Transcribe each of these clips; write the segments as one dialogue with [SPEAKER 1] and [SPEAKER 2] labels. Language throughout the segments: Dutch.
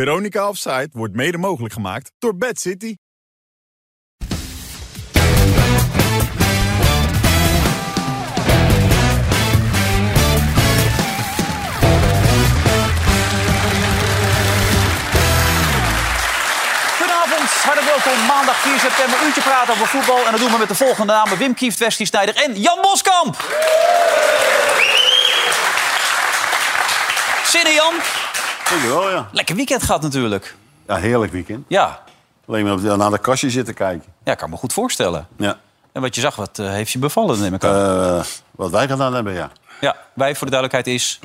[SPEAKER 1] Veronica Offside wordt mede mogelijk gemaakt door Bad City.
[SPEAKER 2] Goedenavond, hartelijk welkom. Maandag 4 september, uurtje praten over voetbal. En dat doen we met de volgende namen. Wim Kieft, Westie Snijder en Jan Boskamp. Zin in, Jan?
[SPEAKER 3] Vind ik wel, ja.
[SPEAKER 2] Lekker weekend gehad natuurlijk.
[SPEAKER 3] Ja, heerlijk weekend.
[SPEAKER 2] Ja,
[SPEAKER 3] Alleen maar op de- naar de kastje zitten kijken.
[SPEAKER 2] ja ik kan me goed voorstellen.
[SPEAKER 3] Ja.
[SPEAKER 2] En wat je zag, wat eh, heeft je bevallen, neem ik aan.
[SPEAKER 3] Eh, wat wij gedaan hebben, ja.
[SPEAKER 2] ja, wij voor de duidelijkheid is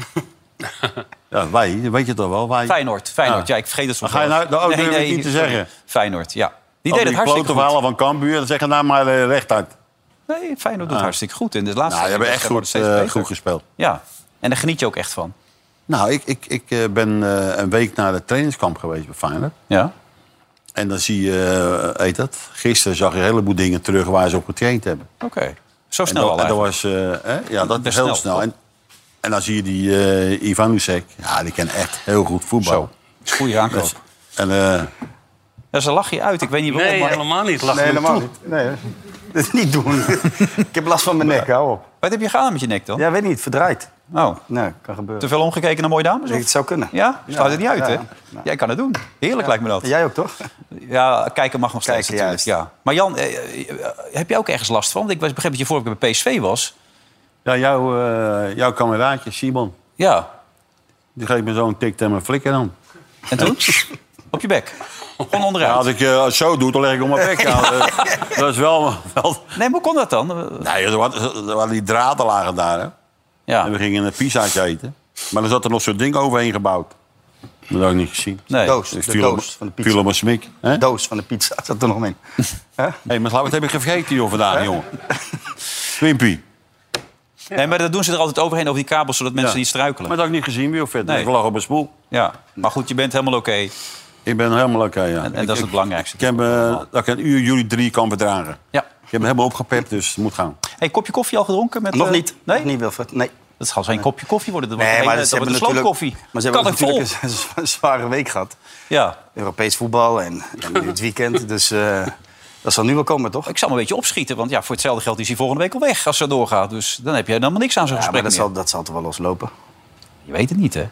[SPEAKER 3] Ja, wij, dat weet je toch wel. Wij,
[SPEAKER 2] Feyenoord. Feyenoord, ja,
[SPEAKER 3] Ja.
[SPEAKER 2] ik vergeet het soms
[SPEAKER 3] Dan Ah. ga je
[SPEAKER 2] wel eens.
[SPEAKER 3] nou- nou, durf ik niet te
[SPEAKER 2] sorry.
[SPEAKER 3] zeggen.
[SPEAKER 2] Feyenoord, ja. Die
[SPEAKER 3] al
[SPEAKER 2] deed het hartstikke
[SPEAKER 3] klote
[SPEAKER 2] goed.
[SPEAKER 3] verhalen van Cambuur, dan zeggen nou maar eh, rechtuit.
[SPEAKER 2] Nee, Feyenoord doet het hartstikke goed. En de laatste
[SPEAKER 3] Ah. Nou, die hebben echt
[SPEAKER 2] wedstrijd
[SPEAKER 3] goed,
[SPEAKER 2] wordt steeds
[SPEAKER 3] eh,
[SPEAKER 2] beter.
[SPEAKER 3] goed gespeeld.
[SPEAKER 2] Ja, en daar geniet je ook echt van.
[SPEAKER 3] Nou, ik, ik, ik eh, ben eh, een week naar het trainingskamp geweest bij Feyenoord.
[SPEAKER 2] Ja.
[SPEAKER 3] En dan zie je, eh, heet dat, gisteren zag je een heleboel dingen terug waar ze op getraind hebben.
[SPEAKER 2] Oké. Zo
[SPEAKER 3] En
[SPEAKER 2] snel
[SPEAKER 3] dat,
[SPEAKER 2] al
[SPEAKER 3] en dat
[SPEAKER 2] eigenlijk.
[SPEAKER 3] was, eh, hè? ja, dat
[SPEAKER 2] Best
[SPEAKER 3] is heel
[SPEAKER 2] snel,
[SPEAKER 3] snel.
[SPEAKER 2] toch?
[SPEAKER 3] En, en dan zie je die eh Ivan Ja, die kan echt heel goed voetbal.
[SPEAKER 2] Zo. Dat is een goede aankoop.
[SPEAKER 3] Dus- En, eh,
[SPEAKER 2] Ja, ze lach je uit. Ik weet niet waarom,
[SPEAKER 4] Nee,
[SPEAKER 2] maar...
[SPEAKER 4] helemaal niet. Lach
[SPEAKER 5] Nee,
[SPEAKER 4] hem
[SPEAKER 5] helemaal
[SPEAKER 4] toe.
[SPEAKER 5] niet. Nee, hè. dat is niet doen. ik heb last van mijn nek, hou op.
[SPEAKER 2] Wat heb je gedaan met je nek dan?
[SPEAKER 5] Ja, weet niet, verdraaid.
[SPEAKER 2] Oh,
[SPEAKER 5] Nee, kan gebeuren.
[SPEAKER 2] te veel omgekeken naar mooie dames?
[SPEAKER 5] Ik denk
[SPEAKER 2] of?
[SPEAKER 5] het zou kunnen.
[SPEAKER 2] Ja? Sluit het niet uit,
[SPEAKER 5] Ja,
[SPEAKER 2] hè?
[SPEAKER 5] ja.
[SPEAKER 2] Jij kan het doen. Heerlijk lijkt me dat.
[SPEAKER 5] Jij ook, toch?
[SPEAKER 2] Ja, kijken mag nog steeds
[SPEAKER 5] Kijken,
[SPEAKER 2] natuurlijk. Ja. Maar Jan, eh, eh, heb je ook ergens last van? Want ik was- begreep dat je vorige keer bij PSV was.
[SPEAKER 3] ja, jouw, eh, jouw kameraadje, Simon,
[SPEAKER 2] Ja.
[SPEAKER 3] die geeft me zo'n tik en een flikker aan.
[SPEAKER 2] En toen? Op je bek. Gewoon
[SPEAKER 3] Ja, als
[SPEAKER 2] onderuit.
[SPEAKER 3] ik eh, zo doe, dan leg ik om mijn bek aan. Eh, Dat is wel... wel
[SPEAKER 2] Nee, maar hoe kon dat dan? Eh,
[SPEAKER 3] nee, er wa- er waren die draden lagen daar. Hè. En we
[SPEAKER 2] Ja.
[SPEAKER 3] gingen een pizzaatje eten. Maar er zat er nog zo'n ding overheen gebouwd. Dat had ik niet gezien. Dus
[SPEAKER 2] Nee.
[SPEAKER 5] Doos, de
[SPEAKER 3] Ik viel op-
[SPEAKER 5] doos van de
[SPEAKER 3] viel
[SPEAKER 5] pizza.
[SPEAKER 3] op mijn smik. Hé,
[SPEAKER 5] Doos van de pizza, zat er nog in.
[SPEAKER 3] hey, maar Slauw, wat heb ik vergeten joh, vandaag, jongen? Wimpy.
[SPEAKER 2] Nee, maar dat doen ze er altijd overheen over die kabels, zodat mensen
[SPEAKER 3] Ja.
[SPEAKER 2] niet struikelen.
[SPEAKER 3] Maar dat had ik niet gezien, wie of vet.
[SPEAKER 2] Nee.
[SPEAKER 3] Ik lag op mijn spoel.
[SPEAKER 2] Ja. Maar goed, je bent helemaal oké.
[SPEAKER 3] Ik ben helemaal oké,
[SPEAKER 2] En,
[SPEAKER 3] ja.
[SPEAKER 2] en dat is
[SPEAKER 3] Ik-
[SPEAKER 2] het
[SPEAKER 3] ik-
[SPEAKER 2] belangrijkste.
[SPEAKER 3] Ik heb eh, dat ik een uur jullie drie kan verdragen.
[SPEAKER 2] Ja.
[SPEAKER 3] Ik heb hem helemaal opgepept, dus het moet gaan.
[SPEAKER 2] Hey, kopje koffie al gedronken? Met,
[SPEAKER 5] Nog
[SPEAKER 2] eh,
[SPEAKER 5] niet.
[SPEAKER 2] Nee?
[SPEAKER 5] Nog niet, Wilfred. Nee.
[SPEAKER 2] Dat zal geen kopje koffie worden. Dat wordt een, hele- dat wordt een sloopkoffie.
[SPEAKER 5] Maar ze
[SPEAKER 2] kan
[SPEAKER 5] hebben
[SPEAKER 2] ik vol.
[SPEAKER 5] natuurlijk een, z- een zware week gehad.
[SPEAKER 2] Ja.
[SPEAKER 5] Europees voetbal en, en nu het weekend. Dus eh, dat zal nu wel komen, toch?
[SPEAKER 2] Ik zal me een beetje opschieten, want ja, voor hetzelfde geld is hij volgende week al weg als ze doorgaat. Dus dan heb jij helemaal niks aan zo'n
[SPEAKER 5] Ja, maar
[SPEAKER 2] gesprek
[SPEAKER 5] dat
[SPEAKER 2] meer.
[SPEAKER 5] zal, dat zal toch wel loslopen.
[SPEAKER 2] Je weet het niet, hè?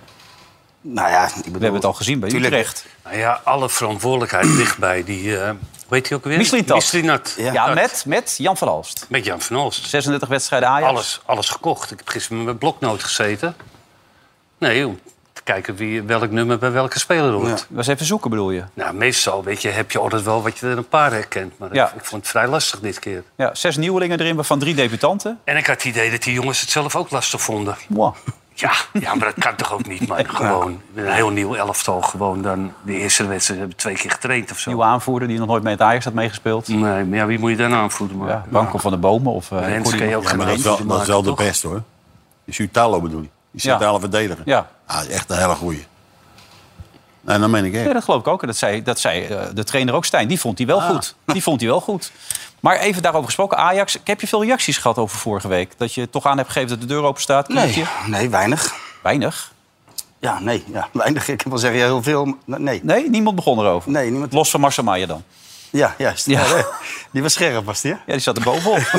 [SPEAKER 5] Nou ja, ik
[SPEAKER 2] We
[SPEAKER 5] bedoel,
[SPEAKER 2] hebben het al gezien bij
[SPEAKER 5] tuurlijk.
[SPEAKER 2] Utrecht.
[SPEAKER 4] Nou ja, alle verantwoordelijkheid ligt bij die... eh weet je ook weer?
[SPEAKER 2] Mislintat.
[SPEAKER 4] Mislintat.
[SPEAKER 2] Ja,
[SPEAKER 4] Dat-
[SPEAKER 2] met, met Jan van Alst.
[SPEAKER 4] Met Jan van Oost.
[SPEAKER 2] 36 wedstrijden Ajax.
[SPEAKER 4] Alles, alles gekocht. Ik heb gisteren met mijn bloknoot gezeten. Nee, om te kijken wie, welk nummer bij welke speler hoort.
[SPEAKER 2] Was even zoeken, bedoel je?
[SPEAKER 4] Nou, meestal weet je, heb je altijd wel wat je er een paar herkent. Maar
[SPEAKER 2] Ja.
[SPEAKER 4] ik, ik vond het vrij lastig dit keer.
[SPEAKER 2] Ja, zes nieuwelingen erin, van drie debutanten.
[SPEAKER 4] En ik had het idee dat die jongens het zelf ook lastig vonden.
[SPEAKER 2] Mwah.
[SPEAKER 4] Ja, ja maar dat kan toch ook niet, man. Gewoon een heel nieuw elftal. Gewoon dan de eerste wedstrijd hebben twee keer getraind of zo.
[SPEAKER 2] Nieuwe aanvoerder die nog nooit met Ajax had meegespeeld.
[SPEAKER 4] Nee, maar ja, wie moet je dan aanvoeden? Maar...
[SPEAKER 2] Ja, Branko van de Bomen of... eh,
[SPEAKER 4] Rens
[SPEAKER 2] Corrie-
[SPEAKER 4] kan je ook
[SPEAKER 3] Ja,
[SPEAKER 4] geen
[SPEAKER 3] maar dat is wel,
[SPEAKER 4] randje
[SPEAKER 3] dat is wel
[SPEAKER 4] maken,
[SPEAKER 3] de
[SPEAKER 4] toch?
[SPEAKER 3] beste, hoor. Die Sutalo bedoel ik. Die
[SPEAKER 2] Ja.
[SPEAKER 3] centrale verdediger.
[SPEAKER 2] Ja.
[SPEAKER 3] Ah, is echt een hele goeie. En dan meen ik
[SPEAKER 2] Ja,
[SPEAKER 3] echt.
[SPEAKER 2] dat geloof ik ook. En dat zei, dat zei eh, de trainer ook, Stijn. Die vond hij
[SPEAKER 5] Ah.
[SPEAKER 2] wel goed. Die vond hij wel goed. Maar even daarover gesproken. Ajax, ik heb je veel reacties gehad over vorige week? Dat je toch aan hebt gegeven dat de deur open staat?
[SPEAKER 5] Nee,
[SPEAKER 2] Knietje?
[SPEAKER 5] nee, weinig.
[SPEAKER 2] Weinig.
[SPEAKER 5] Ja, nee, ja, weinig. Ik wil zeggen, ja, heel veel. maar Nee,
[SPEAKER 2] Nee, niemand begon erover.
[SPEAKER 5] nee niemand.
[SPEAKER 2] Los van Marcel Maier dan.
[SPEAKER 5] Ja, juist.
[SPEAKER 2] Ja.
[SPEAKER 5] Ja. nee. Die was scherp, was die, hè?
[SPEAKER 2] Ja, die zat er bovenop.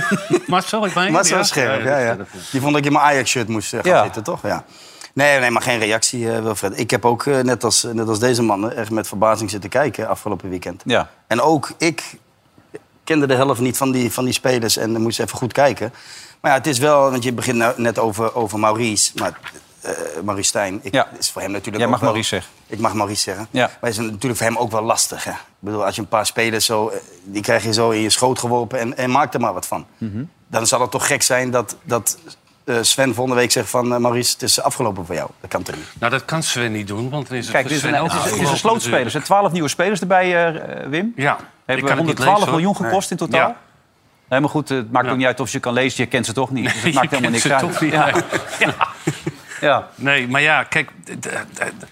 [SPEAKER 4] Marcel, ik ben
[SPEAKER 5] Maar ze was scherp, ja, ja. Die vond dat ik in mijn Ajax-shirt moest eh, gaan
[SPEAKER 2] Ja.
[SPEAKER 5] zitten, toch? Ja. Nee, nee, maar geen reactie, eh, Wilfred. Ik heb ook, eh, net, als, net als deze man, eh, echt met verbazing zitten kijken afgelopen weekend.
[SPEAKER 2] ja.
[SPEAKER 5] En ook ik kende de helft niet van die, van die spelers en dan moest even goed kijken. Maar ja, het is wel, want je begint nou net over, over Maurice, maar eh Maurice Stijn, ik,
[SPEAKER 2] Ja.
[SPEAKER 5] is voor hem natuurlijk
[SPEAKER 2] Jij
[SPEAKER 5] ook
[SPEAKER 2] mag
[SPEAKER 5] wel-
[SPEAKER 2] Maurice zeggen.
[SPEAKER 5] Ik mag Maurice zeggen.
[SPEAKER 2] Ja.
[SPEAKER 5] Maar het is natuurlijk voor hem ook wel lastig. Hè? Ik bedoel, als je een paar spelers zo, eh, die krijg je zo in je schoot geworpen en, en maak er maar wat van.
[SPEAKER 2] Mhm.
[SPEAKER 5] Dan zal het toch gek zijn dat, dat eh, Sven volgende week zegt van eh, Maurice, het is afgelopen voor jou. Dat kan toch niet.
[SPEAKER 4] Nou, dat kan Sven niet doen, want dan is het
[SPEAKER 2] Kijk,
[SPEAKER 4] voor
[SPEAKER 2] dit is
[SPEAKER 4] Sven
[SPEAKER 2] een,
[SPEAKER 4] ook
[SPEAKER 2] het is, het is een
[SPEAKER 4] afgelopen
[SPEAKER 2] slootspelers. Er zijn 12 nieuwe spelers erbij, eh, eh, Wim.
[SPEAKER 4] natuurlijk. Ja, ik
[SPEAKER 2] Hebben
[SPEAKER 4] kan het niet
[SPEAKER 2] 112
[SPEAKER 4] lezen, hoor.
[SPEAKER 2] miljoen gekost in totaal.
[SPEAKER 4] Ja.
[SPEAKER 2] Nee, maar goed, het maakt
[SPEAKER 4] Ja.
[SPEAKER 2] ook niet uit of je ze kan lezen. Je kent ze toch niet. Dus het
[SPEAKER 4] Je
[SPEAKER 2] maakt helemaal
[SPEAKER 4] kent
[SPEAKER 2] niks
[SPEAKER 4] ze
[SPEAKER 2] uit.
[SPEAKER 4] toch niet,
[SPEAKER 2] ja.
[SPEAKER 4] nee.
[SPEAKER 2] ja.
[SPEAKER 4] Nee, maar ja, kijk, d- d- d-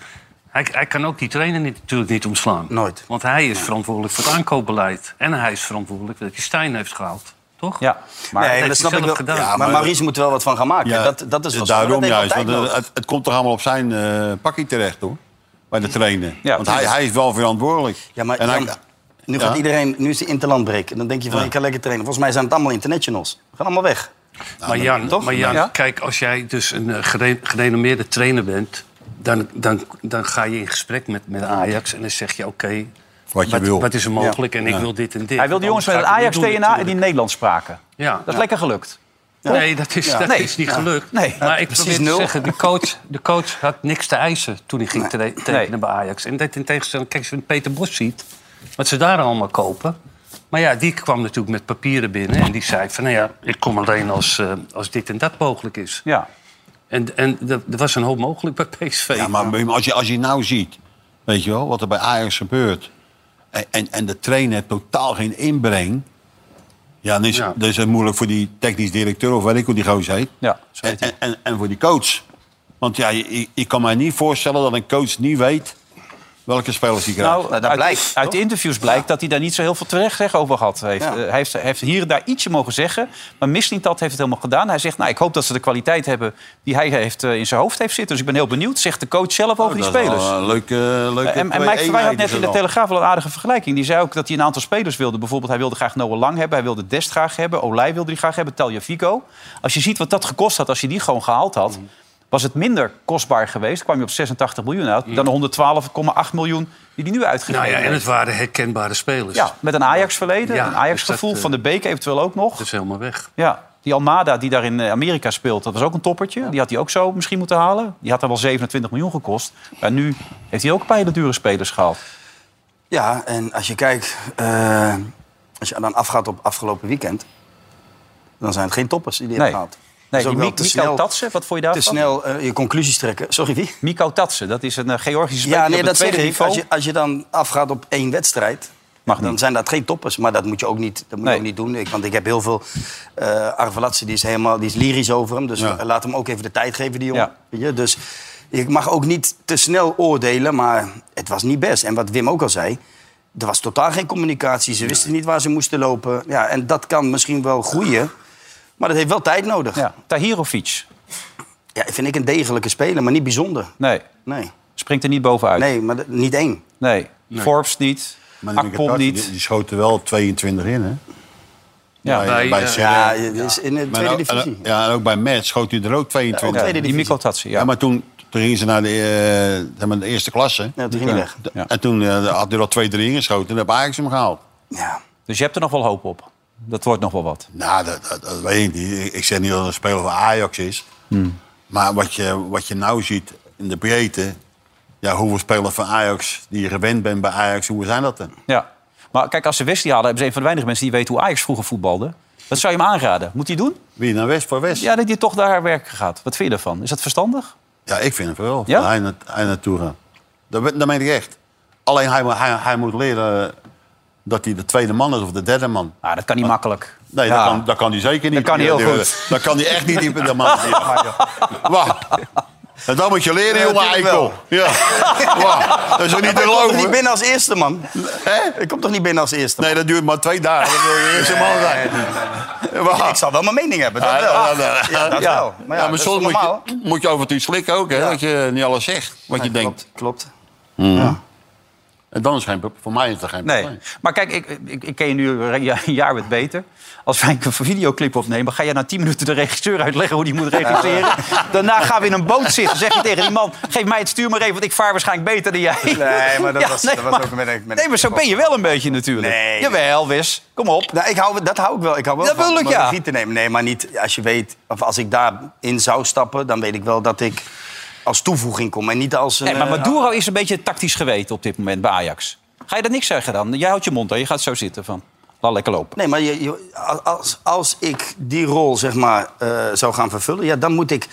[SPEAKER 4] hij, hij kan ook die trainer niet, natuurlijk niet omslaan.
[SPEAKER 5] Nooit.
[SPEAKER 4] Want hij is verantwoordelijk voor het aankoopbeleid. En hij is verantwoordelijk dat hij Stijn heeft gehaald. Toch?
[SPEAKER 2] ja. Maar
[SPEAKER 4] heeft hij zelf
[SPEAKER 5] wel.
[SPEAKER 4] gedaan.
[SPEAKER 5] Ja,
[SPEAKER 4] Ja,
[SPEAKER 5] maar, Maurice moet wel wat van gaan maken. dat, dat is wat
[SPEAKER 3] daarom
[SPEAKER 5] dat heeft
[SPEAKER 3] juist.
[SPEAKER 5] altijd
[SPEAKER 3] Want eh,
[SPEAKER 5] nodig.
[SPEAKER 3] het, het komt toch allemaal op zijn eh pakkie terecht, hoor. bij de trainer.
[SPEAKER 2] Ja,
[SPEAKER 3] Want hij, hij is wel verantwoordelijk.
[SPEAKER 5] Ja, maar
[SPEAKER 3] en hij-
[SPEAKER 5] Jan, nu gaat
[SPEAKER 3] Ja.
[SPEAKER 5] iedereen, nu is de interland break. En dan denk je van, ik kan lekker trainen. Volgens mij zijn het allemaal internationals. We gaan allemaal weg.
[SPEAKER 4] maar Jan,
[SPEAKER 5] toch?
[SPEAKER 4] maar Jan
[SPEAKER 2] Ja.
[SPEAKER 4] kijk, als jij dus een eh, gere- gerenommeerde trainer bent... Dan, dan, dan ga je in gesprek met, met Ajax en dan zeg je... oké,
[SPEAKER 3] Wat je wil.
[SPEAKER 4] wat is er mogelijk en ik
[SPEAKER 3] Ja.
[SPEAKER 4] wil dit en dit.
[SPEAKER 2] Hij wil die jongens met het Ajax-DNA en Ah, die Nederlands spraken.
[SPEAKER 4] Ja.
[SPEAKER 2] Dat is lekker gelukt.
[SPEAKER 4] Nee, dat is, dat
[SPEAKER 2] Nee.
[SPEAKER 4] is niet gelukt.
[SPEAKER 2] Nee.
[SPEAKER 4] Maar ik
[SPEAKER 5] Precies
[SPEAKER 4] probeer te
[SPEAKER 5] nul.
[SPEAKER 4] zeggen, de coach, de coach had niks te eisen toen hij ging tra- tekenen
[SPEAKER 2] Nee.
[SPEAKER 4] bij Ajax. En dat in tegenstelling, kijk, als je Peter Bos ziet, wat ze daar allemaal kopen. Maar ja, die kwam natuurlijk met papieren binnen en die zei van... nou ja, ik kom alleen als, eh, als dit en dat mogelijk is.
[SPEAKER 2] Ja.
[SPEAKER 4] En, en er er was een hoop mogelijk bij PSV.
[SPEAKER 3] Ja, maar als je, als je nou ziet, weet je wel, wat er bij Ajax gebeurt... en, en, en de trainer totaal geen inbreng... Ja, dan is,
[SPEAKER 4] Ja.
[SPEAKER 3] dan is het moeilijk voor die technisch directeur of weet ik hoe die gozer heet.
[SPEAKER 2] Ja, zo
[SPEAKER 3] en, en, en, en voor die coach. Want ja, je- je- ik kan mij niet voorstellen dat een coach niet weet welke spelers hij krijgt.
[SPEAKER 5] Nou, dat
[SPEAKER 2] uit,
[SPEAKER 5] blijkt,
[SPEAKER 2] Uit de interviews blijkt dat hij daar niet zo heel veel terecht zeggen over gehad heeft.
[SPEAKER 5] Ja.
[SPEAKER 2] Eh, hij heeft. Hij heeft hier en daar ietsje mogen zeggen. Maar Mislintat heeft het helemaal gedaan. Hij zegt, nou, ik hoop dat ze de kwaliteit hebben die hij heeft, eh, in zijn hoofd heeft zitten. Dus ik ben heel benieuwd. Zegt de coach zelf over die
[SPEAKER 3] Dat is wel
[SPEAKER 2] spelers.
[SPEAKER 3] een leuke, eh, leuke
[SPEAKER 2] Eh, En, en
[SPEAKER 3] twee
[SPEAKER 2] Mike Verwij had
[SPEAKER 3] eenheden
[SPEAKER 2] net in de
[SPEAKER 3] dan.
[SPEAKER 2] Telegraaf wel een aardige vergelijking. Die zei ook dat hij een aantal spelers wilde. Bijvoorbeeld, hij wilde graag Noah Lang hebben. Hij wilde Dest graag hebben. Olij wilde hij graag hebben. Talja Vico. Als je ziet wat dat gekost had, als je die gewoon gehaald had...
[SPEAKER 4] Mm.
[SPEAKER 2] was het minder kostbaar geweest. kwam je op 86 miljoen uit. Dan de 112,8 miljoen die hij nu uitgegeven
[SPEAKER 4] Mm. nou ja, en
[SPEAKER 2] heeft.
[SPEAKER 4] het waren herkenbare spelers.
[SPEAKER 2] Ja, met een Ajax-verleden.
[SPEAKER 4] Ja,
[SPEAKER 2] een Ajax-gevoel.
[SPEAKER 4] dus dat, eh,
[SPEAKER 2] Van de Beek eventueel ook nog.
[SPEAKER 4] Dat is helemaal weg.
[SPEAKER 2] Ja, die Almada die daar in eh, Amerika speelt, dat was ook een toppertje. Die had hij ook zo misschien moeten halen. Die had daar wel 27 miljoen gekost. Maar nu heeft hij ook een paar hele dure spelers gehaald.
[SPEAKER 5] Ja, en als je kijkt, eh, als je dan afgaat op afgelopen weekend, dan zijn het geen toppers die die
[SPEAKER 2] Nee.
[SPEAKER 5] hebben gehaald.
[SPEAKER 2] Nee,
[SPEAKER 5] is Dus ook
[SPEAKER 2] die
[SPEAKER 5] wel
[SPEAKER 2] Mik-
[SPEAKER 5] te
[SPEAKER 2] Mikko
[SPEAKER 5] snel-
[SPEAKER 2] Tatsen, wat vond je daarvan?
[SPEAKER 5] Te snel eh, je conclusies trekken. Sorry, wie?
[SPEAKER 2] Mikko Tatsen, dat is een eh, Georgische speler
[SPEAKER 5] Ja,
[SPEAKER 2] die
[SPEAKER 5] nee,
[SPEAKER 2] op het
[SPEAKER 5] dat zeg
[SPEAKER 2] tweede
[SPEAKER 5] ik. Als
[SPEAKER 2] niveau...
[SPEAKER 5] je, als je dan afgaat op één wedstrijd,
[SPEAKER 2] Mag
[SPEAKER 5] dan
[SPEAKER 2] niet.
[SPEAKER 5] zijn dat geen toppers. Maar dat moet je ook niet, dat moet
[SPEAKER 2] Nee.
[SPEAKER 5] je ook niet doen. Ik, want ik heb heel veel... eh Arvelatse, die is helemaal die is lyrisch over hem. Dus
[SPEAKER 3] Ja.
[SPEAKER 5] laat hem ook even de tijd geven, die jongen.
[SPEAKER 2] Ja.
[SPEAKER 5] Weet je? Dus ik mag ook niet te snel oordelen, maar het was niet best. En wat Wim ook al zei... Er was totaal geen communicatie. Ze wisten niet waar ze moesten lopen. Ja, en dat kan misschien wel groeien. Maar dat heeft wel tijd nodig. Ja.
[SPEAKER 2] Ja, Tahirovic.
[SPEAKER 5] vind ik een degelijke speler, maar niet bijzonder.
[SPEAKER 2] Nee,
[SPEAKER 5] Nee,
[SPEAKER 2] springt er niet bovenuit. Nee.
[SPEAKER 5] nee maar dat- niet één.
[SPEAKER 2] Forbes niet,
[SPEAKER 3] Maar die
[SPEAKER 2] Akpom
[SPEAKER 3] Mikatati,
[SPEAKER 2] Ah, niet.
[SPEAKER 3] Die, die schoten wel 22 in, hè?
[SPEAKER 2] Ja.
[SPEAKER 3] bij,
[SPEAKER 4] Bij,
[SPEAKER 3] bij
[SPEAKER 4] eh,
[SPEAKER 3] Serre.
[SPEAKER 5] Ja, het is in de
[SPEAKER 3] Maar
[SPEAKER 5] tweede
[SPEAKER 3] ook- en ook-
[SPEAKER 5] divisie.
[SPEAKER 3] ja, en ook bij Metz schoot hij er ook 22
[SPEAKER 5] Ja, ook
[SPEAKER 2] Ja,
[SPEAKER 5] tweede
[SPEAKER 2] die
[SPEAKER 5] divisie.
[SPEAKER 2] Mikko Tatsen, ja.
[SPEAKER 3] Ja, maar toen, toen gingen ze naar de, eh, zeg maar de eerste klasse.
[SPEAKER 5] Ja, toen ging hij weg.
[SPEAKER 3] De-
[SPEAKER 2] Ja.
[SPEAKER 3] En toen eh, had hij er al twee, drie ingeschoten. En heb Ajax hem gehaald.
[SPEAKER 5] Ja.
[SPEAKER 2] Dus je hebt er nog wel hoop op. Dat wordt nog wel wat.
[SPEAKER 3] Nou, dat, dat, dat weet ik niet. Ik- Ik zeg niet dat het een speler van Ajax is.
[SPEAKER 2] Hmm.
[SPEAKER 3] Maar wat je, wat je nou ziet in de breedte... Ja, hoeveel spelers van Ajax die je gewend bent bij Ajax, hoe zijn dat dan?
[SPEAKER 2] Ja. Maar kijk, als ze Wesley halen, hebben ze een van de weinige mensen die weten hoe Ajax vroeger voetbalde. Wat zou je hem aanraden? Moet hij doen?
[SPEAKER 3] Wie naar West voor West? Ja,
[SPEAKER 2] Ja, dat hij toch naar haar werk gaat. Wat vind je daarvan? Is dat verstandig?
[SPEAKER 3] ik vind het wel.
[SPEAKER 2] Ja?
[SPEAKER 3] Dat Hij, na, hij naartoe gaat. Dat, ben- dat meen ik echt. Alleen hij, moet- hij, hij moet leren dat hij de tweede man is of de derde man.
[SPEAKER 2] Nou, dat kan niet makkelijk.
[SPEAKER 3] Nee,
[SPEAKER 2] Ja.
[SPEAKER 3] dat, kan, dat kan hij zeker niet.
[SPEAKER 2] Dat kan hij heel
[SPEAKER 3] Die- die-
[SPEAKER 2] goed.
[SPEAKER 3] Dat kan hij echt niet dieper dan man. Wacht. En dan moet je leren, jongen,
[SPEAKER 5] natuurlijk
[SPEAKER 3] eikel. Ja. Wacht. Dat is ook niet te
[SPEAKER 5] Ik kom toch niet
[SPEAKER 3] geloven.
[SPEAKER 5] binnen als eerste, man.
[SPEAKER 3] Hè?
[SPEAKER 5] Ik kom toch niet binnen als eerste?
[SPEAKER 3] Nee, dat duurt maar twee dagen. Dat wil je eerste man zijn.
[SPEAKER 5] Ik zal wel mijn mening hebben, dat
[SPEAKER 3] Ja,
[SPEAKER 5] wel.
[SPEAKER 3] ja, ja.
[SPEAKER 5] Ja, dat
[SPEAKER 3] Ja,
[SPEAKER 5] wel. Maar ja, dat is
[SPEAKER 3] soms
[SPEAKER 5] toch
[SPEAKER 3] moet
[SPEAKER 5] normaal?
[SPEAKER 3] je, moet je over het u slikken ook, hè? Dat je niet alles zegt wat je
[SPEAKER 5] Nee,
[SPEAKER 3] denkt.
[SPEAKER 5] Klopt, klopt.
[SPEAKER 3] En dan is geen pro- voor mij is dat geen
[SPEAKER 2] Nee.
[SPEAKER 3] probleem.
[SPEAKER 2] Maar kijk, ik, ik, ik ken je nu een ja- een jaar wat beter. Als wij een videoclip opnemen, ga jij na 10 minuten de regisseur uitleggen hoe die moet regisseren. Daarna gaan we in een boot zitten. Zeg je tegen die man: geef mij het stuur maar even, want ik vaar waarschijnlijk beter dan jij.
[SPEAKER 5] Nee, maar dat was- dat was
[SPEAKER 2] maar-
[SPEAKER 5] ook met een- met een-
[SPEAKER 2] Nee, maar zo ben je wel een beetje natuurlijk.
[SPEAKER 5] Nee.
[SPEAKER 2] Jawel, Wis. Kom op.
[SPEAKER 5] Nou, ik hou, dat hou ik wel. Ik hou wel
[SPEAKER 2] Dat
[SPEAKER 5] van
[SPEAKER 2] wil ik,
[SPEAKER 5] om een
[SPEAKER 2] ja.
[SPEAKER 5] regie te nemen. Nee, maar niet als je weet... Of als ik daarin zou stappen, dan weet ik wel dat ik als toevoeging kom. En niet als een...
[SPEAKER 2] Nee, maar
[SPEAKER 5] eh,
[SPEAKER 2] Maduro is een beetje tactisch geweten op dit moment bij Ajax. Ga je dat niks zeggen dan? Jij houdt je mond aan, je gaat zo zitten van. Laat lekker lopen.
[SPEAKER 5] Nee, maar je, je- als, als ik die rol zeg maar, eh, zou gaan vervullen, ja, dan moet ik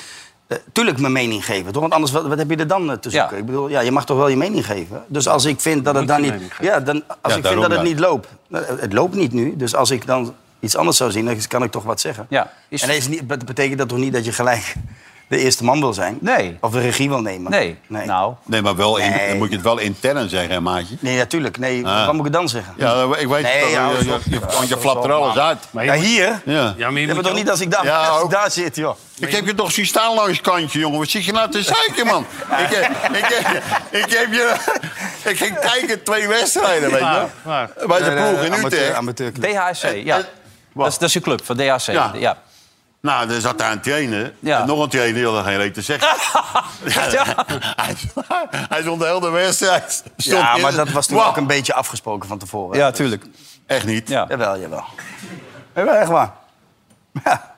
[SPEAKER 5] eh, tuurlijk mijn mening geven. Toch? Want anders, wat, wat heb je er dan eh, te
[SPEAKER 2] Ja.
[SPEAKER 5] zoeken? Ik bedoel, ja, je mag toch wel je mening geven. Dus als ik vind dat het dan
[SPEAKER 4] je
[SPEAKER 5] niet.
[SPEAKER 4] mening geven.
[SPEAKER 5] Ja, dan, als
[SPEAKER 3] Ja,
[SPEAKER 5] ik vind
[SPEAKER 3] daarom
[SPEAKER 5] dat het
[SPEAKER 3] dan.
[SPEAKER 5] niet loopt. Nou, Het loopt niet nu. Dus als ik dan iets anders zou zien, dan kan ik toch wat zeggen.
[SPEAKER 2] Ja, is-
[SPEAKER 5] En dat, is niet, dat betekent dat toch niet dat je gelijk. de eerste man wil zijn.
[SPEAKER 2] Nee.
[SPEAKER 5] Of de regie wil nemen.
[SPEAKER 2] Nee.
[SPEAKER 5] Nee,
[SPEAKER 2] Nou,
[SPEAKER 3] Nee, maar wel in-
[SPEAKER 5] Nee.
[SPEAKER 3] dan moet je het wel intern zeggen, hè, maatje.
[SPEAKER 5] nee natuurlijk. Nee,
[SPEAKER 3] Ah.
[SPEAKER 5] wat moet ik dan zeggen?
[SPEAKER 3] Ja, eh, ik weet
[SPEAKER 5] Nee,
[SPEAKER 3] het
[SPEAKER 5] ja,
[SPEAKER 3] wel. Je-
[SPEAKER 5] dat is
[SPEAKER 3] je-
[SPEAKER 5] wel-
[SPEAKER 3] je- Want je
[SPEAKER 5] dat
[SPEAKER 3] flapt
[SPEAKER 5] is
[SPEAKER 3] er
[SPEAKER 5] wel
[SPEAKER 3] alles
[SPEAKER 5] waar.
[SPEAKER 3] uit.
[SPEAKER 4] Maar je
[SPEAKER 5] Ja,
[SPEAKER 4] moet-
[SPEAKER 5] hier?
[SPEAKER 3] Ja.
[SPEAKER 4] Ja, maar je
[SPEAKER 5] Je
[SPEAKER 4] moet
[SPEAKER 5] hebt toch
[SPEAKER 4] ook-
[SPEAKER 5] niet als ik daar,
[SPEAKER 3] Ja,
[SPEAKER 5] als ik
[SPEAKER 3] ook.
[SPEAKER 5] daar zit, joh.
[SPEAKER 3] Ik heb je toch zien staan langs het kantje, jongen. Wat zit je nou te zeiken, man? ik, heb, ik, heb, ik heb je... Ik ging kijken twee wedstrijden, weet je
[SPEAKER 4] Waar, waar?
[SPEAKER 3] Bij de ploeg in
[SPEAKER 5] Eh, Amateur-
[SPEAKER 3] Utrecht.
[SPEAKER 5] amateurclub.
[SPEAKER 2] DHC,
[SPEAKER 3] eh,
[SPEAKER 2] ja.
[SPEAKER 3] wat?
[SPEAKER 2] Dat is, dat is je club van DHC.
[SPEAKER 3] Ja.
[SPEAKER 2] Ja.
[SPEAKER 3] Nou, er zat daar een trainer.
[SPEAKER 2] Ja.
[SPEAKER 3] En nog een trainer, die had er geen reet te zeggen.
[SPEAKER 2] Ja.
[SPEAKER 3] hij, hij stond de hele wedstrijd. Stond
[SPEAKER 5] Ja,
[SPEAKER 3] in-
[SPEAKER 5] maar dat was toen
[SPEAKER 3] Wow.
[SPEAKER 5] ook een beetje afgesproken van tevoren. Dus-
[SPEAKER 2] ja, tuurlijk.
[SPEAKER 3] Echt niet.
[SPEAKER 2] Ja.
[SPEAKER 5] Jawel, jawel. Jawel, echt waar. Ja.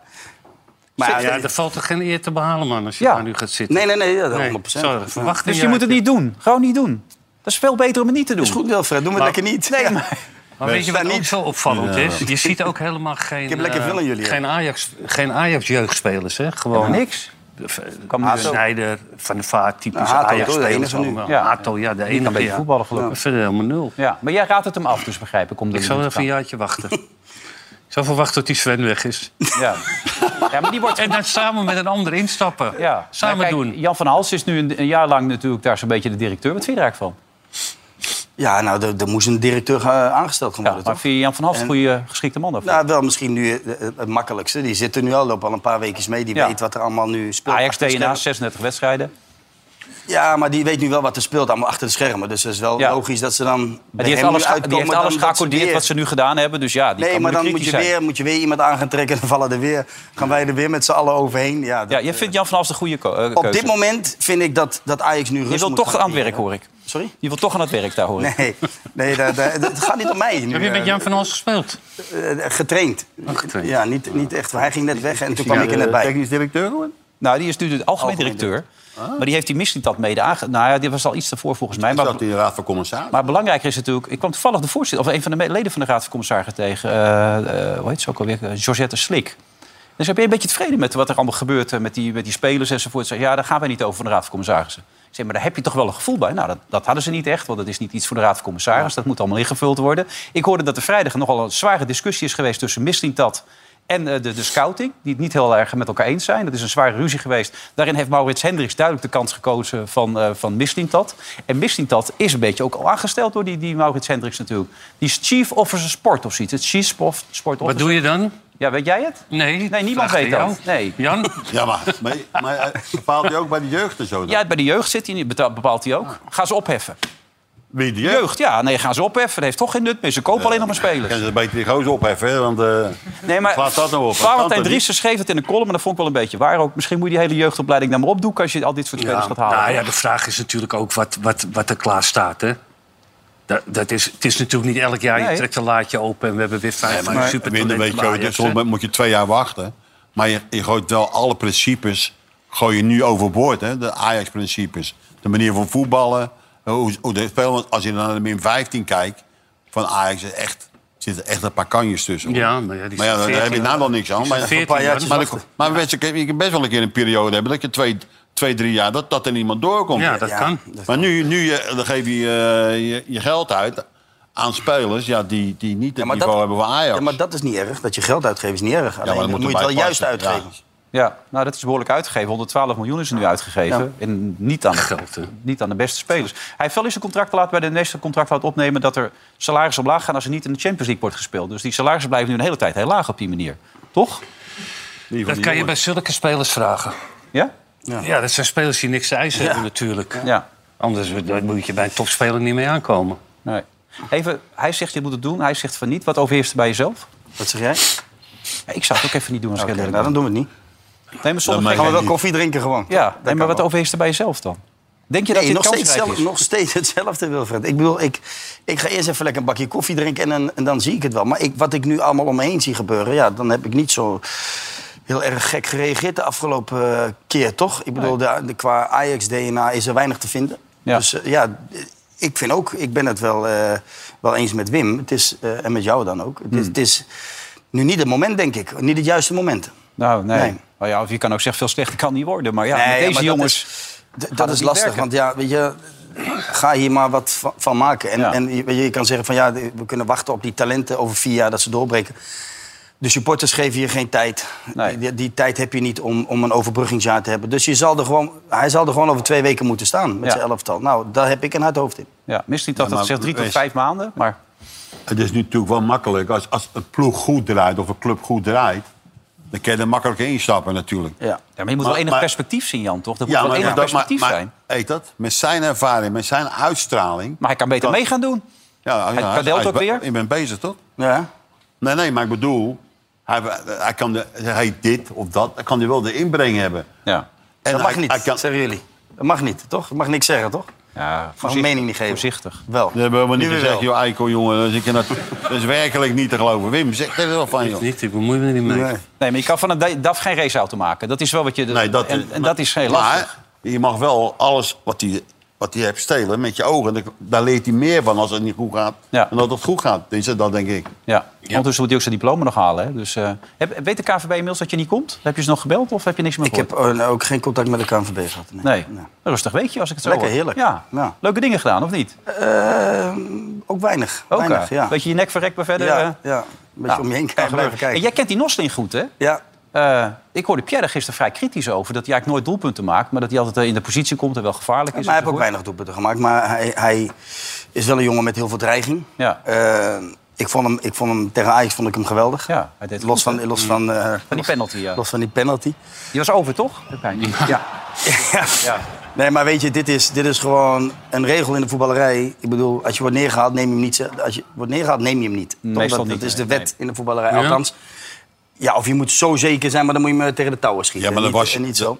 [SPEAKER 5] Maar,
[SPEAKER 4] Ja, er valt toch geen eer te behalen, man, als je
[SPEAKER 2] Ja.
[SPEAKER 4] daar nu gaat zitten.
[SPEAKER 5] nee, nee, nee, ja, dat 100%.
[SPEAKER 4] Sorry, verwacht
[SPEAKER 2] Dus je moet het niet doen. Gewoon niet doen. Dat is veel beter om het niet te doen.
[SPEAKER 5] Is goed, Wilfred. Doe me
[SPEAKER 4] Maar-
[SPEAKER 5] lekker niet.
[SPEAKER 2] Nou, Nee,
[SPEAKER 5] Ja.
[SPEAKER 2] maar...
[SPEAKER 4] Maar weet je wat
[SPEAKER 5] Daar
[SPEAKER 4] niet
[SPEAKER 5] niet.
[SPEAKER 4] zo opvallend is? Je ziet ook helemaal geen...
[SPEAKER 5] heb lekker
[SPEAKER 4] eh,
[SPEAKER 5] veel aan jullie, hè?
[SPEAKER 4] Geen Ajax, geen Ajax jeugdspelers, hè? Gewoon
[SPEAKER 2] Niks.
[SPEAKER 4] V-
[SPEAKER 2] Kan
[SPEAKER 4] Hato.
[SPEAKER 2] niet.
[SPEAKER 4] Snijder, Van de Vaart, typisch
[SPEAKER 5] Nou, Hato, toch, de
[SPEAKER 4] Ajax-spelers
[SPEAKER 5] enige nu.
[SPEAKER 4] allemaal.
[SPEAKER 2] Ja.
[SPEAKER 4] Hato, ja, de enige.
[SPEAKER 2] kan beter
[SPEAKER 4] ja.
[SPEAKER 2] voetballen, gelukkig.
[SPEAKER 4] Ja. Verder helemaal nul.
[SPEAKER 2] Ja, maar jij raadt het hem af, dus begrijp ik. Omdat
[SPEAKER 4] Ik
[SPEAKER 2] hij
[SPEAKER 4] zou
[SPEAKER 2] niet
[SPEAKER 4] even een jaartje wachten. Ik zou verwachten dat die Sven weg is.
[SPEAKER 2] kan. Ja. ja, maar die wordt...
[SPEAKER 4] En dan samen met een ander instappen.
[SPEAKER 2] Ja.
[SPEAKER 4] Samen
[SPEAKER 2] Maar kijk,
[SPEAKER 4] doen.
[SPEAKER 2] Jan van Hals is nu een, een jaar lang natuurlijk daar zo'n beetje de directeur. Wat vind je er eigenlijk van?
[SPEAKER 5] Ja, nou, er, er moest een directeur eh, aangesteld gaan
[SPEAKER 2] Ja,
[SPEAKER 5] worden,
[SPEAKER 2] maar
[SPEAKER 5] toch?
[SPEAKER 2] vind je Jan van Hals een
[SPEAKER 5] En-
[SPEAKER 2] goede geschikte man daarvoor?
[SPEAKER 5] Nou, wel misschien nu eh, eh, het makkelijkste. Die zit er nu al, loopt al een paar weken mee. Die
[SPEAKER 2] Ja.
[SPEAKER 5] weet wat er allemaal nu speelt.
[SPEAKER 2] Ajax
[SPEAKER 5] achter de
[SPEAKER 2] DNA,
[SPEAKER 5] schermen.
[SPEAKER 2] 36 wedstrijden.
[SPEAKER 5] Ja, maar die weet nu wel wat er speelt allemaal achter de schermen. Dus het is wel
[SPEAKER 2] Ja.
[SPEAKER 5] logisch dat ze dan bij
[SPEAKER 2] Maar die heeft
[SPEAKER 5] hem
[SPEAKER 2] alles,
[SPEAKER 5] nu
[SPEAKER 2] ge-
[SPEAKER 5] uitkomen
[SPEAKER 2] die heeft
[SPEAKER 5] dan
[SPEAKER 2] alles
[SPEAKER 5] dat ze
[SPEAKER 2] geaccordeerd
[SPEAKER 5] weer-
[SPEAKER 2] wat ze nu gedaan hebben. Dus ja, die
[SPEAKER 5] Nee,
[SPEAKER 2] kan
[SPEAKER 5] maar
[SPEAKER 2] moeilijk
[SPEAKER 5] dan moet
[SPEAKER 2] kritisch
[SPEAKER 5] je,
[SPEAKER 2] zijn.
[SPEAKER 5] weer, moet je weer iemand aan gaan trekken. Dan vallen er weer, gaan wij er weer met z'n allen overheen. Ja, dat,
[SPEAKER 2] Ja, jij
[SPEAKER 5] eh,
[SPEAKER 2] vindt Jan van Hals de goede ko- eh, keuze.
[SPEAKER 5] op dit moment vind ik dat, dat Ajax nu rust
[SPEAKER 2] Je wil
[SPEAKER 5] moet
[SPEAKER 2] toch
[SPEAKER 5] gaan
[SPEAKER 2] aan het werk,
[SPEAKER 5] creëren.
[SPEAKER 2] hoor ik.
[SPEAKER 5] Sorry?
[SPEAKER 2] Je wil toch aan het werk daar, hoor ik.
[SPEAKER 5] Nee, nee dat, dat- dat gaat niet om mij. Nu,
[SPEAKER 4] Heb je met
[SPEAKER 5] eh,
[SPEAKER 4] Jan van Hals gespeeld?
[SPEAKER 5] eh, getraind.
[SPEAKER 4] getraind.
[SPEAKER 5] Ja, niet, niet echt. Hij ging net weg en toen kwam ik
[SPEAKER 2] eh,
[SPEAKER 5] er net bij.
[SPEAKER 3] Technisch directeur geworden?
[SPEAKER 2] Nou, die is nu de algemeen
[SPEAKER 5] Algemeen
[SPEAKER 2] directeur. Maar die heeft die misstand mede aange... Nou ja, die was al iets daarvoor volgens mij.
[SPEAKER 3] Is
[SPEAKER 2] Maar,
[SPEAKER 3] dat in de Raad van Commissarissen?
[SPEAKER 2] maar belangrijker is natuurlijk... Ik kwam toevallig de voorzitter... of een van de me- leden van de Raad van Commissarissen tegen. eh, eh, hoe heet ze ook alweer? Eh, Georgette Slik. Dus ben je een beetje tevreden met wat er allemaal gebeurt... eh, met die, met die spelers enzovoort? Zeg, ja, daar gaan wij niet over van de Raad van Commissarissen. Ik zeg, maar daar heb je toch wel een gevoel bij? Nou, dat, dat hadden ze niet echt, want dat is niet iets voor de Raad van Commissarissen. Dat moet allemaal ingevuld worden. Ik hoorde dat er vrijdag nogal een zware discussie is geweest... tussen Mislintat en eh, de, de scouting, die het niet heel erg met elkaar eens zijn. Dat is een zware ruzie geweest. Daarin heeft Maurits Hendricks duidelijk de kans gekozen van, eh van Mislintat. En Mislintat is een beetje ook al aangesteld door die, die Maurits Hendricks natuurlijk. Die is Chief Officer Sport of zoiets. Het Chief of Sport
[SPEAKER 4] Wat
[SPEAKER 2] Officer.
[SPEAKER 4] doe je dan?
[SPEAKER 2] Ja, weet jij het?
[SPEAKER 4] Nee.
[SPEAKER 2] Nee, niemand
[SPEAKER 4] vraag
[SPEAKER 2] weet
[SPEAKER 4] aan
[SPEAKER 2] dat.
[SPEAKER 4] jou.
[SPEAKER 2] Nee.
[SPEAKER 4] Jan?
[SPEAKER 3] Ja, maar, maar, maar eh, bepaalt hij ook bij de jeugd en zo dan?
[SPEAKER 2] Ja, bij de jeugd zit hij, niet, betaalt- bepaalt hij
[SPEAKER 4] Ah.
[SPEAKER 2] ook. Gaan ze opheffen.
[SPEAKER 3] Wie de jeugd?
[SPEAKER 2] Jeugd, ja, nee, gaan ze opheffen. Dat heeft toch geen nut meer. Ze kopen alleen nog maar
[SPEAKER 3] Kan
[SPEAKER 2] spelers.
[SPEAKER 3] ze een beetje die gozer opheffen, hè, want... eh,
[SPEAKER 2] Nee, maar
[SPEAKER 3] slaat dat nou op? Dat kan
[SPEAKER 2] Valentijn
[SPEAKER 3] toch
[SPEAKER 2] Driessen schreef het in een column... en dat vond ik wel een beetje waar ook. Misschien moet je die hele jeugdopleiding nou maar opdoen... als je al dit soort spelers gaat halen.
[SPEAKER 4] Nou ja, de vraag is natuurlijk ook wat, wat, wat er klaar staat, hè? Dat, dat is, het is natuurlijk niet elk jaar,
[SPEAKER 2] Nee.
[SPEAKER 4] je trekt een laadje open... en we hebben weer vijf
[SPEAKER 3] Nee,
[SPEAKER 4] nee,
[SPEAKER 3] maar winnen,
[SPEAKER 4] supertalenten
[SPEAKER 3] weet je,
[SPEAKER 4] bij
[SPEAKER 3] wel,
[SPEAKER 4] Ajax,
[SPEAKER 3] soms
[SPEAKER 4] hè?
[SPEAKER 3] moet je twee jaar wachten. Maar je, je gooit wel alle principes gooi je nu overboord. Hè? De Ajax-principes. De manier van voetballen. eh, Hoe, hoe de spelen, want als je dan naar de min 15 kijkt van Ajax... is Echt, zitten echt een paar kanjes tussen. hoor.
[SPEAKER 4] Ja, maar ja, die
[SPEAKER 3] maar ja,
[SPEAKER 4] zijn
[SPEAKER 3] daar heb je
[SPEAKER 4] 14,
[SPEAKER 3] nou dan niks aan. Maar,
[SPEAKER 4] 14,
[SPEAKER 3] maar,
[SPEAKER 4] man.
[SPEAKER 3] maar, de- maar best, je kan best wel een keer een periode hebben... dat je twee, twee drie jaar, dat, dat er niemand doorkomt.
[SPEAKER 4] Ja, dat
[SPEAKER 5] Ja.
[SPEAKER 4] kan.
[SPEAKER 3] Maar nu, nu je, dan geef je, eh, je je geld uit aan spelers ja, die, die niet het
[SPEAKER 5] maar
[SPEAKER 3] niveau
[SPEAKER 5] dat-
[SPEAKER 3] hebben van Ajax.
[SPEAKER 5] Ja, maar dat is niet erg. Dat je geld uitgeeft is niet erg. Alleen,
[SPEAKER 3] dan
[SPEAKER 5] dan moet
[SPEAKER 3] moet
[SPEAKER 5] je het
[SPEAKER 3] erbij
[SPEAKER 5] wel juist
[SPEAKER 3] passen. Ja.
[SPEAKER 5] uitgeven.
[SPEAKER 2] Ja, nou dat is behoorlijk uitgegeven. 112 miljoen is er nu uitgegeven. En niet aan, de,
[SPEAKER 4] Geld, hè?
[SPEAKER 2] niet aan de beste spelers. Hij heeft wel eens een contract laten bij de meeste contract laten opnemen... dat er salarissen omlaag gaan als er niet in de Champions League wordt gespeeld. Dus die salarissen blijven nu een hele tijd heel laag op die manier. Toch?
[SPEAKER 3] Die van
[SPEAKER 4] Dat
[SPEAKER 3] die
[SPEAKER 4] kan je
[SPEAKER 3] jongens.
[SPEAKER 4] bij zulke spelers vragen.
[SPEAKER 2] Ja?
[SPEAKER 4] Ja, dat zijn spelers die niks te eisen hebben natuurlijk.
[SPEAKER 2] Ja.
[SPEAKER 4] Anders daar moet je bij een topspeler niet mee aankomen.
[SPEAKER 2] Nee. Even, hij zegt je moet het doen, hij zegt van niet. Wat overheerst er bij jezelf?
[SPEAKER 5] Wat zeg jij?
[SPEAKER 2] Ja, ik zou het ook even niet doen als
[SPEAKER 5] Oké,
[SPEAKER 2] ik heel
[SPEAKER 5] nou,
[SPEAKER 2] eerlijk
[SPEAKER 5] dan doen we het niet.
[SPEAKER 2] ben. Nee, maar soms
[SPEAKER 3] Dan
[SPEAKER 5] Gaan we
[SPEAKER 3] mag
[SPEAKER 5] wel koffie drinken gewoon.
[SPEAKER 2] Ja, nee,
[SPEAKER 5] kan
[SPEAKER 2] maar wat
[SPEAKER 5] wel.
[SPEAKER 2] overheerst er bij jezelf dan? Denk je dat
[SPEAKER 5] Nee,
[SPEAKER 2] dit
[SPEAKER 5] nog steeds,
[SPEAKER 2] kansrijk
[SPEAKER 5] zelf,
[SPEAKER 2] is?
[SPEAKER 5] nog steeds hetzelfde, Wilfred. Ik bedoel, ik, ik ga eerst even lekker een bakje koffie drinken en, dan- en dan zie ik het wel. Maar ik, wat ik nu allemaal om me heen zie gebeuren, ja, dan heb ik niet zo heel erg gek gereageerd de afgelopen eh, keer, toch? Ik bedoel, de, de- qua Ajax-DNA is er weinig te vinden.
[SPEAKER 2] Ja.
[SPEAKER 5] Dus eh, ja, ik vind ook, ik ben het wel, eh, wel eens met Wim het is, eh, en met jou dan ook. Het,
[SPEAKER 2] Hmm.
[SPEAKER 5] is, het is nu niet het moment, denk ik. Niet het juiste moment.
[SPEAKER 2] Nou, nee.
[SPEAKER 5] Nee.
[SPEAKER 2] Nou ja, of je kan ook zeggen, veel slechter kan niet worden. Maar ja,
[SPEAKER 5] Nee,
[SPEAKER 2] met
[SPEAKER 5] ja,
[SPEAKER 2] deze
[SPEAKER 5] maar dat
[SPEAKER 2] jongens...
[SPEAKER 5] is- d- Dat is,
[SPEAKER 2] het niet
[SPEAKER 5] lastig,
[SPEAKER 2] werken.
[SPEAKER 5] want ja, weet je, ga hier maar wat va- van maken. En,
[SPEAKER 2] Ja.
[SPEAKER 5] en je, weet je, je kan zeggen van ja, de- we kunnen wachten op die talenten over vier jaar dat ze doorbreken. De supporters geven je geen tijd.
[SPEAKER 2] Nee.
[SPEAKER 5] Die, die tijd heb je niet om, om een overbruggingsjaar te hebben. Dus je zal er gewoon, hij zal er gewoon over twee weken moeten staan met
[SPEAKER 2] Ja.
[SPEAKER 5] zijn elftal. Nou, daar heb ik een hard hoofd in.
[SPEAKER 2] Ja, misschien dat
[SPEAKER 3] Ja,
[SPEAKER 2] dat
[SPEAKER 3] maar
[SPEAKER 2] zegt drie tot
[SPEAKER 3] wees-
[SPEAKER 2] vijf maanden. Maar
[SPEAKER 3] Het is nu natuurlijk wel makkelijk. Als, als een ploeg goed draait of een club goed draait... dan kan je er makkelijk instappen natuurlijk.
[SPEAKER 5] Ja.
[SPEAKER 2] Ja, maar je moet
[SPEAKER 3] Maar-
[SPEAKER 2] wel enig
[SPEAKER 3] maar-
[SPEAKER 2] perspectief zien, Jan, toch? Dat moet wel enig
[SPEAKER 3] dat-
[SPEAKER 2] perspectief
[SPEAKER 3] maar-
[SPEAKER 2] zijn.
[SPEAKER 3] maar- weet dat? Met zijn ervaring, met zijn uitstraling...
[SPEAKER 2] Maar hij kan beter
[SPEAKER 3] Dat-
[SPEAKER 2] mee gaan doen.
[SPEAKER 3] ja, ja,
[SPEAKER 2] kadelt
[SPEAKER 3] is- is
[SPEAKER 2] ook
[SPEAKER 3] be-
[SPEAKER 2] weer.
[SPEAKER 3] Je bent bezig, toch?
[SPEAKER 5] Ja.
[SPEAKER 3] Nee, nee, maar ik bedoel... Hij, hij kan de, hij dit of dat, dan kan hij wel de inbreng hebben.
[SPEAKER 2] Ja.
[SPEAKER 3] En
[SPEAKER 5] dat mag
[SPEAKER 3] hij-
[SPEAKER 5] niet,
[SPEAKER 3] hij kan-
[SPEAKER 5] zeggen jullie. Dat mag niet, toch? Dat mag niks zeggen, toch?
[SPEAKER 2] ja
[SPEAKER 5] Mag een mening niet geven.
[SPEAKER 2] Voorzichtig.
[SPEAKER 5] Wel.
[SPEAKER 3] We hebben helemaal
[SPEAKER 5] Nu
[SPEAKER 3] niet
[SPEAKER 5] weer
[SPEAKER 3] gezegd,
[SPEAKER 5] wel.
[SPEAKER 3] joh, Eikel, jongen. Dat is, ik in dat, dat is werkelijk niet te geloven. Wim, zeg er wel van, joh.
[SPEAKER 4] Niet, ik bemoei me er niet mee.
[SPEAKER 3] Nee.
[SPEAKER 2] Nee, maar je kan van een da- DAF geen raceauto maken. Dat is wel wat je...
[SPEAKER 3] Nee, dat,
[SPEAKER 2] en, en dat is heel
[SPEAKER 3] maar
[SPEAKER 2] lastig.
[SPEAKER 3] je mag wel alles wat hij wat die hebt stelen met je ogen. Daar- Daar leert hij meer van als het niet goed gaat.
[SPEAKER 2] Ja.
[SPEAKER 3] En dat het goed gaat. Tenminste, dat denk ik.
[SPEAKER 2] Ja. Ondertussen moet hij ook zijn diploma nog halen. Hè? Dus, eh, heb, weet de KVB inmiddels dat je niet komt? Heb je ze nog gebeld of heb je niks meer
[SPEAKER 5] Ik heb
[SPEAKER 2] gehoord?
[SPEAKER 5] eh, ook geen contact met de KNVB gehad. Nee.
[SPEAKER 2] Nee. Rustig weekje, als ik het zo
[SPEAKER 5] Lekker,
[SPEAKER 2] hoor.
[SPEAKER 5] heerlijk.
[SPEAKER 2] Ja.
[SPEAKER 5] Ja.
[SPEAKER 2] Leuke dingen gedaan, of niet?
[SPEAKER 5] Eh, ook weinig.
[SPEAKER 2] Ook,
[SPEAKER 5] weinig,
[SPEAKER 2] eh,
[SPEAKER 5] ja.
[SPEAKER 2] Beetje je nek verrekt, maar verder...
[SPEAKER 5] ja,
[SPEAKER 2] eh,
[SPEAKER 5] ja. Een beetje
[SPEAKER 2] nou,
[SPEAKER 5] om je heen
[SPEAKER 2] kan
[SPEAKER 5] kijken,
[SPEAKER 2] gebeuren.
[SPEAKER 5] blijven
[SPEAKER 2] En
[SPEAKER 5] kijken.
[SPEAKER 2] jij kent die Nostling goed, hè?
[SPEAKER 5] Ja,
[SPEAKER 2] Eh, ik hoorde Pierre er gisteren vrij kritisch over. Dat hij eigenlijk nooit doelpunten maakt. Maar dat hij altijd eh, in de positie komt en wel gevaarlijk is.
[SPEAKER 5] maar hij heeft ook
[SPEAKER 2] enzovoort.
[SPEAKER 5] weinig doelpunten gemaakt. Maar hij, hij is wel een jongen met heel veel dreiging.
[SPEAKER 2] Ja.
[SPEAKER 5] Eh, ik, vond hem, ik vond hem tegen Ajax vond ik hem geweldig.
[SPEAKER 2] Ja, hij deed het
[SPEAKER 5] los,
[SPEAKER 2] goed,
[SPEAKER 5] van, los, van, eh,
[SPEAKER 2] die penalty, ja.
[SPEAKER 5] los van die penalty.
[SPEAKER 2] Die was over, toch? Heb hij niet.
[SPEAKER 5] Ja. ja. Nee, maar weet je, dit is, dit is gewoon een regel in de voetballerij. Ik bedoel, als je wordt neergehaald, neem je hem niet. ze- Als je wordt neergehaald, neem je hem niet. Toch?
[SPEAKER 2] Meestal
[SPEAKER 5] dat,
[SPEAKER 2] niet,
[SPEAKER 5] dat is de
[SPEAKER 2] nee,
[SPEAKER 5] wet in de voetballerij. Althans, ja, of je moet zo zeker zijn, maar dan moet je me tegen de touwen schieten.
[SPEAKER 3] Ja, maar
[SPEAKER 5] En
[SPEAKER 3] dan
[SPEAKER 5] niet,
[SPEAKER 3] was je-
[SPEAKER 5] en niet zo.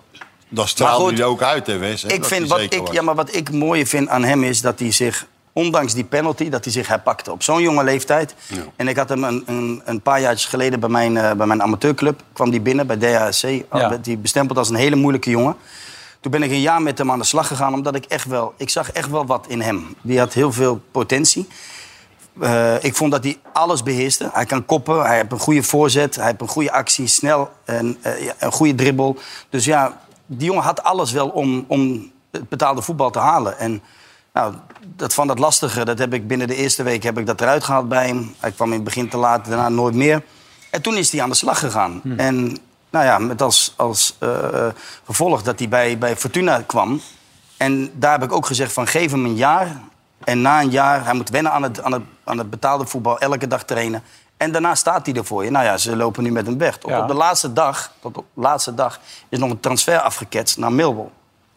[SPEAKER 3] Dat straalde
[SPEAKER 5] goed,
[SPEAKER 3] hij ook uit, hè, Wes? hè,
[SPEAKER 5] Ik
[SPEAKER 3] dat
[SPEAKER 5] vind,
[SPEAKER 3] hij
[SPEAKER 5] wat,
[SPEAKER 3] zeker
[SPEAKER 5] ik,
[SPEAKER 3] was.
[SPEAKER 5] ja, maar wat ik mooie vind aan hem is dat hij zich, ondanks die penalty, dat hij zich herpakte op zo'n jonge leeftijd. En ik had hem een, een, een paar jaar geleden bij mijn, eh, bij mijn amateurclub, kwam die binnen bij DHC.
[SPEAKER 2] Ja.
[SPEAKER 5] werd Oh, Die bestempeld als een hele moeilijke jongen. Toen ben ik een jaar met hem aan de slag gegaan, omdat ik echt wel, ik zag echt wel wat in hem. Die had heel veel potentie. Eh, ik vond dat hij alles beheerste. Hij kan koppen, hij heeft een goede voorzet, hij heeft een goede actie, snel, en, eh, ja, een goede dribbel. Dus ja, die jongen had alles wel om, om het betaalde voetbal te halen. En nou, dat van dat lastige, dat heb ik binnen de eerste week heb ik dat eruit gehaald bij hem. Hij kwam in het begin te laat, daarna nooit meer. En toen is hij aan de slag gegaan. En nou ja, met als, als eh, eh, gevolg dat hij bij, bij Fortuna kwam. En daar heb ik ook gezegd van geef hem een jaar. En na een jaar, hij moet wennen aan het, aan het, aan het betaalde voetbal, elke dag trainen. En daarna staat hij er voor je. Nou ja, ze lopen nu met hem weg. Tot
[SPEAKER 2] Ja.
[SPEAKER 5] op de laatste dag, tot op de laatste dag is nog een transfer afgeketst naar Millwall.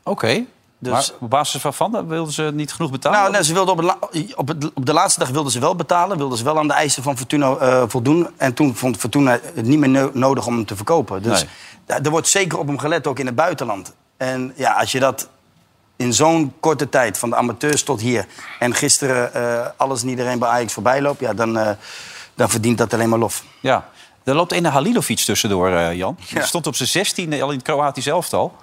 [SPEAKER 2] Oké.
[SPEAKER 5] Dus-
[SPEAKER 2] Maar op basis waarvan eh, wilden ze niet genoeg betalen?
[SPEAKER 5] Nou, nee, ze wilden op, een la- op, het- op de laatste dag wilden ze wel betalen. Wilden ze wel aan de eisen van Fortuna eh, voldoen. En toen vond Fortuna het niet meer no- nodig om hem te verkopen. Dus
[SPEAKER 2] Nee.
[SPEAKER 5] da- er wordt zeker op hem gelet, ook in het buitenland. En ja, als je dat in zo'n korte tijd, van de amateurs tot hier... en gisteren eh, alles en iedereen bij Ajax voorbij loopt... Ja, dan, eh, dan verdient dat alleen maar lof.
[SPEAKER 2] Ja. Er loopt een Halilovic tussendoor, eh, Jan. Die
[SPEAKER 5] Ja.
[SPEAKER 2] stond op zijn 16e al in het Kroatisch elftal.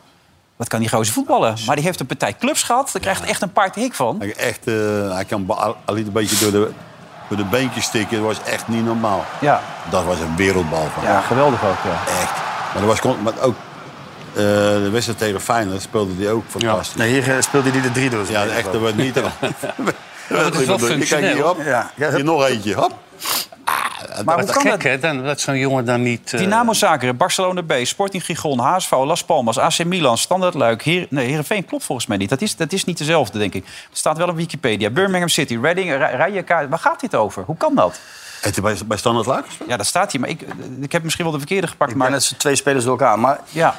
[SPEAKER 2] Wat kan die gozer voetballen? Maar die heeft een partij clubs gehad. Daar krijgt echt een paard hik van.
[SPEAKER 3] Hij, echt, eh, hij kan ba- al een beetje door de, door de beentjes stikken. Dat was echt niet normaal.
[SPEAKER 2] Ja.
[SPEAKER 3] Dat was een wereldbal van
[SPEAKER 2] Ja, geweldig ook, ja.
[SPEAKER 3] Echt. Maar, dat was, con- maar ook eh, de wedstrijd tegen Feyenoord speelde hij ook fantastisch. Ja,
[SPEAKER 5] Nou, hier eh, speelde hij de drie door.
[SPEAKER 3] de echte werd niet...
[SPEAKER 4] dat is wel
[SPEAKER 3] Je kijkt hier,
[SPEAKER 4] functioneel.
[SPEAKER 3] hop.
[SPEAKER 5] Ja. Ja,
[SPEAKER 3] Hier nog eentje, hop.
[SPEAKER 2] Maar hoe
[SPEAKER 4] Wat
[SPEAKER 2] kan
[SPEAKER 4] gek,
[SPEAKER 2] dat?
[SPEAKER 4] hè, dan, dat zo'n jongen dan niet... eh,
[SPEAKER 2] Dynamo Zakeren, Barcelona B, Sporting Gijon, HSV, Las Palmas, AC Milan, Standard Luik. Heer, nee, Heerenveen klopt volgens mij niet. Dat is, dat is niet dezelfde, denk ik. Er staat wel op Wikipedia. Birmingham City, Reading, Ra- Rijeka. Waar gaat dit over? Hoe kan dat?
[SPEAKER 3] Heeft hij bij, bij Standard Luik gespeeld?
[SPEAKER 2] Ja, dat staat hier. Maar ik, ik heb misschien wel de verkeerde gepakt.
[SPEAKER 5] Maar
[SPEAKER 2] Maar,
[SPEAKER 5] dat zijn twee spelers door elkaar. Maar
[SPEAKER 2] ja.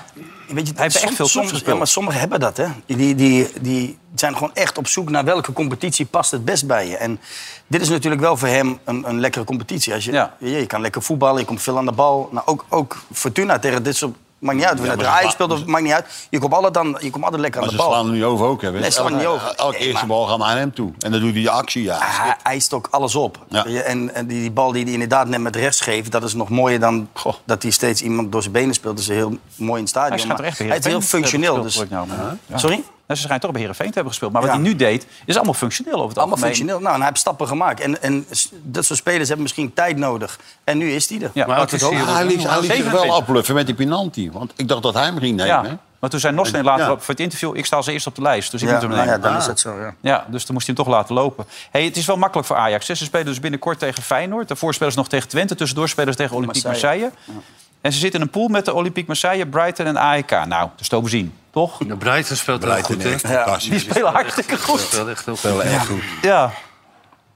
[SPEAKER 5] Weet je,
[SPEAKER 2] Hij heeft
[SPEAKER 5] som-
[SPEAKER 2] echt veel
[SPEAKER 5] soms-
[SPEAKER 2] clubs
[SPEAKER 5] ja,
[SPEAKER 2] gespeeld.
[SPEAKER 5] maar sommigen hebben dat, hè. Die, die, die zijn gewoon echt op zoek naar welke competitie past het best bij je. En dit is natuurlijk wel voor hem een, een lekkere competitie. Als je,
[SPEAKER 2] Ja.
[SPEAKER 5] je, je kan lekker voetballen, je komt veel aan de bal. Nou, ook, ook Fortuna tegen dit soort... Maakt niet uit. Of je
[SPEAKER 3] Ja,
[SPEAKER 5] naar
[SPEAKER 3] maar ze
[SPEAKER 5] Ajax
[SPEAKER 3] sla-
[SPEAKER 5] speelt, of, maakt niet uit. Je komt altijd, dan, je komt altijd lekker aan
[SPEAKER 3] Maar
[SPEAKER 5] de
[SPEAKER 3] ze
[SPEAKER 5] bal.
[SPEAKER 3] slaan er nu over ook, hè? Wes?
[SPEAKER 5] Nee, ze slaan
[SPEAKER 3] Elke-
[SPEAKER 5] niet over.
[SPEAKER 3] Elke
[SPEAKER 5] Nee,
[SPEAKER 3] eerste
[SPEAKER 5] maar- Ah,
[SPEAKER 3] bal gaan we aan hem toe. En dan doet hij de actie, ja.
[SPEAKER 5] Hij eist ook alles op.
[SPEAKER 3] Dus Ja.
[SPEAKER 5] Weet je, En, en die, die bal die hij inderdaad net met rechts geeft... dat is nog mooyer dan dat hij steeds iemand door zijn benen speelt. Dat is heel mooi in het stadion.
[SPEAKER 2] Hij schijnt
[SPEAKER 5] maar
[SPEAKER 2] er echt bij
[SPEAKER 5] hij is heel
[SPEAKER 2] Heerenveen te hebben
[SPEAKER 5] functioneel. Dus,
[SPEAKER 2] gespeeld, hoor ik nou, maar- ja.
[SPEAKER 5] Sorry?
[SPEAKER 2] Nou, ze schijnt toch bij Heerenveen te hebben gespeeld. Maar wat
[SPEAKER 5] Ja.
[SPEAKER 2] hij nu deed, is allemaal functioneel over het
[SPEAKER 5] Allemaal
[SPEAKER 2] algemeen.
[SPEAKER 5] functioneel. Nou, en hij heeft stappen gemaakt. En, en s- dat soort spelers hebben misschien tijd nodig. En nu is die er.
[SPEAKER 2] Ja,
[SPEAKER 4] Maar
[SPEAKER 2] maar
[SPEAKER 4] het is
[SPEAKER 5] ook.
[SPEAKER 3] Ah,
[SPEAKER 4] hier...
[SPEAKER 3] Hij liet, hij liet zich wel
[SPEAKER 2] 27.
[SPEAKER 3] afbluffen met die penalty. Want ik dacht dat hij hem ging nemen.
[SPEAKER 2] Ja.
[SPEAKER 3] hè?
[SPEAKER 2] Maar toen zei Nostein later
[SPEAKER 3] Ja.
[SPEAKER 2] op- voor het interview... ik sta als eerst op de lijst, dus ik moet
[SPEAKER 5] Ja,
[SPEAKER 2] hem
[SPEAKER 5] nou
[SPEAKER 2] nemen.
[SPEAKER 5] ja,
[SPEAKER 2] Ja,
[SPEAKER 5] dan
[SPEAKER 3] Ah.
[SPEAKER 5] is dat zo, ja.
[SPEAKER 2] dus toen moest hij hem toch laten lopen. Hey, het is wel makkelijk voor Ajax. hè. Ze spelen dus binnenkort tegen Feyenoord. Daarvoor spelen ze nog tegen Twente. Tussendoor spelen ze tegen Olympique Marseille.
[SPEAKER 5] Marseille.
[SPEAKER 2] En ze zitten in een pool met de Olympique Marseille, Brighton en AEK. Nou, dat is te overzien, toch?
[SPEAKER 4] De Breiten speelt wel
[SPEAKER 3] Beleid
[SPEAKER 4] goed,
[SPEAKER 3] in
[SPEAKER 4] hè?
[SPEAKER 3] echt fantastisch.
[SPEAKER 2] Die spelen hartstikke
[SPEAKER 4] Die
[SPEAKER 2] goed.
[SPEAKER 4] speelt echt heel goed.
[SPEAKER 3] Spelen echt goed.
[SPEAKER 2] Ja.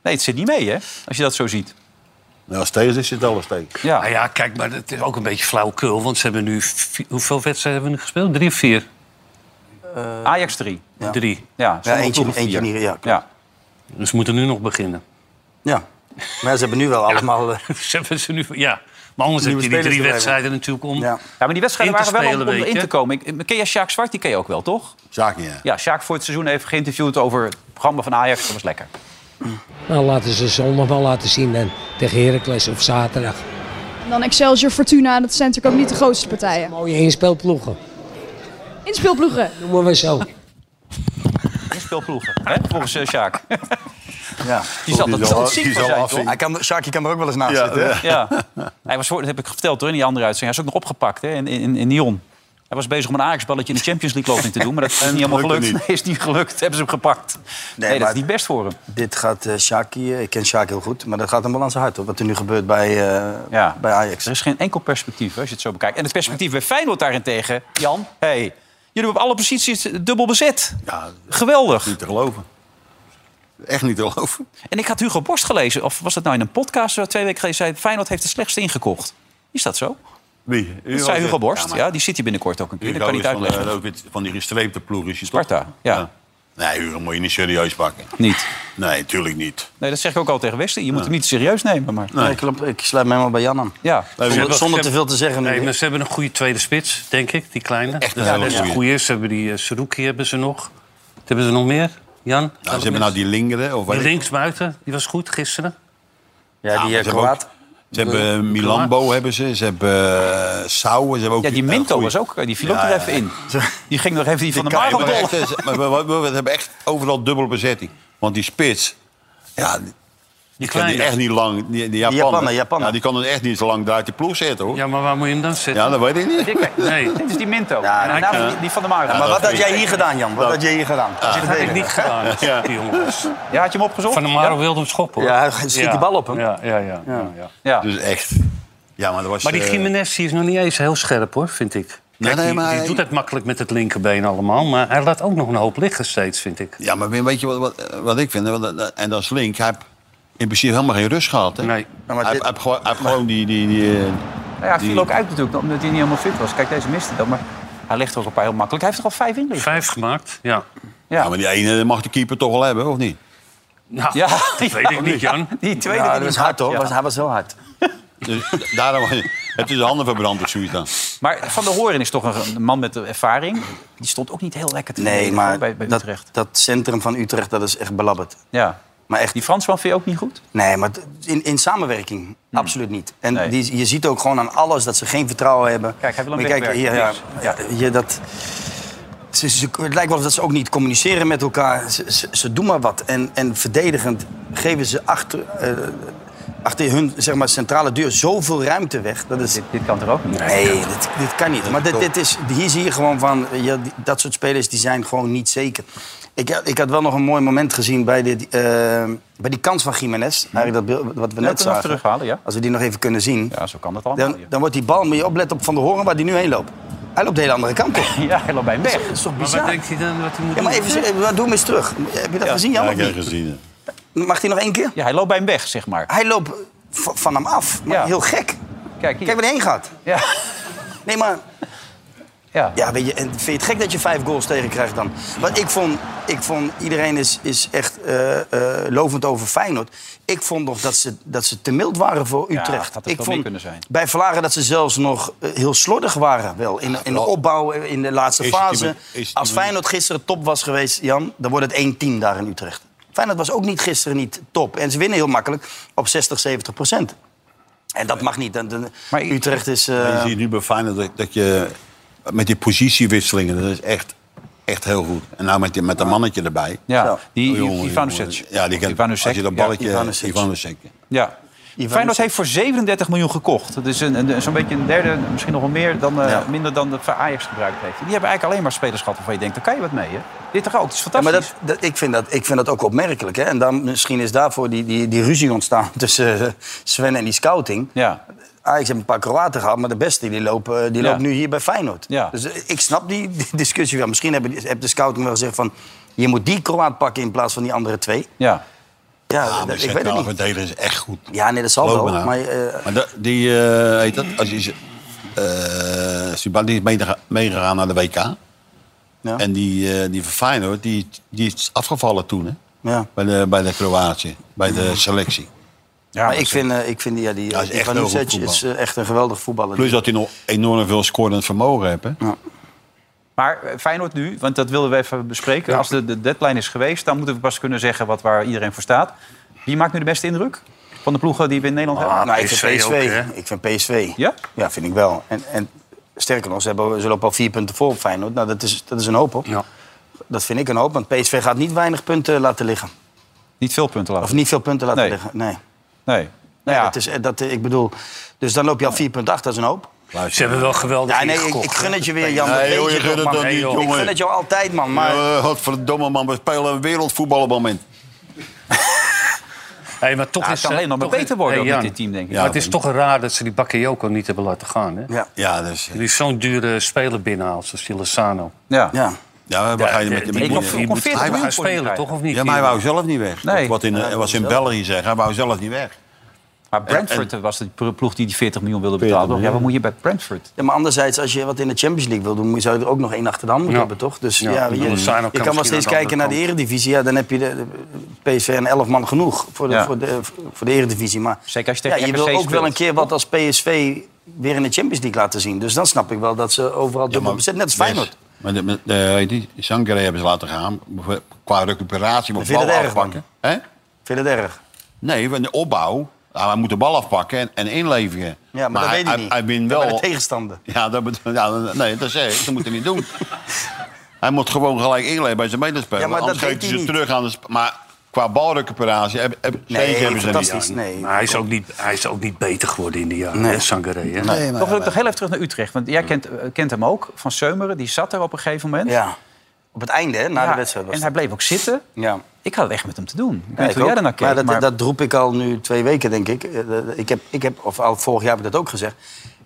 [SPEAKER 2] Nee, het zit niet mee, hè? Als je dat zo ziet.
[SPEAKER 3] Nou, als tegen is het alles tegen.
[SPEAKER 2] Ah Ja.
[SPEAKER 4] Nou ja, kijk, maar het is ook een beetje flauwkul. Want ze hebben nu... vi- Hoeveel wedstrijden hebben we nu gespeeld? Drie of vier?
[SPEAKER 2] Ajax 3.
[SPEAKER 4] Drie.
[SPEAKER 2] Ja,
[SPEAKER 5] Ja,
[SPEAKER 2] sommige
[SPEAKER 5] eentje,
[SPEAKER 2] ploegen
[SPEAKER 5] eentje
[SPEAKER 2] vier.
[SPEAKER 5] niet. Ja, klopt.
[SPEAKER 2] Ja.
[SPEAKER 4] Dus we moeten nu nog beginnen.
[SPEAKER 5] ja. Maar ja, ze hebben nu wel allemaal... eh,
[SPEAKER 4] Ze hebben ze nu... Ja. Maar anders heb
[SPEAKER 5] Nieuwe
[SPEAKER 4] je die
[SPEAKER 5] spelers
[SPEAKER 4] drie
[SPEAKER 5] erbij.
[SPEAKER 4] wedstrijden natuurlijk om...
[SPEAKER 5] Ja.
[SPEAKER 2] ja, maar die wedstrijden
[SPEAKER 4] In te
[SPEAKER 2] waren wel om,
[SPEAKER 4] spelen,
[SPEAKER 2] om
[SPEAKER 4] weet
[SPEAKER 2] erin
[SPEAKER 4] je.
[SPEAKER 2] te komen. Ik, ik- ken jij Sjaak Zwart? Die ken je ook wel, toch?
[SPEAKER 3] Zaken, ja.
[SPEAKER 2] Ja, Sjaak voor het seizoen heeft geïnterviewd over het programma van Ajax. Dat was lekker.
[SPEAKER 6] Nou, laten ze zondag wel laten zien en tegen Heracles of zaterdag.
[SPEAKER 7] En dan Excelsior, Fortuna, dat zijn natuurlijk ook niet de grootste partijen.
[SPEAKER 6] Mooie inspeelploegen,
[SPEAKER 7] Inspeelploegen.
[SPEAKER 6] noemen we zo.
[SPEAKER 2] Inspeelploegen, hè? volgens eh, Sjaak.
[SPEAKER 5] ja.
[SPEAKER 2] Die zat
[SPEAKER 3] Die
[SPEAKER 2] er
[SPEAKER 3] zal-
[SPEAKER 2] tot ziek
[SPEAKER 3] die
[SPEAKER 2] voor
[SPEAKER 3] zal
[SPEAKER 2] zijn, toch?
[SPEAKER 3] afzien.
[SPEAKER 5] Hij kan, Sjaak, je kan er ook wel eens naast
[SPEAKER 3] Ja,
[SPEAKER 5] zitten. hè?
[SPEAKER 2] Ja. Hij was, voor- dat heb ik verteld hoor, in die andere uitzending. Hij is ook nog opgepakt hè, in, in, in Nyon. Hij was bezig om een Ajax-balletje in de Champions League loting te doen. Maar dat is niet helemaal
[SPEAKER 3] lukte
[SPEAKER 2] gelukt.
[SPEAKER 3] niet.
[SPEAKER 2] Nee, is niet gelukt. Hebben ze hem gepakt. Nee, dat is
[SPEAKER 5] maar-
[SPEAKER 2] niet best voor hem.
[SPEAKER 5] Dit gaat eh Sjaak hier- ik ken Sjaak heel goed, maar dat gaat hem wel aan zijn hart op wat er nu gebeurt bij, eh,
[SPEAKER 2] Ja.
[SPEAKER 5] bij Ajax.
[SPEAKER 2] Er is geen enkel perspectief hè, als je het zo bekijkt. En het perspectief bij Feyenoord daarentegen, Jan. Hey, jullie hebben op alle posities dubbel bezet.
[SPEAKER 3] Ja,
[SPEAKER 2] Geweldig.
[SPEAKER 3] niet te geloven. Echt niet te geloven.
[SPEAKER 2] En ik had Hugo Borst gelezen, of was dat nou in een podcast waar twee weken geleden zei Feyenoord heeft de slechtste ingekocht. Is dat zo?
[SPEAKER 3] Wie?
[SPEAKER 2] Dat zei Hugo Borst. Ja, die zit hier binnenkort ook een keer. Dat kan niet
[SPEAKER 3] is van,
[SPEAKER 2] uitleggen.
[SPEAKER 3] eh, ook dit- van die gestreepte ploeg is je
[SPEAKER 2] Sparta,
[SPEAKER 3] toch?
[SPEAKER 2] ja.
[SPEAKER 3] Nee, Hugo moet je niet serieus pakken.
[SPEAKER 2] Niet.
[SPEAKER 3] Nee, natuurlijk niet. Nou,
[SPEAKER 2] Nee, dat zeg ik ook al tegen Westen. Je moet hem niet serieus nemen, maar
[SPEAKER 5] Nee, klopt. Ik sluit me helemaal bij Jan aan.
[SPEAKER 2] ja.
[SPEAKER 5] Zonder, zonder te veel te zeggen.
[SPEAKER 4] Nee,
[SPEAKER 5] nu.
[SPEAKER 4] maar ze hebben een goede tweede spits, denk ik, die kleine.
[SPEAKER 3] Echt een
[SPEAKER 4] ja,
[SPEAKER 3] hele
[SPEAKER 4] dat is een
[SPEAKER 3] goeie.
[SPEAKER 4] goede. Ze hebben die eh, Saruki hebben ze nog. Wat hebben ze nog meer? Jan?
[SPEAKER 3] Nou, ze hebben nou die lingeren. Of
[SPEAKER 4] Die
[SPEAKER 3] weet ik-
[SPEAKER 4] linksbuiten, die was goed gisteren.
[SPEAKER 5] ja, die
[SPEAKER 3] Ja,
[SPEAKER 5] eh,
[SPEAKER 3] maar ze hebben
[SPEAKER 5] Kroaat.
[SPEAKER 3] ook- Ze hebben eh, Milambo, hebben ze. Ze hebben eh, Sauer. Ze hebben ook
[SPEAKER 2] Ja, die
[SPEAKER 3] eh,
[SPEAKER 2] Minto
[SPEAKER 3] goeie-
[SPEAKER 2] was ook, eh, die viel ook
[SPEAKER 3] Ja,
[SPEAKER 2] er
[SPEAKER 3] ja.
[SPEAKER 2] even in. Die ging nog even die van de
[SPEAKER 3] Ja,
[SPEAKER 2] Maro
[SPEAKER 3] maar
[SPEAKER 2] dollen.
[SPEAKER 3] echt, eh, ze- maar we, we- we hebben echt overal dubbele bezetting. Want die spits, ja, die,
[SPEAKER 4] Die
[SPEAKER 3] kan die
[SPEAKER 4] kleine.
[SPEAKER 3] echt niet lang. Die, die Japaner,
[SPEAKER 5] Japaner, Japaner.
[SPEAKER 3] Ja, die kan het echt niet zo lang uit de ploeg zetten, hoor. Ja,
[SPEAKER 4] Ja, maar waar moet je hem dan zetten?
[SPEAKER 3] dat weet ik niet.
[SPEAKER 4] Nee,
[SPEAKER 2] Dit is die Minto.
[SPEAKER 5] Ja,
[SPEAKER 2] en daarna
[SPEAKER 4] ik, eh,
[SPEAKER 2] die- die van de Maro. Ja,
[SPEAKER 5] Maar wat
[SPEAKER 3] dat
[SPEAKER 5] had jij hier gedaan, Jan? Wat had jij hier gedaan?
[SPEAKER 4] dat heb ik niet gedaan, die jongens.
[SPEAKER 2] had je hem opgezocht?
[SPEAKER 4] Van der Maro wilde hem schoppen, hoor.
[SPEAKER 5] Ja, hij schiet die bal op hem.
[SPEAKER 4] Ja, ja, ja. ja, ja.
[SPEAKER 2] Ja.
[SPEAKER 3] Dus echt. Ja, maar dat was...
[SPEAKER 4] Maar die
[SPEAKER 3] eh,
[SPEAKER 4] Jiménez die is nog niet eens heel scherp, hoor, vind ik. Kijk,
[SPEAKER 3] nee,
[SPEAKER 4] die,
[SPEAKER 3] maar
[SPEAKER 4] die
[SPEAKER 3] hij-
[SPEAKER 4] doet het makkelijk met het linkerbeen allemaal, maar hij laat ook nog een hoop liggen steeds, vind ik.
[SPEAKER 3] Ja, maar weet je wat, wat, wat ik vind? Want, eh, En dat is Link. Hij heeft in principe helemaal geen rust gehad. Hè?
[SPEAKER 4] Nee.
[SPEAKER 5] Ja, maar
[SPEAKER 3] hij, heeft-
[SPEAKER 5] dit-
[SPEAKER 3] hij heeft gewoon, hij heeft gewoon die... die, die eh,
[SPEAKER 2] Nou ja, hij viel
[SPEAKER 3] die-
[SPEAKER 2] ook uit natuurlijk, omdat hij niet helemaal fit was. Kijk, deze miste dat, maar hij legt er ook een paar heel makkelijk. Hij heeft er al vijf in liggen.
[SPEAKER 4] Vijf gemaakt, ja.
[SPEAKER 3] Ja, maar die ene mag de keeper toch wel hebben, of niet?
[SPEAKER 4] Nou,
[SPEAKER 2] Ja,
[SPEAKER 4] dat weet ik niet, Jan.
[SPEAKER 2] Die tweede
[SPEAKER 5] Ja,
[SPEAKER 2] die
[SPEAKER 5] dat was
[SPEAKER 2] hij maakt,
[SPEAKER 5] hard hoor.
[SPEAKER 2] ja.
[SPEAKER 5] Was- Hij was heel hard.
[SPEAKER 3] Dus daarom heb je de handen verbrand of zoiets dan.
[SPEAKER 2] Maar Van der Hoorn is toch een een man met ervaring. Die stond ook niet heel lekker te
[SPEAKER 5] Nee,
[SPEAKER 2] verdedigen, hoor,
[SPEAKER 5] maar
[SPEAKER 2] bij, bij
[SPEAKER 5] dat,
[SPEAKER 2] Utrecht.
[SPEAKER 5] dat centrum van Utrecht dat is echt belabberd.
[SPEAKER 2] Ja.
[SPEAKER 5] Maar echt,
[SPEAKER 2] Die Fransman vind je ook niet goed?
[SPEAKER 5] nee, maar t- in, in samenwerking absoluut niet. En
[SPEAKER 2] Hmm. Nee.
[SPEAKER 5] die, je ziet ook gewoon aan alles dat ze geen vertrouwen hebben.
[SPEAKER 2] Kijk, hij wil dus. hem
[SPEAKER 5] Maar kijk, hier, ja,
[SPEAKER 2] wegwerken.
[SPEAKER 5] ja, hier dat, ze, ze- het lijkt wel of dat ze ook niet communiceren met elkaar. Ze, ze, ze doen maar wat. En, en verdedigend geven ze achter, eh, achter hun zeg maar, centrale deur zoveel ruimte weg. Dat is,
[SPEAKER 2] Dit, dit kan er ook niet.
[SPEAKER 5] Nee, dit, dit kan niet. Maar dit, dit is, hier zie je gewoon van... Ja, die- dat soort spelers die zijn gewoon niet zeker. Ik, had- ik had wel nog een mooi moment gezien bij, dit, eh, bij die kans van Jiménez. Eigenlijk dat beeld wat we
[SPEAKER 2] we
[SPEAKER 5] net
[SPEAKER 2] kunnen hem
[SPEAKER 5] zagen.
[SPEAKER 2] terughalen, ja.
[SPEAKER 5] Als we die nog even kunnen zien.
[SPEAKER 2] Ja, zo kan dat allemaal.
[SPEAKER 5] Dan,
[SPEAKER 2] ja.
[SPEAKER 5] dan wordt die bal, moet je opletten op Van der Horen waar die nu heen loopt. Hij loopt de hele andere kant op.
[SPEAKER 2] Ja, hij loopt bij hem weg.
[SPEAKER 5] Dat is toch
[SPEAKER 4] Maar wat
[SPEAKER 5] bizar?
[SPEAKER 4] denkt hij dan wat hij moet
[SPEAKER 5] Ja, maar
[SPEAKER 4] doen?
[SPEAKER 5] even, even, doe hem eens terug. Heb je dat gezien, Jan?
[SPEAKER 3] Ja,
[SPEAKER 5] of
[SPEAKER 3] ik heb het
[SPEAKER 5] niet?
[SPEAKER 3] gezien. hè.
[SPEAKER 5] Mag hij nog één keer?
[SPEAKER 2] Ja, hij loopt bij hem weg, zeg maar.
[SPEAKER 5] Hij loopt v- van hem af. Maar
[SPEAKER 2] Ja.
[SPEAKER 5] heel gek.
[SPEAKER 2] Kijk hier.
[SPEAKER 5] Kijk waar hij heen gaat.
[SPEAKER 2] Ja.
[SPEAKER 5] Nee, maar
[SPEAKER 2] Ja.
[SPEAKER 5] Ja, weet je, en vind je het gek dat je vijf goals tegen krijgt dan? Want ik vond, ik vond iedereen is, is echt eh, eh, lovend over Feyenoord. Ik vond nog dat ze, dat ze te mild waren voor
[SPEAKER 2] Ja,
[SPEAKER 5] Utrecht.
[SPEAKER 2] het had ook
[SPEAKER 5] ik
[SPEAKER 2] wel
[SPEAKER 5] vond
[SPEAKER 2] meer kunnen zijn.
[SPEAKER 5] bij Vlagen dat ze zelfs nog eh, heel slordig waren wel. In, in de
[SPEAKER 3] vooral-
[SPEAKER 5] opbouw, eh, in de laatste
[SPEAKER 3] Is het die
[SPEAKER 5] fase.
[SPEAKER 3] met- is het
[SPEAKER 5] Als
[SPEAKER 3] die met-
[SPEAKER 5] Feyenoord gisteren top was geweest, Jan, dan wordt het 1-10 daar in Utrecht. Feyenoord was ook niet gisteren niet top. En ze winnen heel makkelijk op 60, 70 procent. En dat mag niet. Dan- dan-
[SPEAKER 2] Maar ik-
[SPEAKER 5] Utrecht is... eh,
[SPEAKER 3] Maar je ziet nu bij Feyenoord dat, dat je met die positiewisselingen, dat is echt, echt heel goed. En nou met, die, met dat mannetje erbij.
[SPEAKER 2] Ja,
[SPEAKER 5] Zo.
[SPEAKER 2] die
[SPEAKER 3] Oh, jongen,
[SPEAKER 2] Ivanusic.
[SPEAKER 3] jongen. Ja, die kan,
[SPEAKER 2] Ivanusic,
[SPEAKER 3] als je dat
[SPEAKER 2] ja.
[SPEAKER 3] balletje...
[SPEAKER 5] Ivanusic.
[SPEAKER 3] Ivanusic.
[SPEAKER 2] Ja. Feyenoord heeft voor 37 miljoen gekocht. Dat is een, een, zo'n beetje een derde, misschien nog wel meer, dan, eh,
[SPEAKER 3] Ja.
[SPEAKER 2] minder dan de Ajax gebruikt heeft. Die hebben eigenlijk alleen maar spelers gehad waarvan je denkt, daar kan je wat mee. Hè? Dit toch ook, het is
[SPEAKER 5] Ja, maar
[SPEAKER 2] fantastisch.
[SPEAKER 5] dat, dat- ik, vind dat, ik vind dat ook opmerkelijk. Hè? En dan, misschien is daarvoor die, die, die ruzie ontstaan tussen eh, Sven en die scouting.
[SPEAKER 2] Ja.
[SPEAKER 5] Ajax heeft een paar Kroaten gehad, maar de beste die lopen, eh, die
[SPEAKER 2] Ja.
[SPEAKER 5] loopt nu hier bij Feyenoord.
[SPEAKER 2] Ja.
[SPEAKER 5] Dus eh, ik snap die, die discussie wel. Misschien hebben- heeft de scouting wel gezegd van... je moet die Kroaat pakken in plaats van die andere twee.
[SPEAKER 2] ja.
[SPEAKER 5] Ja,
[SPEAKER 3] Ja,
[SPEAKER 5] dat-
[SPEAKER 3] Ah, maar
[SPEAKER 5] ik weet het niet.
[SPEAKER 3] verdediger is echt goed.
[SPEAKER 5] Ja, nee, dat zal
[SPEAKER 3] Geloof me
[SPEAKER 5] wel.
[SPEAKER 3] nou.
[SPEAKER 5] Maar, eh,
[SPEAKER 3] Maar dat- die, eh, heet dat, als je, ze- eh Sibali is meega- meegegaan naar de WK.
[SPEAKER 5] Ja.
[SPEAKER 3] En die, eh, die van Feyenoord, die, die is afgevallen toen, hè?
[SPEAKER 5] ja.
[SPEAKER 3] Bij de, bij de Kroatië, bij de selectie.
[SPEAKER 2] Ja,
[SPEAKER 5] maar ik vind, eh, ik vind die, ja, die,
[SPEAKER 3] Ja, hij is
[SPEAKER 5] die
[SPEAKER 3] echt
[SPEAKER 5] Van
[SPEAKER 3] heel goed
[SPEAKER 5] Ucic is
[SPEAKER 3] voetballer.
[SPEAKER 5] eh, echt een geweldig voetballer.
[SPEAKER 3] Plus dat hij nog enorm veel scorend vermogen heeft, hè?
[SPEAKER 2] Maar eh, Feyenoord nu, want dat wilden we even bespreken. Als de, de deadline is geweest, dan moeten we pas kunnen zeggen wat, waar iedereen voor staat. Wie maakt nu de beste indruk van de ploegen die we in Nederland hebben?
[SPEAKER 5] nou, ik
[SPEAKER 4] PSV
[SPEAKER 5] vind PSV.
[SPEAKER 4] ook, hè?
[SPEAKER 5] ik vind PSV.
[SPEAKER 2] Ja?
[SPEAKER 5] Ja, vind ik wel. En, en sterker nog, ze, hebben, ze lopen al vier punten voor op Feyenoord. Nou, dat is, dat is een hoop, hoor.
[SPEAKER 4] Ja.
[SPEAKER 5] Dat vind ik een hoop, want PSV gaat niet weinig punten laten liggen.
[SPEAKER 2] Niet veel punten
[SPEAKER 5] Of
[SPEAKER 2] laten.
[SPEAKER 5] niet veel punten laten
[SPEAKER 2] Nee.
[SPEAKER 5] liggen, nee.
[SPEAKER 2] Nee. Nou
[SPEAKER 5] Nee,
[SPEAKER 2] ja,
[SPEAKER 5] Dat is, eh, dat, eh, ik bedoel, dus dan loop je al vier punten achter, dat is een hoop.
[SPEAKER 4] Ze hebben wel geweldig
[SPEAKER 5] Ja, nee, ik,
[SPEAKER 4] ingekocht.
[SPEAKER 5] ik
[SPEAKER 4] hè.
[SPEAKER 5] gun het je weer, Jan.
[SPEAKER 3] Nee,
[SPEAKER 5] dat weet
[SPEAKER 3] joh, je
[SPEAKER 5] toch,
[SPEAKER 3] gunt het
[SPEAKER 5] man.
[SPEAKER 3] toch
[SPEAKER 5] Nee,
[SPEAKER 3] niet,
[SPEAKER 5] joh. Ik
[SPEAKER 3] jongen.
[SPEAKER 5] gun het jou altijd, man. Maar
[SPEAKER 3] Eh, godverdomme man, we spelen een wereldvoetbal op het moment.
[SPEAKER 4] Hey, maar toch
[SPEAKER 2] Ja, het
[SPEAKER 4] is,
[SPEAKER 2] kan
[SPEAKER 4] eh,
[SPEAKER 2] alleen nog maar
[SPEAKER 4] toch
[SPEAKER 2] beter worden
[SPEAKER 4] Hey,
[SPEAKER 2] met
[SPEAKER 4] Jan,
[SPEAKER 2] dit team, denk ik.
[SPEAKER 4] maar het is toch raar dat ze die Bakayoko niet hebben laten gaan. Hè?
[SPEAKER 5] ja,
[SPEAKER 3] Ja, dus, eh,
[SPEAKER 4] Die is zo'n dure speler binnenhaalt, zoals die Lozano.
[SPEAKER 2] ja.
[SPEAKER 5] ja.
[SPEAKER 3] ja, we
[SPEAKER 4] Ja,
[SPEAKER 3] gaan je met
[SPEAKER 4] die-
[SPEAKER 3] met-
[SPEAKER 4] die
[SPEAKER 2] Ik
[SPEAKER 4] moet-
[SPEAKER 2] kon-
[SPEAKER 4] die
[SPEAKER 2] kon
[SPEAKER 4] moet
[SPEAKER 2] 40
[SPEAKER 4] hij
[SPEAKER 2] miljoen
[SPEAKER 4] gaan
[SPEAKER 2] voor die
[SPEAKER 4] spelen,
[SPEAKER 2] krijgen.
[SPEAKER 4] toch? Of niet?
[SPEAKER 3] Ja, maar hij wou zelf niet weg.
[SPEAKER 2] Nee.
[SPEAKER 3] Dat Wat in, eh, wat ze in België zeggen, hij wou zelf niet weg.
[SPEAKER 2] Maar Brentford was de plo- ploeg die die 40 miljoen wilde betalen. toch? Ja, wat moet je bij Brentford?
[SPEAKER 5] Ja, maar anderzijds, als je wat in de Champions League wil doen, moet je- zou je er ook nog één achter de hand moeten
[SPEAKER 4] Ja.
[SPEAKER 5] hebben, toch? Dus
[SPEAKER 4] Ja,
[SPEAKER 5] ja,
[SPEAKER 4] en
[SPEAKER 5] je,
[SPEAKER 4] Lozano kan
[SPEAKER 5] je kan wel
[SPEAKER 4] misschien
[SPEAKER 5] steeds
[SPEAKER 4] aan de
[SPEAKER 5] kijken naar de
[SPEAKER 4] andere
[SPEAKER 5] Eredivisie. Ja, dan heb je de, de PSV en 11 man genoeg voor de,
[SPEAKER 2] Ja.
[SPEAKER 5] voor de, voor de Eredivisie. Maar
[SPEAKER 2] Zeker als je
[SPEAKER 5] ja,
[SPEAKER 2] tegen
[SPEAKER 5] je
[SPEAKER 2] RKC
[SPEAKER 5] wil ook wel
[SPEAKER 2] speelt.
[SPEAKER 5] een keer wat als PSV weer in de Champions League laten zien. Dus dan snap ik wel dat ze overal dubbel bezet. Net als Feyenoord.
[SPEAKER 3] Maar de, met de, heet die, Sangare hebben ze laten gaan. Qua recuperatie, maar
[SPEAKER 5] Vind je
[SPEAKER 3] bal
[SPEAKER 5] dat erg,
[SPEAKER 3] afpakken. Hè?
[SPEAKER 5] Vind je het erg?
[SPEAKER 3] Nee, want de opbouw. Nou, hij moet de bal afpakken en, en inleveren.
[SPEAKER 5] Ja, maar,
[SPEAKER 3] hij,
[SPEAKER 5] dat weet ik
[SPEAKER 3] hij,
[SPEAKER 5] niet.
[SPEAKER 3] hij wint
[SPEAKER 5] Dat bij
[SPEAKER 3] wel.
[SPEAKER 5] de tegenstander.
[SPEAKER 3] Ja, dat bet- ja, dat- nee, dat zeg ik. Dat moet hij niet doen. Hij moet gewoon gelijk inleveren bij zijn medespeler.
[SPEAKER 5] Ja, maar dat
[SPEAKER 3] anders
[SPEAKER 5] deed
[SPEAKER 3] geeft hij
[SPEAKER 5] hij
[SPEAKER 3] ze
[SPEAKER 5] niet.
[SPEAKER 3] terug aan de... sp- Maar qua balrecuperatie heb, heb,
[SPEAKER 5] Nee,
[SPEAKER 3] zeker hebben ze niet.
[SPEAKER 5] fantastisch. Nee.
[SPEAKER 4] Maar hij is, ook niet, hij is ook niet beter geworden in de jaren,
[SPEAKER 5] Nee.
[SPEAKER 4] hè, Sangaré. Hè?
[SPEAKER 3] Nee,
[SPEAKER 5] Nou
[SPEAKER 2] Toch
[SPEAKER 3] maar,
[SPEAKER 2] wil ik toch heel even terug naar Utrecht. Want jij kent, eh, kent hem ook, van Seumeren. Die zat er op een gegeven moment.
[SPEAKER 5] Mm. Ja. Op het einde, hè, na
[SPEAKER 2] Ja,
[SPEAKER 5] de wedstrijd. Was
[SPEAKER 2] en
[SPEAKER 5] het.
[SPEAKER 2] hij bleef ook zitten.
[SPEAKER 5] ja.
[SPEAKER 2] Ik had het echt met hem te doen. Ik weet
[SPEAKER 5] Ja,
[SPEAKER 2] niet
[SPEAKER 5] ik
[SPEAKER 2] hoe jij
[SPEAKER 5] ook.
[SPEAKER 2] daarnaar keek.
[SPEAKER 5] maar dat,
[SPEAKER 2] maar-
[SPEAKER 5] dat roep ik al nu twee weken, denk ik. Eh, eh, Ik heb, ik heb, of al vorig jaar heb ik dat ook gezegd.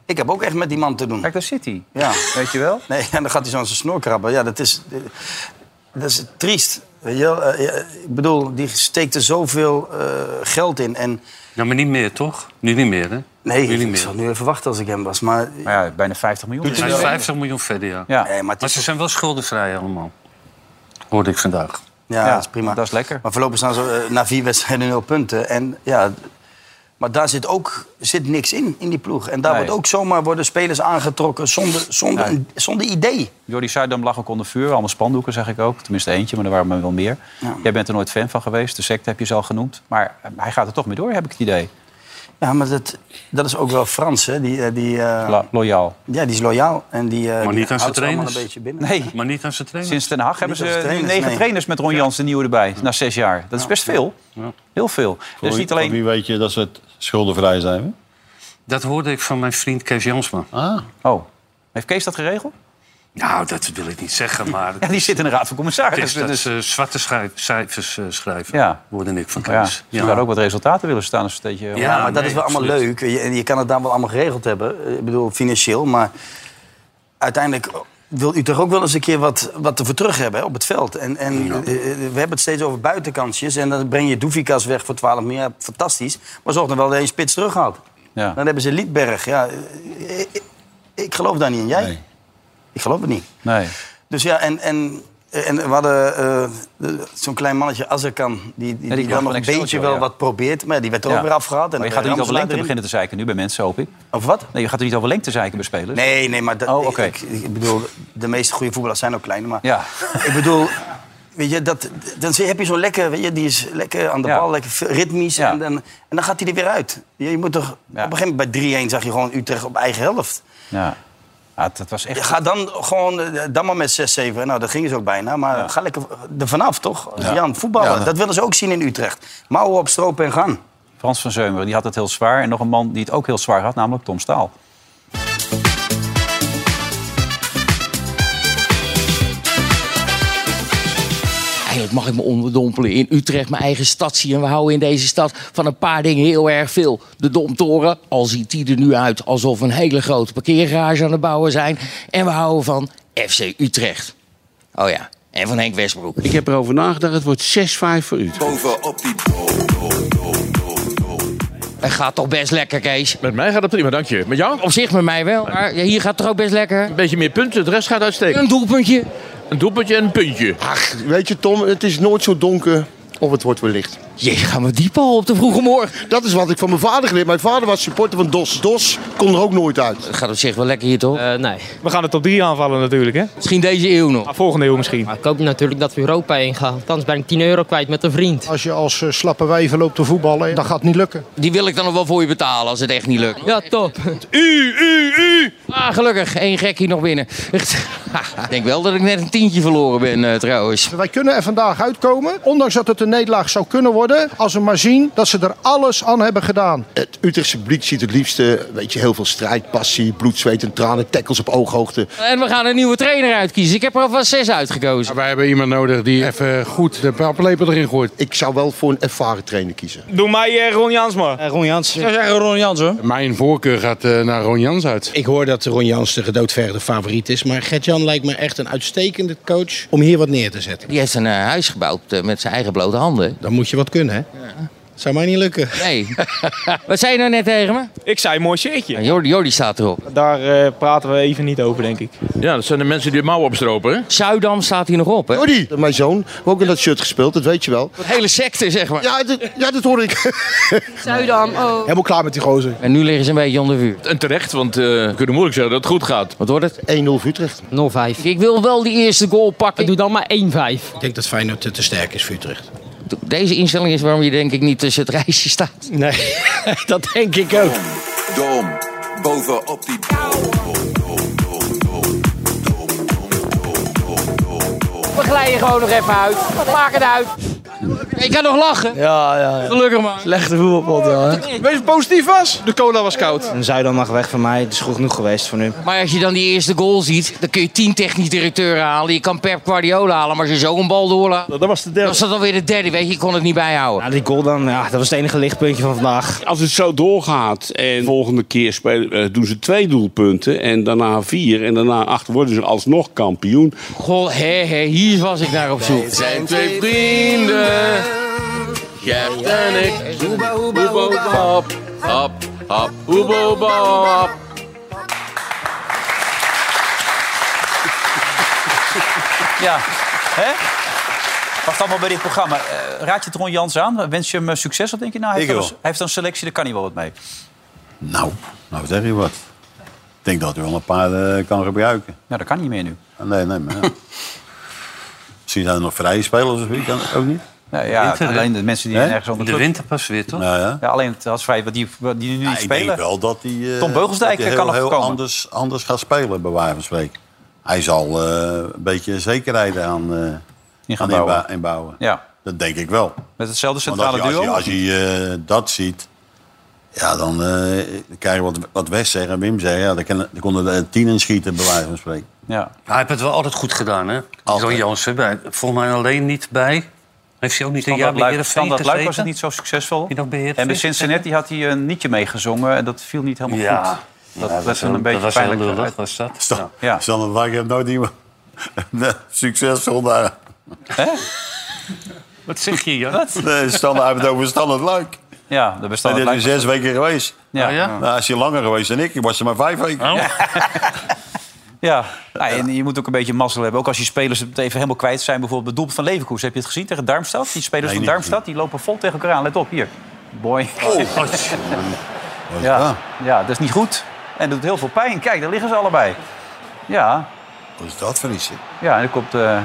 [SPEAKER 5] Ik heb ook echt met die man te doen.
[SPEAKER 2] Kijk, daar zit hij.
[SPEAKER 5] Ja.
[SPEAKER 2] Weet je wel?
[SPEAKER 5] Nee, en dan gaat hij zo aan zijn snor krabben. Ja, dat is, eh, dat is triest. Weet je wel? Eh, ja, Ik bedoel, die steekt er zoveel eh, geld in. En
[SPEAKER 4] Nou, maar niet meer, toch? Nu niet meer, hè?
[SPEAKER 5] nee,
[SPEAKER 4] nu niet
[SPEAKER 5] ik
[SPEAKER 4] meer.
[SPEAKER 5] zou nu even wachten als ik hem was. Maar
[SPEAKER 2] Maar ja, bijna 50 miljoen.
[SPEAKER 4] Ze zijn 50 miljoen verder, ja.
[SPEAKER 2] Ja.
[SPEAKER 5] nee, maar het
[SPEAKER 4] Maar
[SPEAKER 5] is,
[SPEAKER 4] ze zijn wel schuldenvrij allemaal. Hoorde ik vandaag.
[SPEAKER 5] ja,
[SPEAKER 2] Ja,
[SPEAKER 5] dat is prima.
[SPEAKER 2] dat is lekker.
[SPEAKER 5] Maar voorlopig staan ze eh, na vier wedstrijden nul punten. En ja, maar daar zit ook zit niks in, in die ploeg. En daar
[SPEAKER 2] Nee.
[SPEAKER 5] wordt ook zomaar worden spelers aangetrokken zonder, zonder,
[SPEAKER 2] Nee.
[SPEAKER 5] zonder idee.
[SPEAKER 2] Jordi Zuidam lag ook onder vuur. Allemaal spandoeken, zeg ik ook. Tenminste eentje, maar er waren er wel meer. Jij bent er nooit fan van geweest. De secte heb je ze al genoemd. Maar eh, hij gaat er toch mee door, heb ik het idee.
[SPEAKER 5] Ja, maar dat, dat is ook wel Frans, hè? Die, eh, die, eh,
[SPEAKER 2] La- loyaal.
[SPEAKER 5] ja, die is loyaal. En die, eh,
[SPEAKER 4] niet
[SPEAKER 5] die
[SPEAKER 4] aan zijn
[SPEAKER 5] houdt ze allemaal
[SPEAKER 4] trainers.
[SPEAKER 5] een beetje binnen.
[SPEAKER 2] Nee,
[SPEAKER 4] Maar niet aan zijn trainer.
[SPEAKER 2] sinds Den Haag hebben
[SPEAKER 5] als
[SPEAKER 2] ze nu
[SPEAKER 5] trainers,
[SPEAKER 2] negen
[SPEAKER 5] nee.
[SPEAKER 2] trainers met Ron Jans, de nieuwe erbij. Na zes jaar. Dat is best veel. Heel veel. Dus niet alleen...
[SPEAKER 3] Wie weet je dat ze het schuldenvrij zijn? hè?
[SPEAKER 4] Dat hoorde ik van mijn vriend Kees Jansma.
[SPEAKER 2] Oh, heeft Kees dat geregeld?
[SPEAKER 4] Nou, dat wil ik niet zeggen, maar...
[SPEAKER 2] Ja, die zit in de Raad van
[SPEAKER 4] Het
[SPEAKER 2] Commissarissen.
[SPEAKER 4] is dat
[SPEAKER 2] Dus,
[SPEAKER 4] ze zwarte schrijf- cijfers eh, schrijven,
[SPEAKER 2] Ja.
[SPEAKER 4] hoorde ik van
[SPEAKER 2] eh, ja,
[SPEAKER 4] Kees.
[SPEAKER 2] ze zouden ook wat resultaten willen staan. Als het een beetje,
[SPEAKER 4] Ja.
[SPEAKER 5] Ja, maar dat
[SPEAKER 4] nee,
[SPEAKER 5] is wel allemaal
[SPEAKER 4] absoluut.
[SPEAKER 5] leuk. Je, en je kan het daar wel allemaal geregeld hebben. Eh, Ik bedoel, financieel. Maar uiteindelijk wil Utrecht ook wel eens een keer wat, wat ervoor terug hebben hè, op het veld. En, en eh, eh, we hebben het steeds over buitenkantjes. En dan breng je Doefikas weg voor 12 miljoen. Fantastisch. Maar zorg dan wel dat je een spits terughaalt.
[SPEAKER 2] Ja.
[SPEAKER 5] Dan hebben ze Liedberg. Ja, eh, eh, ik, geloof daar niet in. Jij?
[SPEAKER 3] Nee.
[SPEAKER 5] Ik geloof het niet.
[SPEAKER 2] Nee.
[SPEAKER 5] Dus ja, en, en, en we hadden eh, de- zo'n klein mannetje, Azarkan... die, die,
[SPEAKER 2] die
[SPEAKER 5] die
[SPEAKER 2] kwam
[SPEAKER 5] dan
[SPEAKER 2] van
[SPEAKER 5] nog een
[SPEAKER 2] Excelsior,
[SPEAKER 5] beetje wel
[SPEAKER 2] ja.
[SPEAKER 5] wat probeert. Maar ja, die werd er
[SPEAKER 2] Ja.
[SPEAKER 5] ook weer afgehaald. En
[SPEAKER 2] Maar je
[SPEAKER 5] dan
[SPEAKER 2] gaat er niet
[SPEAKER 5] weer
[SPEAKER 2] over
[SPEAKER 5] Ramselaar
[SPEAKER 2] lengte beginnen te zeiken nu bij mensen, hoop ik.
[SPEAKER 5] erin. Of wat?
[SPEAKER 2] Nee, je gaat er niet over lengte zeiken bij spelers.
[SPEAKER 5] Nee, nee, maar dat,
[SPEAKER 2] Oh, oké.
[SPEAKER 5] ik, ik bedoel, de meeste goede voetballers zijn ook klein. Maar
[SPEAKER 2] Ja.
[SPEAKER 5] ik bedoel, weet je, dat, dan zie- heb je zo'n lekker, weet je, die is lekker aan de
[SPEAKER 2] Ja.
[SPEAKER 5] bal, lekker f- ritmisch.
[SPEAKER 2] Ja.
[SPEAKER 5] En, dan, en dan gaat hij er weer uit. Je, je moet toch, op een gegeven moment bij 3-1 zag je gewoon Utrecht op eigen helft.
[SPEAKER 2] Ja. Ja, dat was echt...
[SPEAKER 5] Ga dan gewoon, eh, dan maar met 6-7. Nou, dat gingen ze ook bijna. Maar ga lekker er vanaf, toch? Jan, voetballen,
[SPEAKER 3] Ja.
[SPEAKER 5] dat willen ze ook zien in Utrecht. Mouwen op stroop en gaan.
[SPEAKER 2] Frans van Zeumeren, die had het heel zwaar. En nog een man die het ook heel zwaar had, namelijk Tom Staal.
[SPEAKER 8] Eigenlijk mag ik me onderdompelen in Utrecht, mijn eigen stad zien. En we houden in deze stad van een paar dingen heel erg veel. De Domtoren, al ziet die er nu uit alsof we een hele grote parkeergarage aan het bouwen zijn. En we houden van FC Utrecht. Oh ja, en van Henk Westbroek.
[SPEAKER 9] Ik heb erover nagedacht, het wordt 6-5 voor Utrecht.
[SPEAKER 8] Het gaat toch best lekker, Kees?
[SPEAKER 10] Met mij gaat het prima, dank je. Met jou?
[SPEAKER 8] Op zich met mij wel, maar hier gaat het toch ook best lekker?
[SPEAKER 10] Een beetje meer punten, de rest gaat uitstekend.
[SPEAKER 8] Een doelpuntje.
[SPEAKER 10] Een doelpuntje en een puntje.
[SPEAKER 9] Ach, weet je Tom, het is nooit zo donker of het wordt weer licht.
[SPEAKER 8] Jee, gaan we diep al op de vroege morgen.
[SPEAKER 9] Dat is wat ik van mijn vader geleerd. Mijn vader was supporter van DOS. DOS kon er ook nooit uit.
[SPEAKER 8] Het gaat op zich wel lekker hier, toch?
[SPEAKER 11] nee. We gaan de top 3 aanvallen natuurlijk, hè?
[SPEAKER 8] Misschien deze eeuw nog.
[SPEAKER 11] Maar volgende eeuw misschien.
[SPEAKER 12] Maar ik hoop natuurlijk dat we Europa ingaan. Thans ben ik 10 euro kwijt met een vriend.
[SPEAKER 13] Als je als eh, slappe wijven loopt te voetballen, dat gaat niet lukken.
[SPEAKER 8] Die wil ik dan nog wel voor je betalen als het echt niet lukt.
[SPEAKER 12] Ja, top.
[SPEAKER 10] U, u, u.
[SPEAKER 8] Ah, gelukkig. één gek hier nog binnen. Echt. ik denk wel dat ik net een tientje verloren ben, eh, trouwens.
[SPEAKER 13] Wij kunnen er vandaag uitkomen, ondanks dat het een nederlaag zou kunnen worden, als we maar zien dat ze er alles aan hebben gedaan.
[SPEAKER 9] Het Utrechtse publiek ziet het liefste, weet je, heel veel strijd, passie, bloed, zweet en tranen, tackles op ooghoogte.
[SPEAKER 8] En we gaan een nieuwe trainer uitkiezen. Ik heb er alvast zes uitgekozen.
[SPEAKER 14] Wij hebben iemand nodig die even goed de paplepel erin gooit.
[SPEAKER 9] Ik zou wel voor een ervaren trainer kiezen.
[SPEAKER 11] Doe mij eh, Ron Jansma.
[SPEAKER 13] Ron Jans.
[SPEAKER 11] zou zeggen Ron Jans, hoor.
[SPEAKER 14] Mijn voorkeur gaat eh, naar Ron Jans uit.
[SPEAKER 15] Ik hoor dat Ron Jans de gedoodverde favoriet is. Maar Gert-Jan lijkt me echt een uitstekende coach om hier wat neer te zetten.
[SPEAKER 8] Die heeft een eh, huis gebouwd eh, met zijn eigen blote handen.
[SPEAKER 15] Dan moet je wat kunnen, hè? Zou mij niet lukken.
[SPEAKER 8] Nee. Wat zei je nou net tegen me?
[SPEAKER 11] Ik zei mooi shirtje.
[SPEAKER 8] Ja, Nou, Jordi, Jordi staat erop.
[SPEAKER 11] Daar praten we even niet over, denk ik.
[SPEAKER 10] Ja, dat zijn de mensen die de mouwen opstropen, hè?
[SPEAKER 8] Zuidam staat hier nog op, hè?
[SPEAKER 9] Jordi, mijn zoon, we ook in dat shirt gespeeld, dat weet je wel.
[SPEAKER 8] De hele secte, zeg maar.
[SPEAKER 9] Ja, dat, ja, dat hoor ik.
[SPEAKER 7] Zuidam, oh.
[SPEAKER 13] Helemaal klaar met die gozer.
[SPEAKER 8] En nu liggen ze een beetje onder vuur.
[SPEAKER 10] En terecht, want eh, we kunnen moeilijk zeggen dat het goed gaat.
[SPEAKER 8] Wat wordt het?
[SPEAKER 9] 1-0 voor Utrecht.
[SPEAKER 12] 0,5.
[SPEAKER 8] Ik wil wel die eerste goal pakken.
[SPEAKER 12] Doe dan maar 1,5.
[SPEAKER 15] Ik denk dat Feyenoord te, te sterk is voor Utrecht.
[SPEAKER 8] Deze instelling is waarom je denk ik niet tussen het rijstje staat.
[SPEAKER 15] Nee, dat denk ik ook.
[SPEAKER 3] Dom, bovenop die
[SPEAKER 8] We glijden gewoon nog even uit. Maak het uit. Ik kan nog lachen.
[SPEAKER 11] Ja, ja, ja.
[SPEAKER 8] Gelukkig man.
[SPEAKER 11] Slechte voetbalpot, ja.
[SPEAKER 10] Wees positief was. De cola was koud.
[SPEAKER 11] En Zuidam mag weg van mij. Het is goed genoeg geweest voor nu.
[SPEAKER 8] Maar als je dan die eerste goal ziet, dan kun je tien technisch directeuren halen. Je kan Pep Guardiola halen, maar als je zo een bal doorlaat...
[SPEAKER 11] Dat was de
[SPEAKER 8] Dan
[SPEAKER 11] derde.
[SPEAKER 8] was dat alweer de derde, weet je. Ik kon het niet bijhouden.
[SPEAKER 11] Ja, die goal dan, ja, dat was het enige lichtpuntje van vandaag.
[SPEAKER 16] Als het zo doorgaat en de volgende keer spelen, eh, doen ze twee doelpunten en daarna vier en daarna acht worden ze alsnog kampioen.
[SPEAKER 8] Goh, hé, hé, hier was ik naar op zoek.
[SPEAKER 10] Zijn twee vrienden. Gert en ik. Hoeba, hoeba, hop, hop, hop. Hoeba, hoeba, hop.
[SPEAKER 2] Ja, hè? Wacht allemaal bij dit programma. Eh, raad je het Ron Jans aan? Wens je hem eh, succes? Wat denk je nou? Hij
[SPEAKER 3] Ik
[SPEAKER 2] heeft wel
[SPEAKER 3] wel.
[SPEAKER 2] een- hij heeft een selectie, daar kan hij wel wat mee.
[SPEAKER 3] Nou, nou zeg je wat. Ik denk dat u wel een paar eh, kan gebruiken.
[SPEAKER 2] Nou, dat kan niet meer nu.
[SPEAKER 3] Ah, Nee, nee, maar ja. Misschien zijn er nog vrije spelers of zoiets, kan ook niet.
[SPEAKER 2] Nou, ja,
[SPEAKER 4] Winter, hè?
[SPEAKER 2] alleen de mensen die
[SPEAKER 3] Hè?
[SPEAKER 2] ergens onder
[SPEAKER 4] De
[SPEAKER 2] club-
[SPEAKER 4] winter pas weer, toch?
[SPEAKER 3] Nou ja.
[SPEAKER 2] Ja, alleen het was vrij wat die, wat die nu niet
[SPEAKER 3] Ja, ik denk
[SPEAKER 2] spelen.
[SPEAKER 3] wel dat hij... eh,
[SPEAKER 2] Tom Beugelsdijk
[SPEAKER 3] dat hij
[SPEAKER 2] kan
[SPEAKER 3] heel,
[SPEAKER 2] nog
[SPEAKER 3] heel
[SPEAKER 2] komen.
[SPEAKER 3] anders, anders gaat spelen, bij wijze van spreken. Hij zal eh, een beetje zekerheid aan, eh
[SPEAKER 2] In gaan
[SPEAKER 3] aan
[SPEAKER 2] bouwen.
[SPEAKER 3] inbou- inbouwen.
[SPEAKER 2] Ja,
[SPEAKER 3] Dat denk ik wel.
[SPEAKER 2] met hetzelfde
[SPEAKER 3] Want als
[SPEAKER 2] centrale
[SPEAKER 3] je,
[SPEAKER 2] duo.
[SPEAKER 3] als je, als je eh, dat ziet, ja, dan eh, krijg je wat, wat West zeggen en Wim zeggen. Ja, dan, kan, dan konden er tien in schieten, bij wijze van spreken.
[SPEAKER 2] Ja.
[SPEAKER 4] Hij heeft het wel altijd goed gedaan, hè?
[SPEAKER 3] Altijd.
[SPEAKER 4] Ron Jansen, bij- volgens mij alleen niet bij. Heeft hij ook niet een jaar
[SPEAKER 2] Standaard
[SPEAKER 4] bij
[SPEAKER 2] Luik,
[SPEAKER 4] Heerenveen
[SPEAKER 2] Standaard Luik was
[SPEAKER 4] gezeten?
[SPEAKER 2] het niet zo succesvol.
[SPEAKER 4] Heb je nog bij
[SPEAKER 2] En bij
[SPEAKER 4] Heerenveen
[SPEAKER 2] Cincinnati had hij een nietje meegezongen en dat viel niet helemaal
[SPEAKER 4] Ja.
[SPEAKER 2] goed. Dat
[SPEAKER 4] Ja,
[SPEAKER 2] werd
[SPEAKER 4] was
[SPEAKER 2] een,
[SPEAKER 4] heel-
[SPEAKER 2] beetje
[SPEAKER 4] dat was heel
[SPEAKER 2] pijnlijk.
[SPEAKER 4] lullig,
[SPEAKER 2] uit.
[SPEAKER 4] was dat?
[SPEAKER 3] Stan,
[SPEAKER 2] Ja.
[SPEAKER 3] Stan de Bak heeft nooit iemand succesvol daar.
[SPEAKER 4] Wat zeg je, Jan?
[SPEAKER 3] Nee, Stan heeft het eh, over Stan het Luik.
[SPEAKER 2] Ja, de
[SPEAKER 3] Hij
[SPEAKER 2] bestelde
[SPEAKER 3] is nu
[SPEAKER 2] Luik.
[SPEAKER 3] zes weken geweest.
[SPEAKER 2] Ja,
[SPEAKER 4] Oh,
[SPEAKER 2] ja.
[SPEAKER 4] ja?
[SPEAKER 3] Nou, hij is hier langer geweest dan ik. Ik was er maar vijf weken.
[SPEAKER 2] Nou, en je moet ook een beetje mazzel hebben. Ook als je spelers het even helemaal kwijt zijn. Bijvoorbeeld het doelpunt van Leverkusen. Heb je het gezien tegen Darmstad? Die spelers
[SPEAKER 3] Nee,
[SPEAKER 2] van
[SPEAKER 3] niet Oh.
[SPEAKER 2] Darmstad die lopen vol tegen elkaar aan. Let op, hier. Boy.
[SPEAKER 3] Wat is dat?
[SPEAKER 2] Ja, ja, dat is niet goed. En doet heel veel pijn. Kijk, daar liggen ze allebei. Ja,
[SPEAKER 3] Wat is dat voor iets? zeg?
[SPEAKER 2] ja en er komt, eh,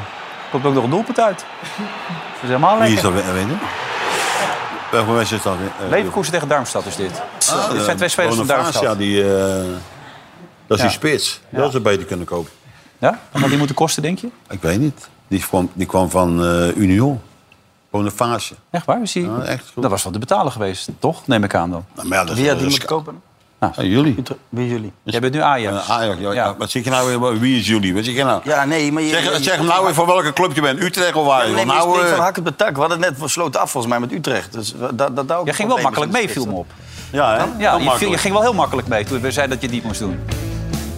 [SPEAKER 2] komt ook nog een doelpunt uit. Dat is helemaal
[SPEAKER 3] Wie is
[SPEAKER 2] lekker.
[SPEAKER 3] dat weer- winnen? Welke wedstrijd is dat? weer? Eh,
[SPEAKER 2] Leverkusen tegen Darmstad is dit.
[SPEAKER 3] Ah,
[SPEAKER 2] dit
[SPEAKER 3] eh,
[SPEAKER 2] zijn twee spelers van
[SPEAKER 3] Bonifacia,
[SPEAKER 2] Darmstad.
[SPEAKER 3] die, eh, dat
[SPEAKER 2] Ja.
[SPEAKER 3] is die spits. Dat ze beter kunnen kopen.
[SPEAKER 2] Ja? En wat die moeten kosten, denk je?
[SPEAKER 3] Ik weet niet. Die kwam, die kwam van eh, Union. Boniface.
[SPEAKER 2] Echt waar? Is hij...
[SPEAKER 3] Ah,
[SPEAKER 2] Dat was wel de betaler geweest, toch? Neem ik aan dan.
[SPEAKER 3] Nou,
[SPEAKER 2] Nou,
[SPEAKER 5] Wie had die moeten kopen?
[SPEAKER 3] jullie.
[SPEAKER 5] Wie jullie?
[SPEAKER 2] Jij bent nu Ajax.
[SPEAKER 3] Ah, Eh, Ajax, ja. ja. Wat zit je nou weer? Wie is jullie? Wat zit je nou?
[SPEAKER 5] Ja, nee, maar je,
[SPEAKER 3] Zeg,
[SPEAKER 5] je-
[SPEAKER 3] zeg hem nou weer voor welke club je bent. Utrecht of Ajax?
[SPEAKER 5] Nee, maar je
[SPEAKER 3] Want nou, eh,
[SPEAKER 5] spreekt van hak op de tak. We hadden net versloten af volgens mij met Utrecht. Dus dat, dat, dat
[SPEAKER 2] Jij ging wel makkelijk mee, viel me op.
[SPEAKER 3] Ja, hè?
[SPEAKER 2] Ja, je, viel-
[SPEAKER 5] Heel
[SPEAKER 2] je
[SPEAKER 5] makkelijk.
[SPEAKER 2] ging wel heel makkelijk mee toen we zeiden dat je het niet moest doen.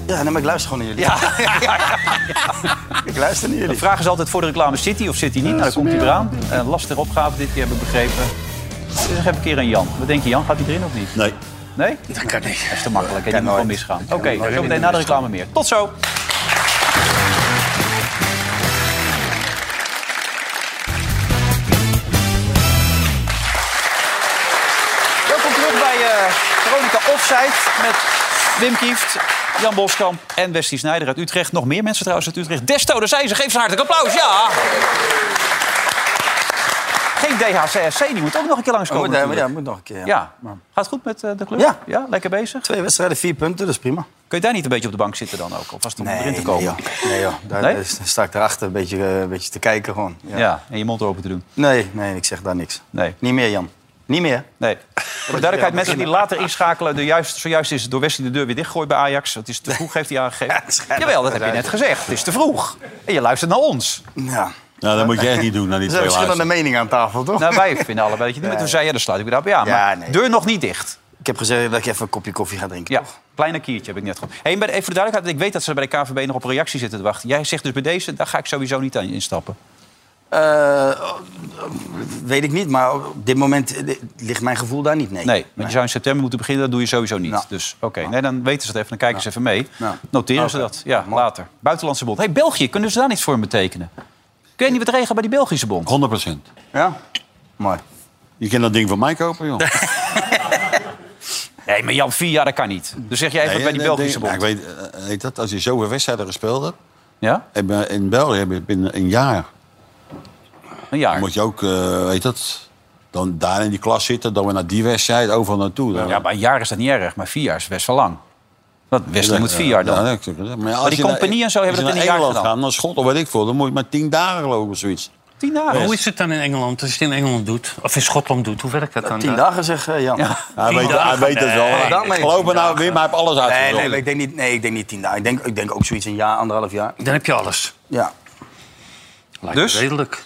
[SPEAKER 5] Ja, nee, maar ik luister gewoon naar jullie. Ik luister naar jullie.
[SPEAKER 2] De vraag is altijd voor de reclame, zit hij of zit hij niet? Nou, dan komt hij eraan. Eh, lastige opgave dit keer, heb ik begrepen. Dus dan heb ik een keer aan Jan. Wat denk je, Jan? Gaat hij erin of niet?
[SPEAKER 3] Nee.
[SPEAKER 2] Nee? Dat kan niet. Dat is te makkelijk. hè?
[SPEAKER 5] Kan
[SPEAKER 2] Die moet gewoon
[SPEAKER 5] nooit.
[SPEAKER 2] misgaan.
[SPEAKER 5] Kan
[SPEAKER 2] Oké,
[SPEAKER 5] nooit.
[SPEAKER 2] zo meteen na de reclame meer. Tot zo! Welkom terug bij eh, Veronica Offside met Wim Kieft, Jan Boskamp en Westie Snijder uit Utrecht. Nog meer mensen trouwens uit Utrecht. Desto, daar zijn ze. Geef ze een hartelijk applaus, ja! Geen DHCSC, die moet ook nog een keer langskomen.
[SPEAKER 5] Oh, moet- ja,
[SPEAKER 2] natuurlijk.
[SPEAKER 5] ja, moet nog een keer, ja.
[SPEAKER 2] Gaat het goed met eh, de club?
[SPEAKER 5] Ja.
[SPEAKER 2] ja. Lekker bezig?
[SPEAKER 5] Twee wedstrijden, vier punten, dat is prima.
[SPEAKER 2] Kun je daar niet een beetje op de bank zitten dan ook? Of was het om erin te
[SPEAKER 5] nee,
[SPEAKER 2] komen?
[SPEAKER 5] joh. Nee, joh. Daar
[SPEAKER 2] Nee?
[SPEAKER 5] eh, sta ik erachter een beetje, eh, een beetje te kijken gewoon.
[SPEAKER 2] ja. en je mond open te doen.
[SPEAKER 5] Nee, nee, ik zeg daar niks.
[SPEAKER 2] Nee.
[SPEAKER 5] Niet meer, Jan. Niet meer.
[SPEAKER 2] Nee. Voor de duidelijkheid, mensen die later inschakelen... De juist, zojuist is het door Wesley de deur weer dichtgooid bij Ajax. Het is te vroeg, heeft hij aangegeven. Jawel, dat heb je net gezegd. Het is te vroeg. En je luistert naar ons.
[SPEAKER 5] Ja.
[SPEAKER 3] Nou, dat moet je echt niet doen. Naar die
[SPEAKER 5] Er
[SPEAKER 3] twee
[SPEAKER 5] zijn verschillende
[SPEAKER 3] laatste.
[SPEAKER 5] meningen aan tafel, toch?
[SPEAKER 2] Nou, wij vinden allebei dat je het niet meer... Toen zei je, dan sluit ik weer op. Ja, maar
[SPEAKER 5] Ja, nee.
[SPEAKER 2] deur nog niet dicht.
[SPEAKER 5] Ik heb gezegd dat ik even een kopje koffie ga drinken.
[SPEAKER 2] Ja, kleine kiertje heb ik net gehad. Hey, en bij de- even voor de duidelijkheid, want ik weet dat ze bij de KVB nog op een reactie zitten te wachten. Jij zegt dus bij deze, daar ga ik sowieso niet aan instappen.
[SPEAKER 5] Eh, weet ik niet, maar op dit moment eh, ligt mijn gevoel daar niet. Nee.
[SPEAKER 2] Nee, want je zou in september moeten beginnen, dat doe je sowieso niet. Dus oké, nee, dan weten ze het even, dan kijken ze even mee.
[SPEAKER 5] Nou.
[SPEAKER 2] Noteren ze
[SPEAKER 5] Oké.
[SPEAKER 2] dat, ja, later. Buitenlandse bond. hey, België, kunnen ze daar niets voor me betekenen? Kun je niet wat regelen bij die Belgische bond?
[SPEAKER 3] 100 procent.
[SPEAKER 5] Ja? Mooi.
[SPEAKER 3] Je kan dat ding van mij kopen, joh.
[SPEAKER 2] Nee, maar Jan, vier jaar, dat kan niet. Dus zeg jij even
[SPEAKER 3] Nee,
[SPEAKER 2] bij die
[SPEAKER 3] nee,
[SPEAKER 2] Belgische
[SPEAKER 3] nee,
[SPEAKER 2] bond.
[SPEAKER 3] maar ik weet, eh, heet dat, als je zoveel wedstrijden gespeeld hebt...
[SPEAKER 2] Ja?
[SPEAKER 3] en bij- in België heb je binnen een jaar...
[SPEAKER 2] Een jaar?
[SPEAKER 3] moet je ook, eh, weet dat... Dan daar in die klas zitten, dan weer naar die wedstrijd, overal naartoe. Dan-
[SPEAKER 2] Ja, maar een jaar is dat niet erg, maar vier jaar is best wel lang. Want Wesley moet vier jaar dan.
[SPEAKER 3] Ja, dat heb ik gezegd. maar,
[SPEAKER 2] die compagnie en zo hebben dat in een jaar
[SPEAKER 3] Engeland
[SPEAKER 2] gedaan.
[SPEAKER 3] gaan, dan schot of weet ik veel. Dan moet je maar tien dagen gelopen of zoiets.
[SPEAKER 2] Tien
[SPEAKER 4] Maar
[SPEAKER 2] dagen?
[SPEAKER 4] Hoe is het dan in Engeland? Als je het in Engeland doet, of in Schotland doet, hoe werkt dat dan?
[SPEAKER 5] Tien
[SPEAKER 4] daar?
[SPEAKER 5] dagen zeg eh, Jan.
[SPEAKER 3] Hij
[SPEAKER 4] Tien
[SPEAKER 3] weet, hij
[SPEAKER 4] dagen?
[SPEAKER 3] weet het wel.
[SPEAKER 4] Nee,
[SPEAKER 3] Ik
[SPEAKER 4] dan meen je
[SPEAKER 3] geloof me
[SPEAKER 4] tien
[SPEAKER 3] nou, Wim, hij heeft alles uitgezocht.
[SPEAKER 5] Nee, nee, maar ik denk niet, nee, ik denk niet tien dagen. Ik denk, ik denk ook zoiets een jaar, anderhalf jaar.
[SPEAKER 4] Dan heb je alles.
[SPEAKER 5] Ja.
[SPEAKER 4] Lijkt dus? redelijk.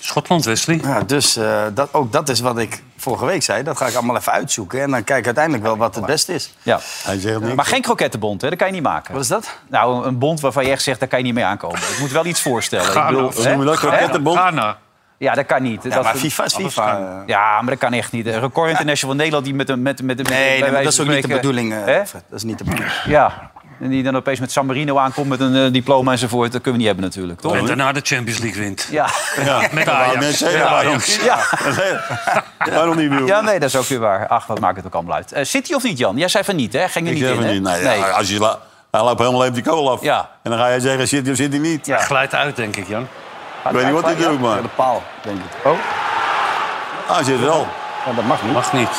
[SPEAKER 4] Schotland, Wesley.
[SPEAKER 5] Ja, dus eh, dat, ook dat is wat ik vorige week zei. Dat ga ik allemaal even uitzoeken. En dan kijk ik uiteindelijk wel wat het beste is.
[SPEAKER 2] Ja.
[SPEAKER 3] Hij zegt niks.
[SPEAKER 2] Maar geen krokettenbond, hè? dat kan je niet maken.
[SPEAKER 5] Wat is dat?
[SPEAKER 2] Nou, een bond waarvan je echt zegt, daar kan je niet mee aankomen. Ik moet wel iets voorstellen.
[SPEAKER 4] Ghana,
[SPEAKER 2] Ik bedoel,
[SPEAKER 4] of hoe noem je
[SPEAKER 3] dat?
[SPEAKER 2] hè?
[SPEAKER 3] Krokettenbond?
[SPEAKER 4] Ghana.
[SPEAKER 2] Ja, dat kan niet.
[SPEAKER 5] Ja,
[SPEAKER 2] dat
[SPEAKER 5] maar FIFA is FIFA. eh.
[SPEAKER 2] Ja, maar dat kan echt niet. Een Record International van Nederland die met een... Met, met, met, bij
[SPEAKER 5] Nee, nee,
[SPEAKER 2] wijze
[SPEAKER 5] maar dat is
[SPEAKER 2] van
[SPEAKER 5] ook niet de
[SPEAKER 2] spreken-
[SPEAKER 5] bedoeling. eh,
[SPEAKER 2] Hè?
[SPEAKER 5] Fred. Dat is niet de bedoeling.
[SPEAKER 2] Ja. En die dan opeens met San Marino aankomt met een eh, diploma enzovoort. Dat kunnen we niet hebben natuurlijk, toch?
[SPEAKER 4] En daarna de Champions League wint.
[SPEAKER 2] Ja.
[SPEAKER 3] Ja,
[SPEAKER 4] Met
[SPEAKER 3] dat wou ik net
[SPEAKER 4] Ajax.
[SPEAKER 3] zeggen,
[SPEAKER 4] Met
[SPEAKER 3] waarom
[SPEAKER 4] Ajax.
[SPEAKER 3] niet?
[SPEAKER 2] Ja.
[SPEAKER 3] Waarom niet, bedoel?
[SPEAKER 2] ja, nee, dat is ook weer waar. Ach, wat maakt het ook allemaal uit. Eh, City of niet, Jan? Jij zei van niet, hè? Ging er
[SPEAKER 3] Ik
[SPEAKER 2] niet
[SPEAKER 3] zeg
[SPEAKER 2] in,
[SPEAKER 3] van
[SPEAKER 2] hè?
[SPEAKER 3] niet. Nee, ja, Als je la- hij loopt helemaal even die kool af.
[SPEAKER 2] Ja.
[SPEAKER 3] En dan ga jij zeggen, zit hij of zit hij niet?
[SPEAKER 2] Ja.
[SPEAKER 4] Glijdt uit, denk ik, Jan.
[SPEAKER 3] Ik weet niet wat hij
[SPEAKER 2] Ja.
[SPEAKER 3] doet, maar Ah,
[SPEAKER 5] De paal, denk ik. Oh,
[SPEAKER 3] hij zit wel.
[SPEAKER 5] ja, dat mag niet.
[SPEAKER 4] Mag niet.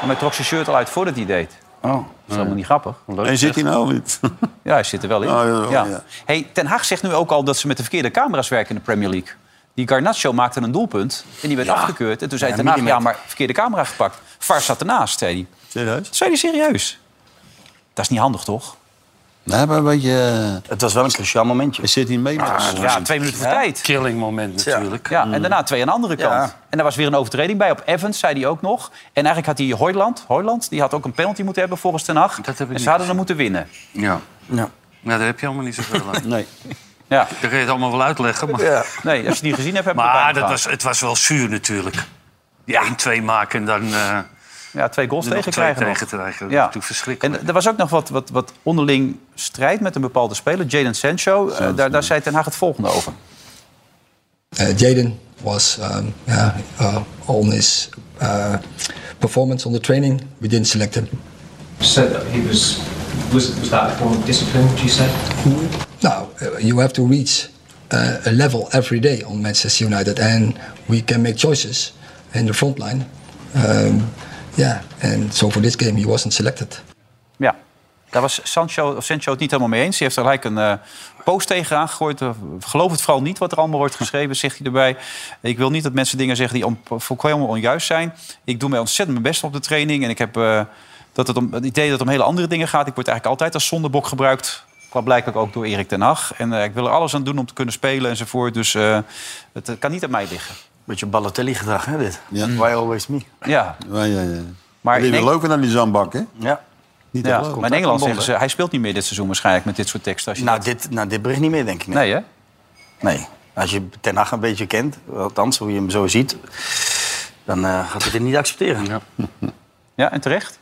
[SPEAKER 2] Maar hij trok zijn shirt al uit voordat hij deed. Dat
[SPEAKER 5] Oh.
[SPEAKER 2] is helemaal niet grappig.
[SPEAKER 3] En zit hij nou niet?
[SPEAKER 2] Ja, hij zit er wel in.
[SPEAKER 3] Oh, ja,
[SPEAKER 2] ja.
[SPEAKER 3] ja.
[SPEAKER 2] Hey, Ten Hag zegt nu ook al dat ze met de verkeerde camera's werken in de Premier League. Die Garnacho maakte een doelpunt en die werd afgekeurd. En toen zei
[SPEAKER 5] Ja,
[SPEAKER 2] Ten Hag, ja,
[SPEAKER 5] millimeter.
[SPEAKER 2] maar verkeerde camera gepakt. VAR zat ernaast, zei hij.
[SPEAKER 3] Serieus?
[SPEAKER 2] Dat zei hij serieus. Dat is niet handig, toch?
[SPEAKER 3] Nee, maar een beetje...
[SPEAKER 5] Het was wel een cruciaal momentje. Ah,
[SPEAKER 3] Zit hij mee?
[SPEAKER 2] Ja, twee minuten voor tijd.
[SPEAKER 4] Killing moment natuurlijk.
[SPEAKER 2] Ja, en daarna twee aan de andere kant.
[SPEAKER 5] Ja.
[SPEAKER 2] En daar was weer een overtreding bij. Op Evans zei hij ook nog. En eigenlijk had die Hoyland, Hoyland die had ook een penalty moeten hebben volgens Ten Hag.
[SPEAKER 4] heb ik
[SPEAKER 2] en
[SPEAKER 4] niet
[SPEAKER 2] ze hadden hem moeten winnen.
[SPEAKER 4] Ja.
[SPEAKER 5] Ja.
[SPEAKER 4] Ja, daar heb je allemaal niet zoveel aan.
[SPEAKER 3] Nee.
[SPEAKER 2] Ja,
[SPEAKER 4] Dat kun je het allemaal wel uitleggen. Maar,
[SPEAKER 2] nee, als je die gezien hebt, heb je het bijna
[SPEAKER 4] maar dat
[SPEAKER 2] gehad.
[SPEAKER 4] was, het was wel zuur natuurlijk. Ja. 1-2 maken en dan eh
[SPEAKER 2] Ja, twee goals
[SPEAKER 4] er nog
[SPEAKER 2] tegen
[SPEAKER 4] twee
[SPEAKER 2] krijgen. nog.
[SPEAKER 4] tegen te krijgen. Dat
[SPEAKER 2] Ja.
[SPEAKER 4] is natuurlijk verschrikkelijk.
[SPEAKER 2] En er was ook nog wat, wat, wat onderling strijd met een bepaalde speler, Jadon Sancho. Eh, daar, daar zei Ten Hag het volgende over.
[SPEAKER 17] Uh, Jaden was um, yeah, uh, on his uh, performance on the training. We didn't select him.
[SPEAKER 18] said that he was was was that a form of discipline? Would you say?
[SPEAKER 17] Now uh, you have to reach uh, a level every day on Manchester United, and we can make choices in the front line. Um, yeah, and so for this game he wasn't selected.
[SPEAKER 2] Ja. Daar was Sancho, of Sancho het niet helemaal mee eens. Hij heeft er gelijk een eh, post tegenaan gegooid. Eh, geloof het vooral niet wat er allemaal wordt geschreven, zegt hij erbij. Ik wil niet dat mensen dingen zeggen die on, volkomen onjuist zijn. Ik doe mij ontzettend mijn best op de training. En ik heb eh, dat het, om, het idee dat het om hele andere dingen gaat. Ik word eigenlijk altijd als zondebok gebruikt. Kwam blijkbaar ook door Erik ten Hag. En eh, ik wil er alles aan doen om te kunnen spelen enzovoort. Dus eh, het eh, kan niet aan mij liggen.
[SPEAKER 5] Beetje Balotelli-gedrag, hè, dit? Why always me?
[SPEAKER 2] Ja.
[SPEAKER 3] Ja, ja, ja.
[SPEAKER 2] Maar
[SPEAKER 3] Maar
[SPEAKER 2] in
[SPEAKER 3] die
[SPEAKER 2] Eng-
[SPEAKER 3] lopen naar die zandbak, hè?
[SPEAKER 5] Ja.
[SPEAKER 3] Niet te
[SPEAKER 2] ja.
[SPEAKER 3] geloven.
[SPEAKER 2] Maar in Engeland zeggen
[SPEAKER 3] Contact
[SPEAKER 2] ze, hij speelt niet meer dit seizoen waarschijnlijk met dit soort teksten. Als je
[SPEAKER 5] Nou dit, nou, dit bericht niet meer, denk ik.
[SPEAKER 2] Nee, hè?
[SPEAKER 5] Nee. Als je Ten Hag een beetje kent, althans hoe je hem zo ziet... dan eh, gaat hij dit niet accepteren. Ja,
[SPEAKER 2] ja en terecht?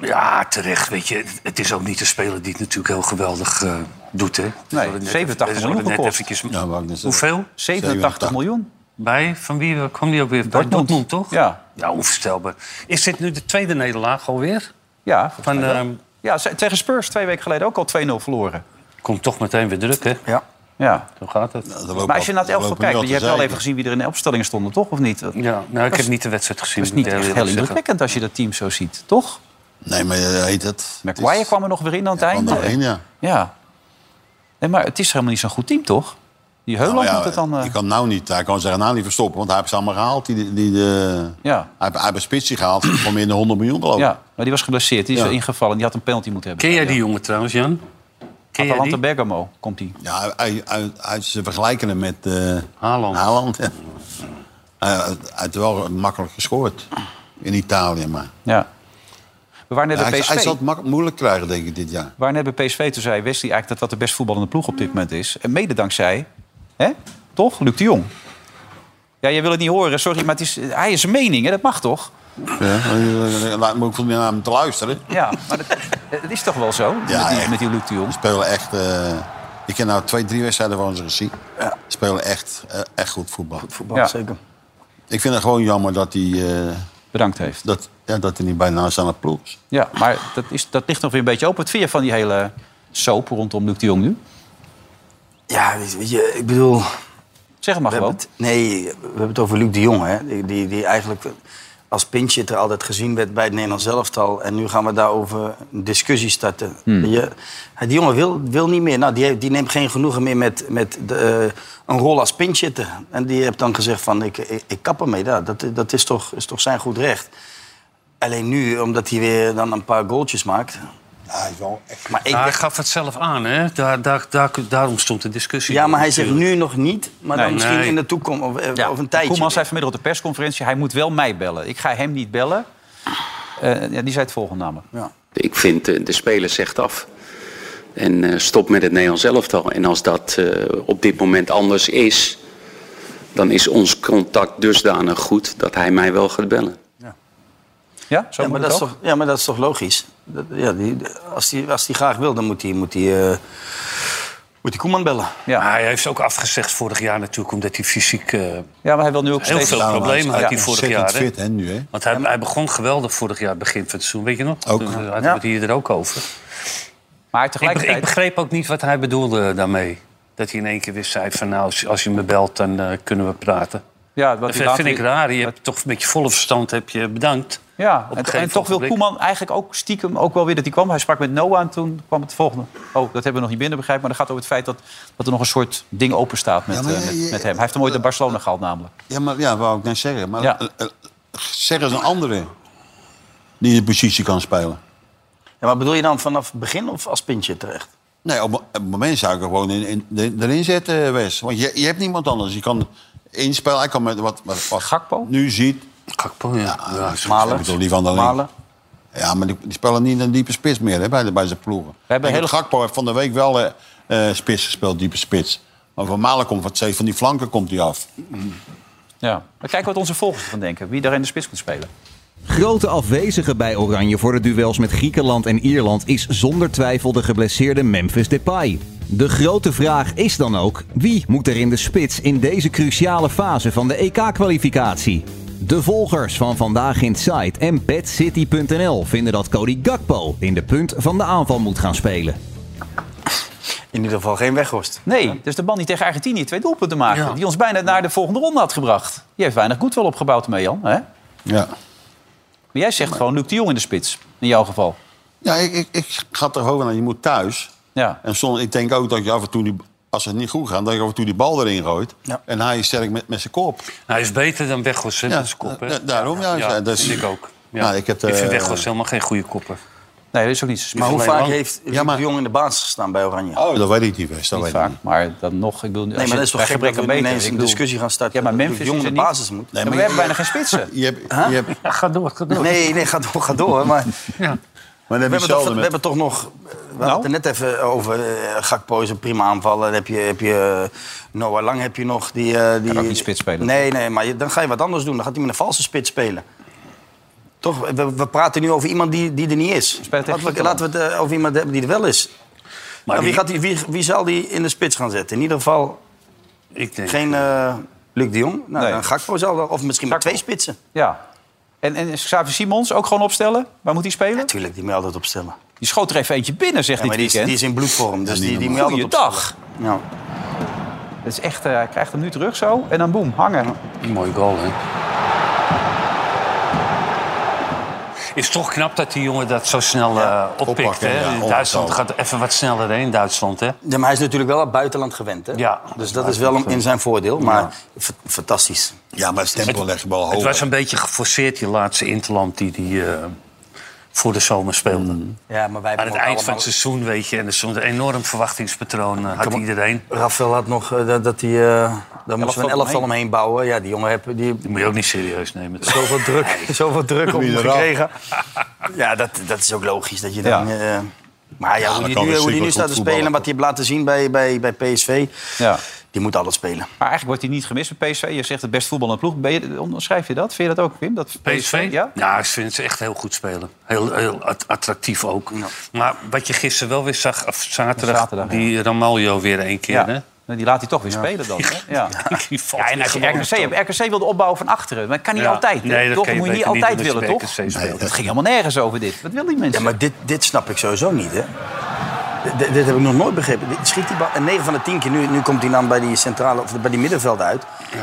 [SPEAKER 4] Ja, terecht. Weet je, het is ook niet een speler die het natuurlijk heel geweldig eh, doet. Hè?
[SPEAKER 2] Nee, 87 miljoen gekost.
[SPEAKER 4] Hoeveel?
[SPEAKER 2] 87 miljoen.
[SPEAKER 4] Bij? Van wie eh, kwam die ook weer? Bij
[SPEAKER 2] Dortmund.
[SPEAKER 4] Dortmund, toch?
[SPEAKER 2] Ja.
[SPEAKER 4] Ja, onvoorstelbaar. Is dit nu de tweede nederlaag alweer?
[SPEAKER 2] Ja, volgens
[SPEAKER 4] Van,
[SPEAKER 2] mij wel.
[SPEAKER 4] ehm,
[SPEAKER 2] ja, ze- tegen Spurs twee weken geleden ook al 2-0 verloren.
[SPEAKER 4] Komt toch meteen weer druk, hè?
[SPEAKER 5] Ja.
[SPEAKER 2] Ja.
[SPEAKER 4] Zo gaat het.
[SPEAKER 2] maar als je naar het elftal kijkt, je hebt wel even gezien wie er in de opstelling stonden, toch? Of niet?
[SPEAKER 4] Ja, nou, ik heb niet de wedstrijd gezien.
[SPEAKER 2] Dat is niet
[SPEAKER 4] moet ik
[SPEAKER 2] echt
[SPEAKER 4] eerlijk
[SPEAKER 2] heel
[SPEAKER 4] zeggen.
[SPEAKER 2] indrukwekkend als je dat team zo ziet, toch?
[SPEAKER 3] Nee, maar eh, heet het.
[SPEAKER 2] McGuire kwam er nog weer in aan het einde.
[SPEAKER 3] nog in, ja.
[SPEAKER 2] ja. Nee, maar het is helemaal niet zo'n goed team, toch? Die Heuland
[SPEAKER 3] Nou ja,
[SPEAKER 2] moet het dan... eh,
[SPEAKER 3] Je kan nou niet, hij kan zeggen nou niet verstoppen, want hij heeft ze allemaal gehaald. Die, die, de,
[SPEAKER 2] Ja.
[SPEAKER 3] Hij heeft- hij heeft Spitsie gehaald voor meer dan 100 miljoen geloof ik.
[SPEAKER 2] Ja, maar die was geblesseerd. Die is
[SPEAKER 3] Ja.
[SPEAKER 2] ingevallen. Die had een penalty moeten hebben.
[SPEAKER 4] Ken jij die jongen trouwens, Jan? Ken jij
[SPEAKER 2] Atalanta
[SPEAKER 4] die?
[SPEAKER 2] Bergamo komt die.
[SPEAKER 3] Ja, hij- hij- hij- ze vergelijken hem met eh
[SPEAKER 4] Haaland.
[SPEAKER 3] ja. Hij hij heeft wel makkelijk gescoord in Italië, maar...
[SPEAKER 2] Ja. We waren net
[SPEAKER 3] hij,
[SPEAKER 2] bij PSV.
[SPEAKER 3] hij zal het mak- moeilijk krijgen, denk ik, dit jaar.
[SPEAKER 2] Waar net bij PSV toen zei Wesley eigenlijk dat dat de best voetballende ploeg op dit moment is. En mede dankzij, hè? toch, Luc de Jong. Ja, jij wil het niet horen, sorry, maar het is, hij is een mening, hè? dat mag toch?
[SPEAKER 3] Ja, eh, laat me ook niet naar hem te luisteren.
[SPEAKER 2] Ja, maar dat, het is toch wel zo?
[SPEAKER 3] Ja,
[SPEAKER 2] met, die,
[SPEAKER 3] echt.
[SPEAKER 2] met die Luc de Jong.
[SPEAKER 3] Ze spelen echt... eh, ik heb nou twee, drie wedstrijden van ze gezien. Ze spelen echt, eh, echt goed voetbal.
[SPEAKER 5] voetbal,
[SPEAKER 2] Ja.
[SPEAKER 5] zeker.
[SPEAKER 3] Ik vind het gewoon jammer dat hij... eh,
[SPEAKER 2] Bedankt heeft.
[SPEAKER 3] dat, ja, dat hij niet bij naast aan de ploeg is.
[SPEAKER 2] Ja, maar dat, is, dat ligt nog weer een beetje open. Wat vind je van die hele soap rondom Luc de Jong nu?
[SPEAKER 5] Ja, weet je- weet je, ik bedoel...
[SPEAKER 2] Zeg het maar
[SPEAKER 5] we hebben
[SPEAKER 2] gewoon.
[SPEAKER 5] het, nee, we hebben het over Luc de Jong, hè? Die, die, die eigenlijk als pinchit er altijd gezien werd bij het Nederlands elftal. En nu gaan we daarover een discussie starten.
[SPEAKER 19] Hmm.
[SPEAKER 5] Je, die jongen wil, wil niet meer. Nou, die, heeft- die neemt geen genoegen meer met, met de, eh, een rol als pinchitter. En die heeft dan gezegd van, ik, ik, ik kap ermee. Ja, dat dat is, toch, is toch zijn goed recht. Alleen nu, omdat hij weer dan een paar goaltjes maakt. Maar ik
[SPEAKER 4] Nou,
[SPEAKER 5] denk-
[SPEAKER 4] hij gaf het zelf aan, hè? Daar, daar, daar, daarom stond de discussie.
[SPEAKER 5] Ja, maar hij zegt nu nog niet, maar
[SPEAKER 2] Nee,
[SPEAKER 5] dan misschien
[SPEAKER 2] nee.
[SPEAKER 5] in de toekomst of, eh, of een tijdje.
[SPEAKER 2] Koeman zei vanmiddag op de persconferentie... hij moet wel mij bellen. Ik ga hem niet bellen. Eh, ja, die zei het volgende namelijk.
[SPEAKER 20] Ik vind eh, de speler zegt af. En eh, stop met het Nederlands elftal. En als dat eh, op dit moment anders is, dan is ons contact dusdanig goed dat hij mij wel gaat bellen.
[SPEAKER 2] Ja, zo
[SPEAKER 5] ja, maar
[SPEAKER 2] moet
[SPEAKER 5] dat
[SPEAKER 2] het
[SPEAKER 5] is
[SPEAKER 2] ook.
[SPEAKER 5] toch, ja, maar dat is toch logisch? Dat- ja, die, als hij als die graag wil, dan moet hij moet die, eh, moet die Koeman bellen.
[SPEAKER 2] Ja.
[SPEAKER 4] Hij heeft ook afgezegd vorig jaar natuurlijk, omdat hij fysiek... eh,
[SPEAKER 2] Ja, maar hij wil nu ook
[SPEAKER 4] Heel
[SPEAKER 2] steeds...
[SPEAKER 4] veel problemen had hij vorig jaar.
[SPEAKER 3] fit, hè, nu, hè?
[SPEAKER 4] Want hij, hij begon geweldig vorig jaar, begin van het seizoen. Weet je nog?
[SPEAKER 3] Ook.
[SPEAKER 4] Toen eh, hadden we
[SPEAKER 2] Ja.
[SPEAKER 4] het hier er ook over.
[SPEAKER 2] Maar
[SPEAKER 4] Ik,
[SPEAKER 2] tegelijkertijd-
[SPEAKER 4] be- ik begreep ook niet wat hij bedoelde daarmee. Dat hij in één keer weer zei van nou, als, als je me belt, dan eh, kunnen we praten.
[SPEAKER 2] Ja, wat
[SPEAKER 4] Dat
[SPEAKER 2] hij
[SPEAKER 4] vind
[SPEAKER 2] later-
[SPEAKER 4] ik raar. Je hebt toch met je volle verstand heb je bedankt.
[SPEAKER 2] Ja,
[SPEAKER 4] Op
[SPEAKER 2] en,
[SPEAKER 4] een gegeven
[SPEAKER 2] en toch wil
[SPEAKER 4] ogenblik.
[SPEAKER 2] Koeman eigenlijk ook stiekem ook wel weer dat hij kwam. Hij sprak met Noah en toen kwam het volgende. Oh, dat hebben we nog niet binnen begrijp. Maar dat gaat over het feit dat, dat er nog een soort ding open staat met,
[SPEAKER 3] Ja, maar
[SPEAKER 2] eh,
[SPEAKER 3] je-
[SPEAKER 2] met,
[SPEAKER 3] je-
[SPEAKER 2] met hem. Hij heeft hem ooit naar Barcelona gehaald namelijk.
[SPEAKER 3] Ja, maar ja, wou ik net zeggen. Maar
[SPEAKER 2] Ja.
[SPEAKER 3] eh, eh, zeg eens een andere die de positie kan spelen.
[SPEAKER 5] Ja, maar bedoel je dan vanaf het begin of als pintje terecht?
[SPEAKER 3] Nee, op, op het moment zou ik er gewoon in, in, de- erin zetten, eh, Wes. Want je, je hebt niemand anders. Je kan inspelen. Hij kan met wat, wat, wat Gakpo? nu ziet. eh,
[SPEAKER 4] Gakpo, ja.
[SPEAKER 3] ja, Malen. toch liever dan alleen. Ja, maar die, die spelen niet een diepe spits meer hè, bij, de- bij zijn ploegen.
[SPEAKER 2] hebben
[SPEAKER 3] Kijk,
[SPEAKER 2] hele-
[SPEAKER 3] Gakpo heeft van de week wel eh, eh, spits gespeeld, diepe spits. Maar van Malen komt wat steeds van die flanken komt hij af.
[SPEAKER 2] Ja. Maar kijk wat onze volgers ervan denken. Wie daar in de spits moet spelen.
[SPEAKER 21] Grote afwezige bij Oranje voor de duels met Griekenland en Ierland is zonder twijfel de geblesseerde Memphis Depay. De grote vraag is dan ook: wie moet er in de spits in deze cruciale fase van de EK-kwalificatie? De volgers van Vandaag in Site en BadCity.nl vinden dat Cody Gakpo in de punt van de aanval moet gaan spelen.
[SPEAKER 5] In ieder geval geen weghorst.
[SPEAKER 2] Nee, dus de man die tegen Argentinië twee doelpunten maakte.
[SPEAKER 5] Ja.
[SPEAKER 2] Die ons bijna naar de volgende ronde had gebracht. Die heeft weinig goed wel opgebouwd mee, Jan. Hè? Maar
[SPEAKER 3] Ja.
[SPEAKER 2] jij zegt gewoon Luc de Jong in de spits. In jouw geval.
[SPEAKER 3] Ja, ik, ik, ik ga er gewoon aan. Je moet thuis.
[SPEAKER 2] Ja.
[SPEAKER 3] En soms, ik denk ook dat je af en toe, die, als het niet goed gaat, dat je af en toe die bal erin gooit. En hij is sterk met, met zijn kop.
[SPEAKER 4] Hij is beter dan Weghorst hè, met zijn kop. Hè?
[SPEAKER 3] da- daarom, ja.
[SPEAKER 4] ja
[SPEAKER 3] dat is-
[SPEAKER 4] vind ik ook. Ja.
[SPEAKER 3] Nou, ik, heb,
[SPEAKER 4] ik vind
[SPEAKER 3] eh,
[SPEAKER 4] Weghorst helemaal geen goede kopper.
[SPEAKER 2] Nee, dat is ook niet zo
[SPEAKER 5] Maar hoe
[SPEAKER 2] Alleen
[SPEAKER 5] vaak
[SPEAKER 2] lang-
[SPEAKER 5] heeft Luc de Jong in de baas gestaan bij Oranje?
[SPEAKER 3] Oh, dat weet ik niet best. Dat
[SPEAKER 2] Niet
[SPEAKER 3] weet ik
[SPEAKER 2] vaak, maar dan nog. Ik bedoel,
[SPEAKER 5] Nee, maar dat is toch gek dat we nu ineens een discussie gaan starten.
[SPEAKER 2] Ja, maar
[SPEAKER 5] dat Luc de
[SPEAKER 2] Memphis is
[SPEAKER 5] Jong de
[SPEAKER 2] er niet.
[SPEAKER 5] basis moet.
[SPEAKER 2] Nee, maar we hebben bijna geen spitsen.
[SPEAKER 3] Je hebt,
[SPEAKER 5] Huh?
[SPEAKER 3] je hebt,
[SPEAKER 4] ga door, ga door.
[SPEAKER 5] Nee, nee, ga door, ga door. Maar
[SPEAKER 3] maar
[SPEAKER 5] we,
[SPEAKER 3] dan heb je
[SPEAKER 5] hebben toch,
[SPEAKER 3] zelden
[SPEAKER 5] we
[SPEAKER 3] met...
[SPEAKER 5] hebben toch nog... We hadden het er net even over eh, Gakpo is een prima aanvallen. Dan heb je, heb je eh, Noah Lang heb je nog. Die, eh, die,
[SPEAKER 2] ook niet spits spelen.
[SPEAKER 5] Nee, nee, maar je- dan ga je wat anders doen. Dan gaat hij met een valse spits spelen. Toch, we, we praten nu over iemand die, die er niet is. Laten we, laten we het eh, over iemand hebben die er wel is. Maar wie,
[SPEAKER 4] wie-
[SPEAKER 5] gaat die, wie, wie zal die in de spits gaan zetten? In ieder geval
[SPEAKER 4] Ik denk,
[SPEAKER 5] geen eh Luc de Jong. Nou,
[SPEAKER 2] Nee.
[SPEAKER 5] dan Gakpo zal wel. Of misschien maar twee spitsen.
[SPEAKER 2] Ja. En, en is Xavi Simons ook gewoon opstellen? Waar moet hij spelen?
[SPEAKER 5] Natuurlijk, die moet je altijd opstellen.
[SPEAKER 2] Die schoot er even eentje binnen, zegt
[SPEAKER 5] Ja, maar
[SPEAKER 2] dit
[SPEAKER 5] die is,
[SPEAKER 2] weekend.
[SPEAKER 5] die is in bloedvorm, dus
[SPEAKER 2] Ja,
[SPEAKER 5] die, die moet je altijd opstellen.
[SPEAKER 2] Goeiedag.
[SPEAKER 5] Ja.
[SPEAKER 2] Dat is echt, eh, hij krijgt hem nu terug zo. En dan boem, hangen.
[SPEAKER 4] Mooi goal, hè? Is toch knap dat die jongen dat zo snel eh, oppikt.
[SPEAKER 5] oppakken,
[SPEAKER 4] hè?
[SPEAKER 5] ja, Oh.
[SPEAKER 4] Duitsland
[SPEAKER 5] onbetaald.
[SPEAKER 4] gaat even wat sneller heen, Duitsland. Hè?
[SPEAKER 5] Ja, maar hij is natuurlijk wel aan het buitenland gewend, hè?
[SPEAKER 4] Ja.
[SPEAKER 5] Dus dat is wel een- in zijn voordeel, maar fa- fantastisch.
[SPEAKER 3] Ja, maar het tempo legt de bal
[SPEAKER 4] Het was
[SPEAKER 3] hoog.
[SPEAKER 4] een beetje geforceerd, die laatste Interland die die eh, voor de zomer
[SPEAKER 5] Mm.
[SPEAKER 4] speelde.
[SPEAKER 5] Ja, maar wij
[SPEAKER 4] Aan het eind van het seizoen, weet je. En er stond een enorm verwachtingspatroon, eh, had iedereen.
[SPEAKER 5] Rafael had nog eh, dat, dat hij... eh daar moesten we een
[SPEAKER 4] Elftal
[SPEAKER 5] elftal
[SPEAKER 4] omheen.
[SPEAKER 5] omheen bouwen. Ja, die jongen heeft die...
[SPEAKER 4] Die moet je ook niet serieus nemen.
[SPEAKER 5] zoveel druk, zoveel druk op hem
[SPEAKER 4] Mineral.
[SPEAKER 5] gekregen. Ja, dat, dat is ook logisch dat je dan...
[SPEAKER 2] Ja.
[SPEAKER 5] eh, maar
[SPEAKER 2] Ja,
[SPEAKER 5] ja, hoe
[SPEAKER 2] dan
[SPEAKER 5] die
[SPEAKER 2] kan
[SPEAKER 5] nu,
[SPEAKER 2] de
[SPEAKER 5] hoe die nu
[SPEAKER 2] Cyprus
[SPEAKER 5] staat te
[SPEAKER 2] goed
[SPEAKER 5] spelen
[SPEAKER 2] voetballen.
[SPEAKER 5] en wat hij heeft laten zien bij, bij, bij PSV...
[SPEAKER 2] Ja.
[SPEAKER 5] die moet alles spelen.
[SPEAKER 2] Maar eigenlijk wordt hij niet gemist bij PSV. Je zegt het best voetbal aan ploeg. Ben je, onderschrijf je dat? Vind je dat ook, Wim? Dat
[SPEAKER 4] PSV?
[SPEAKER 2] Ja?
[SPEAKER 4] Ja, ik vind ze echt heel goed spelen. Heel, heel at- attractief ook. Maar wat je gisteren wel weer zag, of zaterdag,
[SPEAKER 2] Zaterdag, ja.
[SPEAKER 4] die Ramaljo weer één keer.
[SPEAKER 2] Ja.
[SPEAKER 4] Hè?
[SPEAKER 2] Nou, Die laat hij toch weer spelen dan. Hè? Ja. Ja, en als je
[SPEAKER 4] gewoon
[SPEAKER 2] RKC hebt. RKC wilde opbouwen van achteren. Maar dat kan niet
[SPEAKER 4] Ja.
[SPEAKER 2] altijd. hè?
[SPEAKER 4] Nee, dat
[SPEAKER 2] toch
[SPEAKER 4] kan je
[SPEAKER 2] moet je niet
[SPEAKER 4] beter niet
[SPEAKER 2] altijd
[SPEAKER 4] doen
[SPEAKER 2] willen,
[SPEAKER 4] als je
[SPEAKER 2] toch?
[SPEAKER 4] bij RKC speelt.
[SPEAKER 2] Nee, dat ging helemaal nergens over dit. Wat willen die mensen?
[SPEAKER 5] Ja, maar dit, dit snap ik sowieso niet, hè? D- dit- dit heb ik nog nooit begrepen. Dit- Schiet die bal, en 9 van de 10 keer, nu, nu komt hij dan bij die centrale of bij die middenveld uit.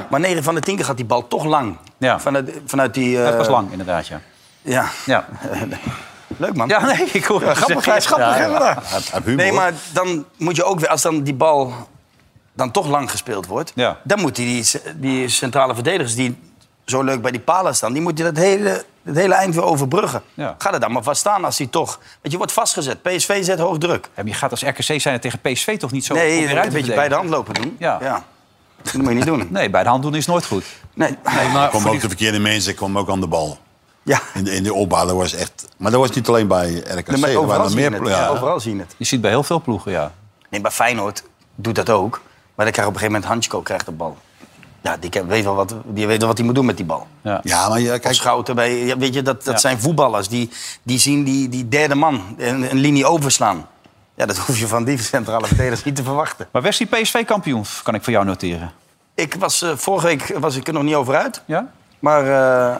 [SPEAKER 5] Maar 9 van de 10 keer gaat die bal toch lang.
[SPEAKER 2] Ja.
[SPEAKER 5] Vanuit, vanuit die. eh,
[SPEAKER 2] Dat was lang, inderdaad, ja.
[SPEAKER 5] Ja.
[SPEAKER 2] ja.
[SPEAKER 5] Leuk man.
[SPEAKER 2] Ja, nee, ik hoor
[SPEAKER 5] Ja,
[SPEAKER 2] het
[SPEAKER 5] grappig,
[SPEAKER 2] zeggen.
[SPEAKER 5] hij is grappig,
[SPEAKER 2] Ja,
[SPEAKER 5] hè,
[SPEAKER 2] ja.
[SPEAKER 5] vandaag.
[SPEAKER 2] Hij heeft humor.
[SPEAKER 5] Nee, maar dan moet je ook weer, als dan die bal dan toch lang gespeeld wordt,
[SPEAKER 2] Ja.
[SPEAKER 5] dan moet hij die, die centrale verdedigers die zo leuk bij die palen staan, die moet je dat hele, het hele eind weer overbruggen.
[SPEAKER 2] Ja.
[SPEAKER 5] Ga er dan maar vast staan als hij toch. Want je wordt vastgezet. PSV zet hoog druk.
[SPEAKER 2] Ja, maar je gaat als RKC zijn tegen PSV toch niet zo
[SPEAKER 5] nee,
[SPEAKER 2] proberen
[SPEAKER 5] een
[SPEAKER 2] uit te
[SPEAKER 5] beetje bij
[SPEAKER 2] verdedigen?
[SPEAKER 5] de hand lopen doen.
[SPEAKER 2] Ja.
[SPEAKER 5] Dat moet je niet doen.
[SPEAKER 2] Nee, bij de hand doen is nooit goed.
[SPEAKER 5] Nee.
[SPEAKER 3] Er komen ook de verkeerde mensen komen ook aan de bal.
[SPEAKER 5] Ja.
[SPEAKER 3] In, de- in de opbouw, dat was echt... Maar dat was niet alleen bij RKC.
[SPEAKER 5] Nee, maar
[SPEAKER 3] er waren
[SPEAKER 5] overal,
[SPEAKER 3] er
[SPEAKER 5] zie je
[SPEAKER 3] meer
[SPEAKER 5] het.
[SPEAKER 3] ploegen, ja.
[SPEAKER 5] overal zie je het.
[SPEAKER 2] Je ziet bij heel veel ploegen, ja.
[SPEAKER 5] Nee, maar Feyenoord doet dat ook. Maar dan krijg je op een gegeven moment Hansko krijgt de bal. Ja, die ken- weet wel wat die weet wel wat hij moet doen met die bal.
[SPEAKER 2] Ja,
[SPEAKER 3] maar je,
[SPEAKER 5] Of Schouten bij, ja, weet je, dat, dat zijn voetballers. Die, die zien die, die derde man een, een linie overslaan. Ja, dat hoef je van die centrale verdedigers niet te verwachten.
[SPEAKER 2] Maar West die PSV kampioen, kan ik voor jou noteren.
[SPEAKER 5] Ik was, eh, vorige week was ik er nog niet over uit.
[SPEAKER 2] Ja?
[SPEAKER 5] Maar eh,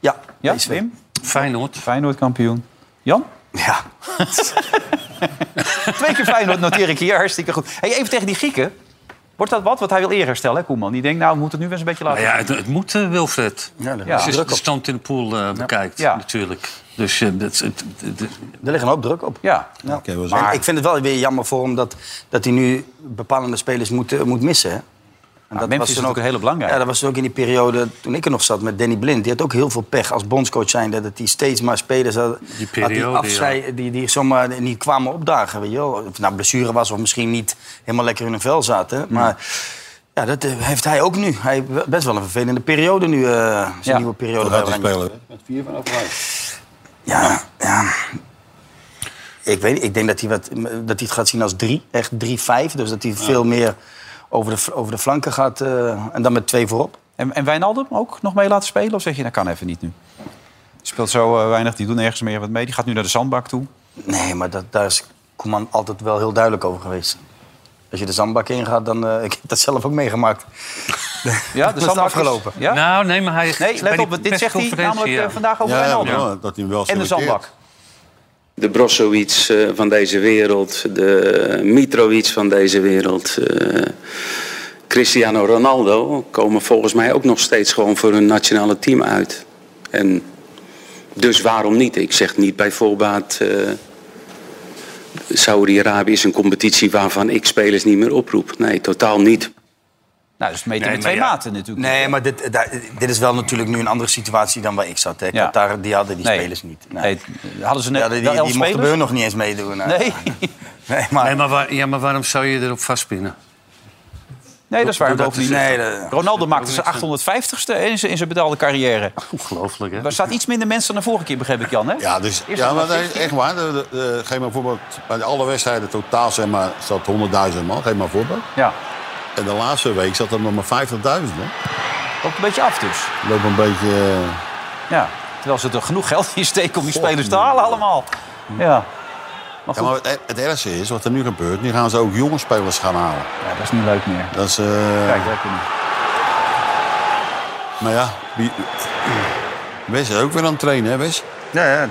[SPEAKER 5] ja,
[SPEAKER 2] Ja,
[SPEAKER 5] PSV.
[SPEAKER 2] Wim?
[SPEAKER 4] Feyenoord.
[SPEAKER 2] Feyenoord kampioen. Jan?
[SPEAKER 5] Ja.
[SPEAKER 2] Twee keer Feyenoord noteer ik hier, hartstikke goed. Hey, even tegen die Grieken. Wordt dat wat? Want hij wil eer herstellen, hè, Koeman. Die denkt, nou, we moeten het nu eens een beetje
[SPEAKER 4] Maar
[SPEAKER 2] laten
[SPEAKER 4] ja,
[SPEAKER 2] zien.
[SPEAKER 4] het, het moet, eh, Wilfred.
[SPEAKER 5] Ja, Dus- daar
[SPEAKER 4] Als
[SPEAKER 5] is
[SPEAKER 4] je
[SPEAKER 5] druk
[SPEAKER 4] de
[SPEAKER 5] op.
[SPEAKER 4] stand in de pool eh, bekijkt, natuurlijk. Dus eh, dat, het, het- het-
[SPEAKER 5] Er ligt een hoop druk op.
[SPEAKER 2] Ja.
[SPEAKER 5] Ja.
[SPEAKER 3] wel zo.
[SPEAKER 5] Maar ik vind het wel weer jammer voor hem dat, dat hij nu bepalende spelers moet, eh, moet missen. Hè? En
[SPEAKER 2] Memphis is
[SPEAKER 5] toen
[SPEAKER 2] natuurlijk een hele belangrijke.
[SPEAKER 5] Ja, dat was toen ook in die periode toen ik er nog zat met Danny Blind. Die had ook heel veel pech als bondscoach zijn. Dat hij steeds maar spelers had,
[SPEAKER 4] Die
[SPEAKER 5] had die,
[SPEAKER 4] periode,
[SPEAKER 5] afzij, die, die zomaar niet kwamen opdagen. Weet je wel. Of het nou blessure was of misschien niet helemaal lekker in hun vel zaten. Maar ja, dat eh, heeft hij ook nu. Hij heeft best wel een vervelende periode nu. eh, zijn
[SPEAKER 2] Ja.
[SPEAKER 5] nieuwe periode
[SPEAKER 3] Hoe gaat
[SPEAKER 5] bij
[SPEAKER 3] hij
[SPEAKER 5] Oranje.
[SPEAKER 3] spelen? Met vier van overheid.
[SPEAKER 5] Ja, ja. Ik weet niet, Ik denk dat hij, wat, dat hij het gaat zien als drie. Echt drie-vijf. Dus dat hij veel meer over de, over de flanken gaat. eh, en dan met twee voorop.
[SPEAKER 2] En, en Wijnaldum ook nog mee laten spelen? Of zeg je, dat kan even niet nu? Die speelt zo eh, weinig, die doet nergens meer wat mee. Die gaat nu naar de zandbak toe.
[SPEAKER 5] Nee, maar dat, daar is Koeman altijd wel heel duidelijk over geweest. Als je de zandbak ingaat, dan... eh, ik heb dat zelf ook meegemaakt.
[SPEAKER 2] Ja, de
[SPEAKER 5] is het
[SPEAKER 2] zandbak is-
[SPEAKER 5] afgelopen.
[SPEAKER 2] Ja?
[SPEAKER 4] Nou, nee, maar hij...
[SPEAKER 2] Nee,
[SPEAKER 4] bij
[SPEAKER 2] let
[SPEAKER 4] die
[SPEAKER 2] op, dit zegt hij
[SPEAKER 4] persconferentie,
[SPEAKER 2] namelijk
[SPEAKER 4] ja.
[SPEAKER 2] eh, vandaag over
[SPEAKER 3] Ja,
[SPEAKER 2] Wijnaldum.
[SPEAKER 3] ja, dat hij hem wel
[SPEAKER 2] en de
[SPEAKER 3] selecteert.
[SPEAKER 2] zandbak.
[SPEAKER 20] De Brozovic eh, van deze wereld, de Mitrovic van deze wereld, eh, Cristiano Ronaldo komen volgens mij ook nog steeds gewoon voor hun nationale team uit. En dus waarom niet? Ik zeg niet bij voorbaat eh, Saudi-Arabië is een competitie waarvan ik spelers niet meer oproep. Nee, totaal niet.
[SPEAKER 2] Nou, dus meten
[SPEAKER 5] Nee,
[SPEAKER 2] met twee
[SPEAKER 5] maar ja.
[SPEAKER 2] maten natuurlijk.
[SPEAKER 5] Nee, maar dit, eh, daar- dit is wel natuurlijk nu een andere situatie dan waar ik zat. Hè.
[SPEAKER 2] Ja.
[SPEAKER 5] Qatar, die hadden die
[SPEAKER 2] Nee.
[SPEAKER 5] spelers niet.
[SPEAKER 2] Nee, hadden ze net
[SPEAKER 5] Ja, die,
[SPEAKER 2] wel
[SPEAKER 5] die,
[SPEAKER 2] elf
[SPEAKER 5] die mochten bij
[SPEAKER 2] spelers?
[SPEAKER 5] hun nog niet eens meedoen. hè.
[SPEAKER 2] Nee.
[SPEAKER 5] Nee, maar...
[SPEAKER 4] waar- ja, maar waarom zou je erop vastpinnen?
[SPEAKER 2] Nee, dat is waar.
[SPEAKER 4] Doe dat
[SPEAKER 2] bovendien.
[SPEAKER 4] eens even. Nee, dat-
[SPEAKER 2] Ronaldo maakte
[SPEAKER 4] dat-
[SPEAKER 2] zijn 850ste in zijn, in zijn betaalde carrière.
[SPEAKER 4] Ongelooflijk, hè?
[SPEAKER 2] Er staat iets minder mensen dan de vorige keer, begreep ik, Jan, hè?
[SPEAKER 3] Ja, dus,
[SPEAKER 2] Eerst
[SPEAKER 3] ja
[SPEAKER 2] nog
[SPEAKER 3] maar dat
[SPEAKER 2] maar
[SPEAKER 3] is echt waar. De, de, de- geef maar een voorbeeld. Bij de alle wedstrijden totaal zeg maar, zat 100.000 man. Geef maar een voorbeeld.
[SPEAKER 2] Ja.
[SPEAKER 3] En de laatste week zat er nog maar 50.000 man.
[SPEAKER 2] Ook een beetje af dus.
[SPEAKER 3] Loopt een beetje... eh,
[SPEAKER 2] Ja, terwijl ze er genoeg geld in steken om die spelers te halen allemaal. Ja. Maar
[SPEAKER 3] Ja, maar het, het ergste is, wat er nu gebeurt, nu gaan ze ook jonge spelers gaan halen.
[SPEAKER 2] Ja, dat is niet leuk meer.
[SPEAKER 3] Dat is... eh,
[SPEAKER 2] Kijk, daar kunnen
[SPEAKER 3] Maar ja, wie... Wes is ook weer aan het trainen, hè Wes?
[SPEAKER 5] Ja, ja. Een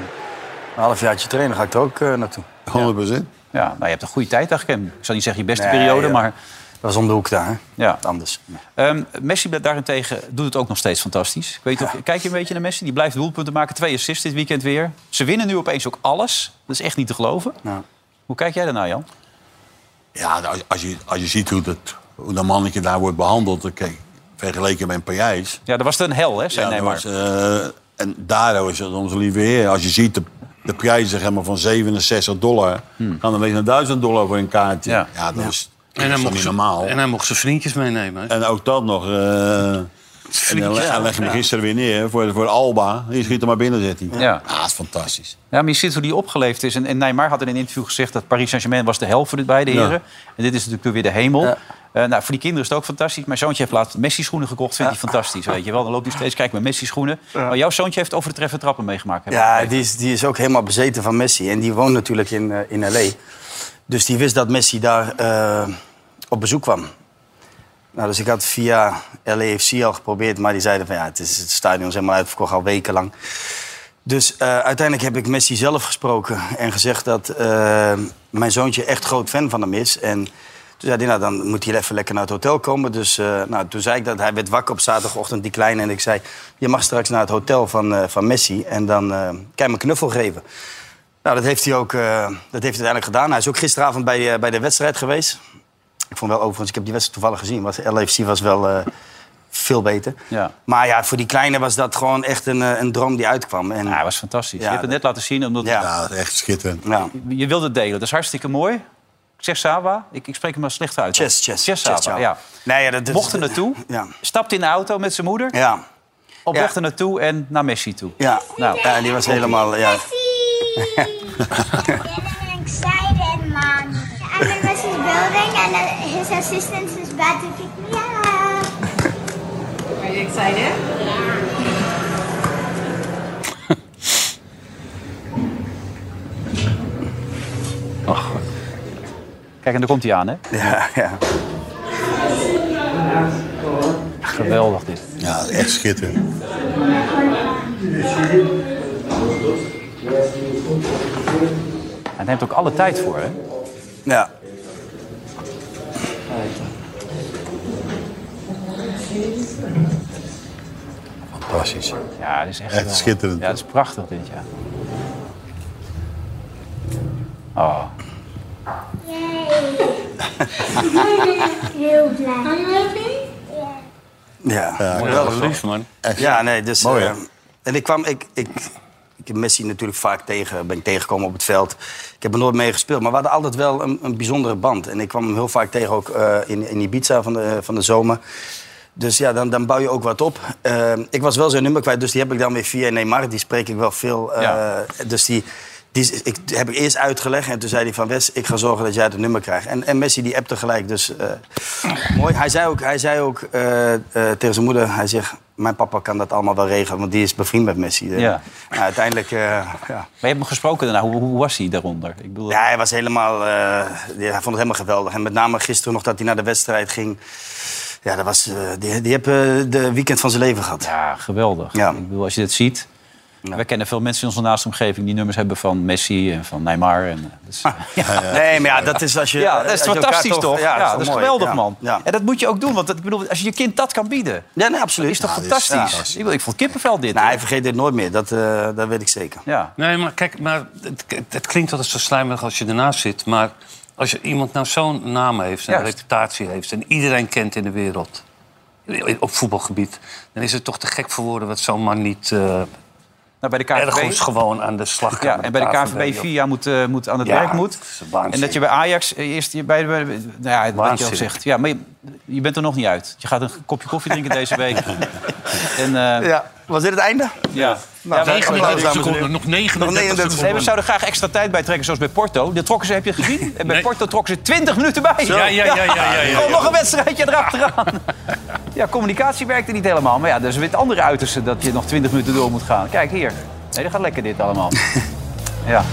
[SPEAKER 5] halfjaartje trainen ga ik er ook eh, naartoe.
[SPEAKER 3] 100 procent.
[SPEAKER 2] Ja, nou, je hebt een goede tijd eigenlijk. Ken. Ik zal niet zeggen je beste
[SPEAKER 5] Nee,
[SPEAKER 2] periode,
[SPEAKER 5] ja.
[SPEAKER 2] maar...
[SPEAKER 5] Dat is om de hoek daar, hè?
[SPEAKER 2] Ja.
[SPEAKER 5] Anders.
[SPEAKER 2] Ehm, Messi blijft daarentegen doet het ook nog steeds fantastisch. Ik weet niet of, kijk je een beetje naar Messi? Die blijft doelpunten maken. Twee assists dit weekend weer. Ze winnen nu opeens ook alles. Dat is echt niet te geloven. Hoe kijk jij daarnaar, Jan?
[SPEAKER 3] Ja, nou, als- als je, als je ziet hoe dat, hoe dat mannetje daar wordt behandeld... dan kijk, vergeleken met Payet...
[SPEAKER 2] Ja, dat was het een hel, hè, zei
[SPEAKER 3] Ja, dat
[SPEAKER 2] Neymar.
[SPEAKER 3] was, eh, en daardoor is het onze lieve heer. Als je ziet de, de prijzen zeg maar, van 67 dollar...
[SPEAKER 2] Hmm.
[SPEAKER 3] gaan er ineens naar 1000 dollar voor een kaartje. Ja, dat is, dat
[SPEAKER 4] En hij,
[SPEAKER 3] is toch
[SPEAKER 4] mocht
[SPEAKER 3] niet
[SPEAKER 4] zijn-
[SPEAKER 3] normaal.
[SPEAKER 4] en hij mocht zijn vriendjes meenemen.
[SPEAKER 3] En ook dat nog. eh en hij le- hij legde me
[SPEAKER 4] Ja.
[SPEAKER 3] gisteren weer neer voor, voor Alba. Die schiet er maar binnen, zit hij.
[SPEAKER 2] Ja.
[SPEAKER 3] Ah, dat is fantastisch.
[SPEAKER 2] Ja, maar je ziet hoe die opgeleefd is. En, en Neymar had in een interview gezegd dat Paris Saint-Germain was de hel voor de beide
[SPEAKER 3] Ja.
[SPEAKER 2] heren. En dit is natuurlijk weer de hemel. Eh, nou, voor die kinderen is het ook fantastisch. Mijn zoontje heeft laatst Messi-schoenen gekocht. Vindt hij fantastisch, weet je wel. Dan loopt hij steeds, kijk, met Messi-schoenen. Maar jouw zoontje heeft over de treffen trappen meegemaakt. heb ik
[SPEAKER 5] Ja,
[SPEAKER 2] begrepen.
[SPEAKER 5] die is, die is ook helemaal bezeten van Messi. En die woont natuurlijk in, eh, in L.A. Dus die wist dat Messi daar eh, op bezoek kwam. Nou, dus ik had via LAFC al geprobeerd, maar die zeiden van ja, het, is, het stadion is helemaal uitverkocht al wekenlang. Dus eh, uiteindelijk heb ik Messi zelf gesproken en gezegd dat eh, mijn zoontje echt groot fan van hem is. En toen zei hij, nou dan moet hij even lekker naar het hotel komen. Dus eh, nou, toen zei ik dat, hij werd wakker op zaterdagochtend, die kleine. En ik zei, je mag straks naar het hotel van, eh, van Messi en dan eh, kan je hem een knuffel geven. Nou, dat heeft hij ook eh, dat heeft hij uiteindelijk gedaan. Hij is ook gisteravond bij, eh, bij de wedstrijd geweest. Ik vond wel overigens, ik heb die wedstrijd toevallig gezien. Was, LFC was wel eh, veel beter.
[SPEAKER 2] Ja.
[SPEAKER 5] Maar ja, voor die kleine was dat gewoon echt een, eh, een droom die uitkwam. En, ja,
[SPEAKER 2] hij was fantastisch. Je hebt het net laten zien. Omdat
[SPEAKER 3] Ja, dat is echt schitterend.
[SPEAKER 5] Ja.
[SPEAKER 2] Je wilde het delen. Dat is hartstikke mooi. Ik zeg Saba. Ik, ik spreek hem maar slecht uit.
[SPEAKER 5] Chess, chess.
[SPEAKER 2] Chess Saba,
[SPEAKER 5] Chess, ja.
[SPEAKER 2] ja.
[SPEAKER 5] Nee, ja, dat, dat-
[SPEAKER 2] Mocht er naartoe.
[SPEAKER 5] Ja.
[SPEAKER 2] Stapt in de auto met zijn moeder.
[SPEAKER 5] Ja.
[SPEAKER 2] Op
[SPEAKER 5] Ja.
[SPEAKER 2] weg er naartoe en naar Messi toe.
[SPEAKER 5] Ja,
[SPEAKER 2] Nou.
[SPEAKER 5] ja die was helemaal... Ja.
[SPEAKER 19] excited, Mom. I'm in Messi's building, and uh, his assistant is about to pick me up. Are you excited?
[SPEAKER 2] Kijk, en daar komt hij aan, hè?
[SPEAKER 5] Ja, ja.
[SPEAKER 2] Geweldig dit.
[SPEAKER 3] Ja, dat is echt schitterend.
[SPEAKER 2] Hij neemt ook alle tijd voor, hè?
[SPEAKER 5] Ja. Fantastisch.
[SPEAKER 2] Ja, dat is echt,
[SPEAKER 3] Echt
[SPEAKER 2] wel-
[SPEAKER 3] schitterend.
[SPEAKER 2] Ja, dat is prachtig dit, ja. Oh.
[SPEAKER 19] Heel blij.
[SPEAKER 5] Ja,
[SPEAKER 4] Geweldig lief, man.
[SPEAKER 5] Ja, nee, dus...
[SPEAKER 4] Mooi, hè?
[SPEAKER 5] eh, en ik kwam... Ik, ik, ik heb Messi natuurlijk vaak tegen, ben ik tegengekomen op het veld. Ik heb er nooit mee gespeeld, maar we hadden altijd wel een, een bijzondere band. En ik kwam hem heel vaak tegen, ook eh, in, in Ibiza van de, van de zomer. Dus ja, dan, dan bouw je ook wat op. Eh, ik was wel zijn nummer kwijt, dus die heb ik dan weer via Neymar. Die spreek ik wel veel. eh,
[SPEAKER 2] Ja.
[SPEAKER 5] Dus die, die is- ik, die heb ik eerst uitgelegd. En toen zei hij van Wes, ik ga zorgen dat jij het nummer krijgt. En, en Messi die appte gelijk. Dus eh, mooi. Hij zei ook, hij zei ook eh, eh, tegen zijn moeder, hij zegt... Mijn papa kan dat allemaal wel regelen, want die is bevriend met Messi. Eh,
[SPEAKER 2] Ja.
[SPEAKER 5] nou, uiteindelijk, eh, ja.
[SPEAKER 2] Maar je hebt hem gesproken daarna. Hoe, hoe was hij daaronder? Ik bedoel,
[SPEAKER 5] Ja, hij was helemaal. eh, ja, hij vond het helemaal geweldig. En met name gisteren nog dat hij naar de wedstrijd ging. Ja, dat was, eh, die, die heb eh, de weekend van zijn leven gehad.
[SPEAKER 2] Ja, geweldig. Ik bedoel, als je dit ziet. We kennen veel mensen in onze naaste omgeving die nummers hebben van Messi en van Neymar. En, eh, dus, ja.
[SPEAKER 5] Nee, maar Ah. ja, dat is als je.
[SPEAKER 2] Ja, dat is
[SPEAKER 5] als je elkaar
[SPEAKER 2] fantastisch toch? Ja, dat is,
[SPEAKER 5] wel mooi.
[SPEAKER 2] geweldig,
[SPEAKER 5] Ja.
[SPEAKER 2] man.
[SPEAKER 5] Ja.
[SPEAKER 2] En dat moet je ook doen, want dat, ik bedoel, als je je kind dat kan bieden...
[SPEAKER 5] Ja, nee, absoluut.
[SPEAKER 2] Dat is toch
[SPEAKER 5] Ja, dit is- ja,
[SPEAKER 2] fantastisch?
[SPEAKER 5] fantastisch.
[SPEAKER 2] Ik bedoel, ik vond kippenvel dit.
[SPEAKER 5] Nou, hij vergeet dit nooit meer, dat, eh, dat weet ik zeker.
[SPEAKER 2] Ja.
[SPEAKER 4] Nee, maar kijk, maar het, het klinkt altijd zo slijmerig als je ernaast zit. Maar als je iemand nou zo'n naam heeft, en een
[SPEAKER 2] Juist.
[SPEAKER 4] reputatie heeft... en iedereen kent in de wereld, op voetbalgebied... dan is het toch te gek voor woorden wat zo'n man niet... eh,
[SPEAKER 2] Nou, bij de KNVB
[SPEAKER 4] ergens gewoon aan de slag kan.
[SPEAKER 2] Ja, en bij de KVB vier jaar moet, eh, moet aan het
[SPEAKER 4] Ja,
[SPEAKER 2] werk moet.
[SPEAKER 4] het is waanzin.
[SPEAKER 2] En dat je bij Ajax eh, eerst je bij, bij, nou ja, wat je al
[SPEAKER 4] Waanzin.
[SPEAKER 2] zegt. Ja, maar je, je bent er nog niet uit. Je gaat een kopje koffie drinken deze week. En, eh, ja.
[SPEAKER 5] Was dit het einde?
[SPEAKER 2] Ja.
[SPEAKER 5] Nou,
[SPEAKER 2] maar-
[SPEAKER 5] 39
[SPEAKER 2] applaus, dames en
[SPEAKER 5] seconden,
[SPEAKER 2] heren.
[SPEAKER 5] nog 39 seconden.
[SPEAKER 2] Nee, we zouden graag extra tijd bij trekken, zoals bij Porto. De trokken ze, heb je gezien? En bij Porto trokken ze 20 minuten bij.
[SPEAKER 4] Zo. Ja, ja, ja, ja, ja, ja, ja.
[SPEAKER 2] Gewoon nog een wedstrijdje erachteraan. Ja, communicatie werkte niet helemaal. Maar ja, dat is weer het andere uiterste dat je nog 20 minuten door moet gaan. Kijk hier. Nee, dat gaat lekker dit allemaal. Ja.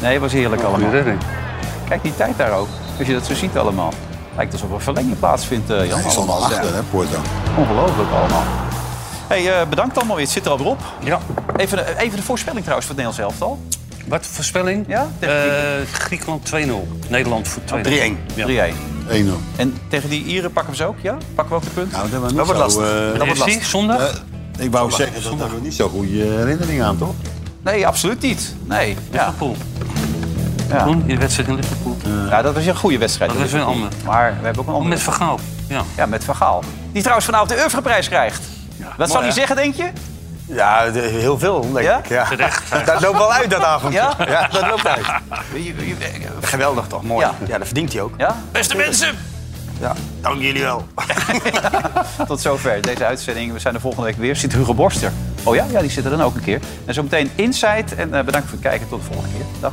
[SPEAKER 2] Nee, het was heerlijk allemaal. Kijk die tijd daar ook. Als je dat zo ziet allemaal. Lijkt alsof er een verlenging plaatsvindt, eh, Jan.
[SPEAKER 3] Hij stond al
[SPEAKER 2] allemaal.
[SPEAKER 3] achter,
[SPEAKER 2] Ja.
[SPEAKER 3] hè, Porto.
[SPEAKER 2] Ongelooflijk allemaal. Hey, eh, bedankt allemaal weer. Het zit er al weer op.
[SPEAKER 4] Ja.
[SPEAKER 2] Even, eh, even de voorspelling trouwens voor het Nederlands elftal.
[SPEAKER 4] Wat voorspelling?
[SPEAKER 2] Ja?
[SPEAKER 4] Eh, Griekenland 2-0. Nederland voor 2-0.
[SPEAKER 2] 3-1.
[SPEAKER 4] Ja.
[SPEAKER 2] 3-1.
[SPEAKER 3] 1-0.
[SPEAKER 2] En tegen die Ieren pakken we ze ook, ja? Pakken we ook de punt?
[SPEAKER 3] Nou, dat was eh,
[SPEAKER 2] Dat wordt lastig.
[SPEAKER 4] Dat wordt lastig. zondag?
[SPEAKER 3] ik wou zeggen, dat hebben we niet zo'n goede herinnering aan, toch?
[SPEAKER 2] Nee, absoluut niet. Nee. Ja.
[SPEAKER 4] Liverpool.
[SPEAKER 2] Ja.
[SPEAKER 4] Toen, die wedstrijd in Liverpool.
[SPEAKER 2] ja, dat was een goede wedstrijd.
[SPEAKER 4] Dat was een ander.
[SPEAKER 2] Maar we hebben ook een andere.
[SPEAKER 4] Met Van Gaal. Ja.
[SPEAKER 2] Ja, met Van Gaal. Die trouwens vanavond de Europrijs krijgt. Wat zal hij
[SPEAKER 5] mooi, hè?
[SPEAKER 2] zeggen, denk je?
[SPEAKER 5] Ja, de- heel veel, denk ik. Ja.
[SPEAKER 4] Terecht.
[SPEAKER 5] Dat loopt wel uit, dat avondje.
[SPEAKER 2] Ja?
[SPEAKER 5] ja dat loopt uit. Geweldig toch, mooi. Ja, dat verdient hij ook.
[SPEAKER 2] Ja?
[SPEAKER 5] Beste mensen! Ja, dank jullie wel.
[SPEAKER 2] Tot zover deze uitzending. We zijn er volgende week weer. Zit Hugo Borster. Oh ja, ja die zit er dan ook een keer. En zometeen Insight. En eh, bedankt voor het kijken. Tot de volgende keer. Dag.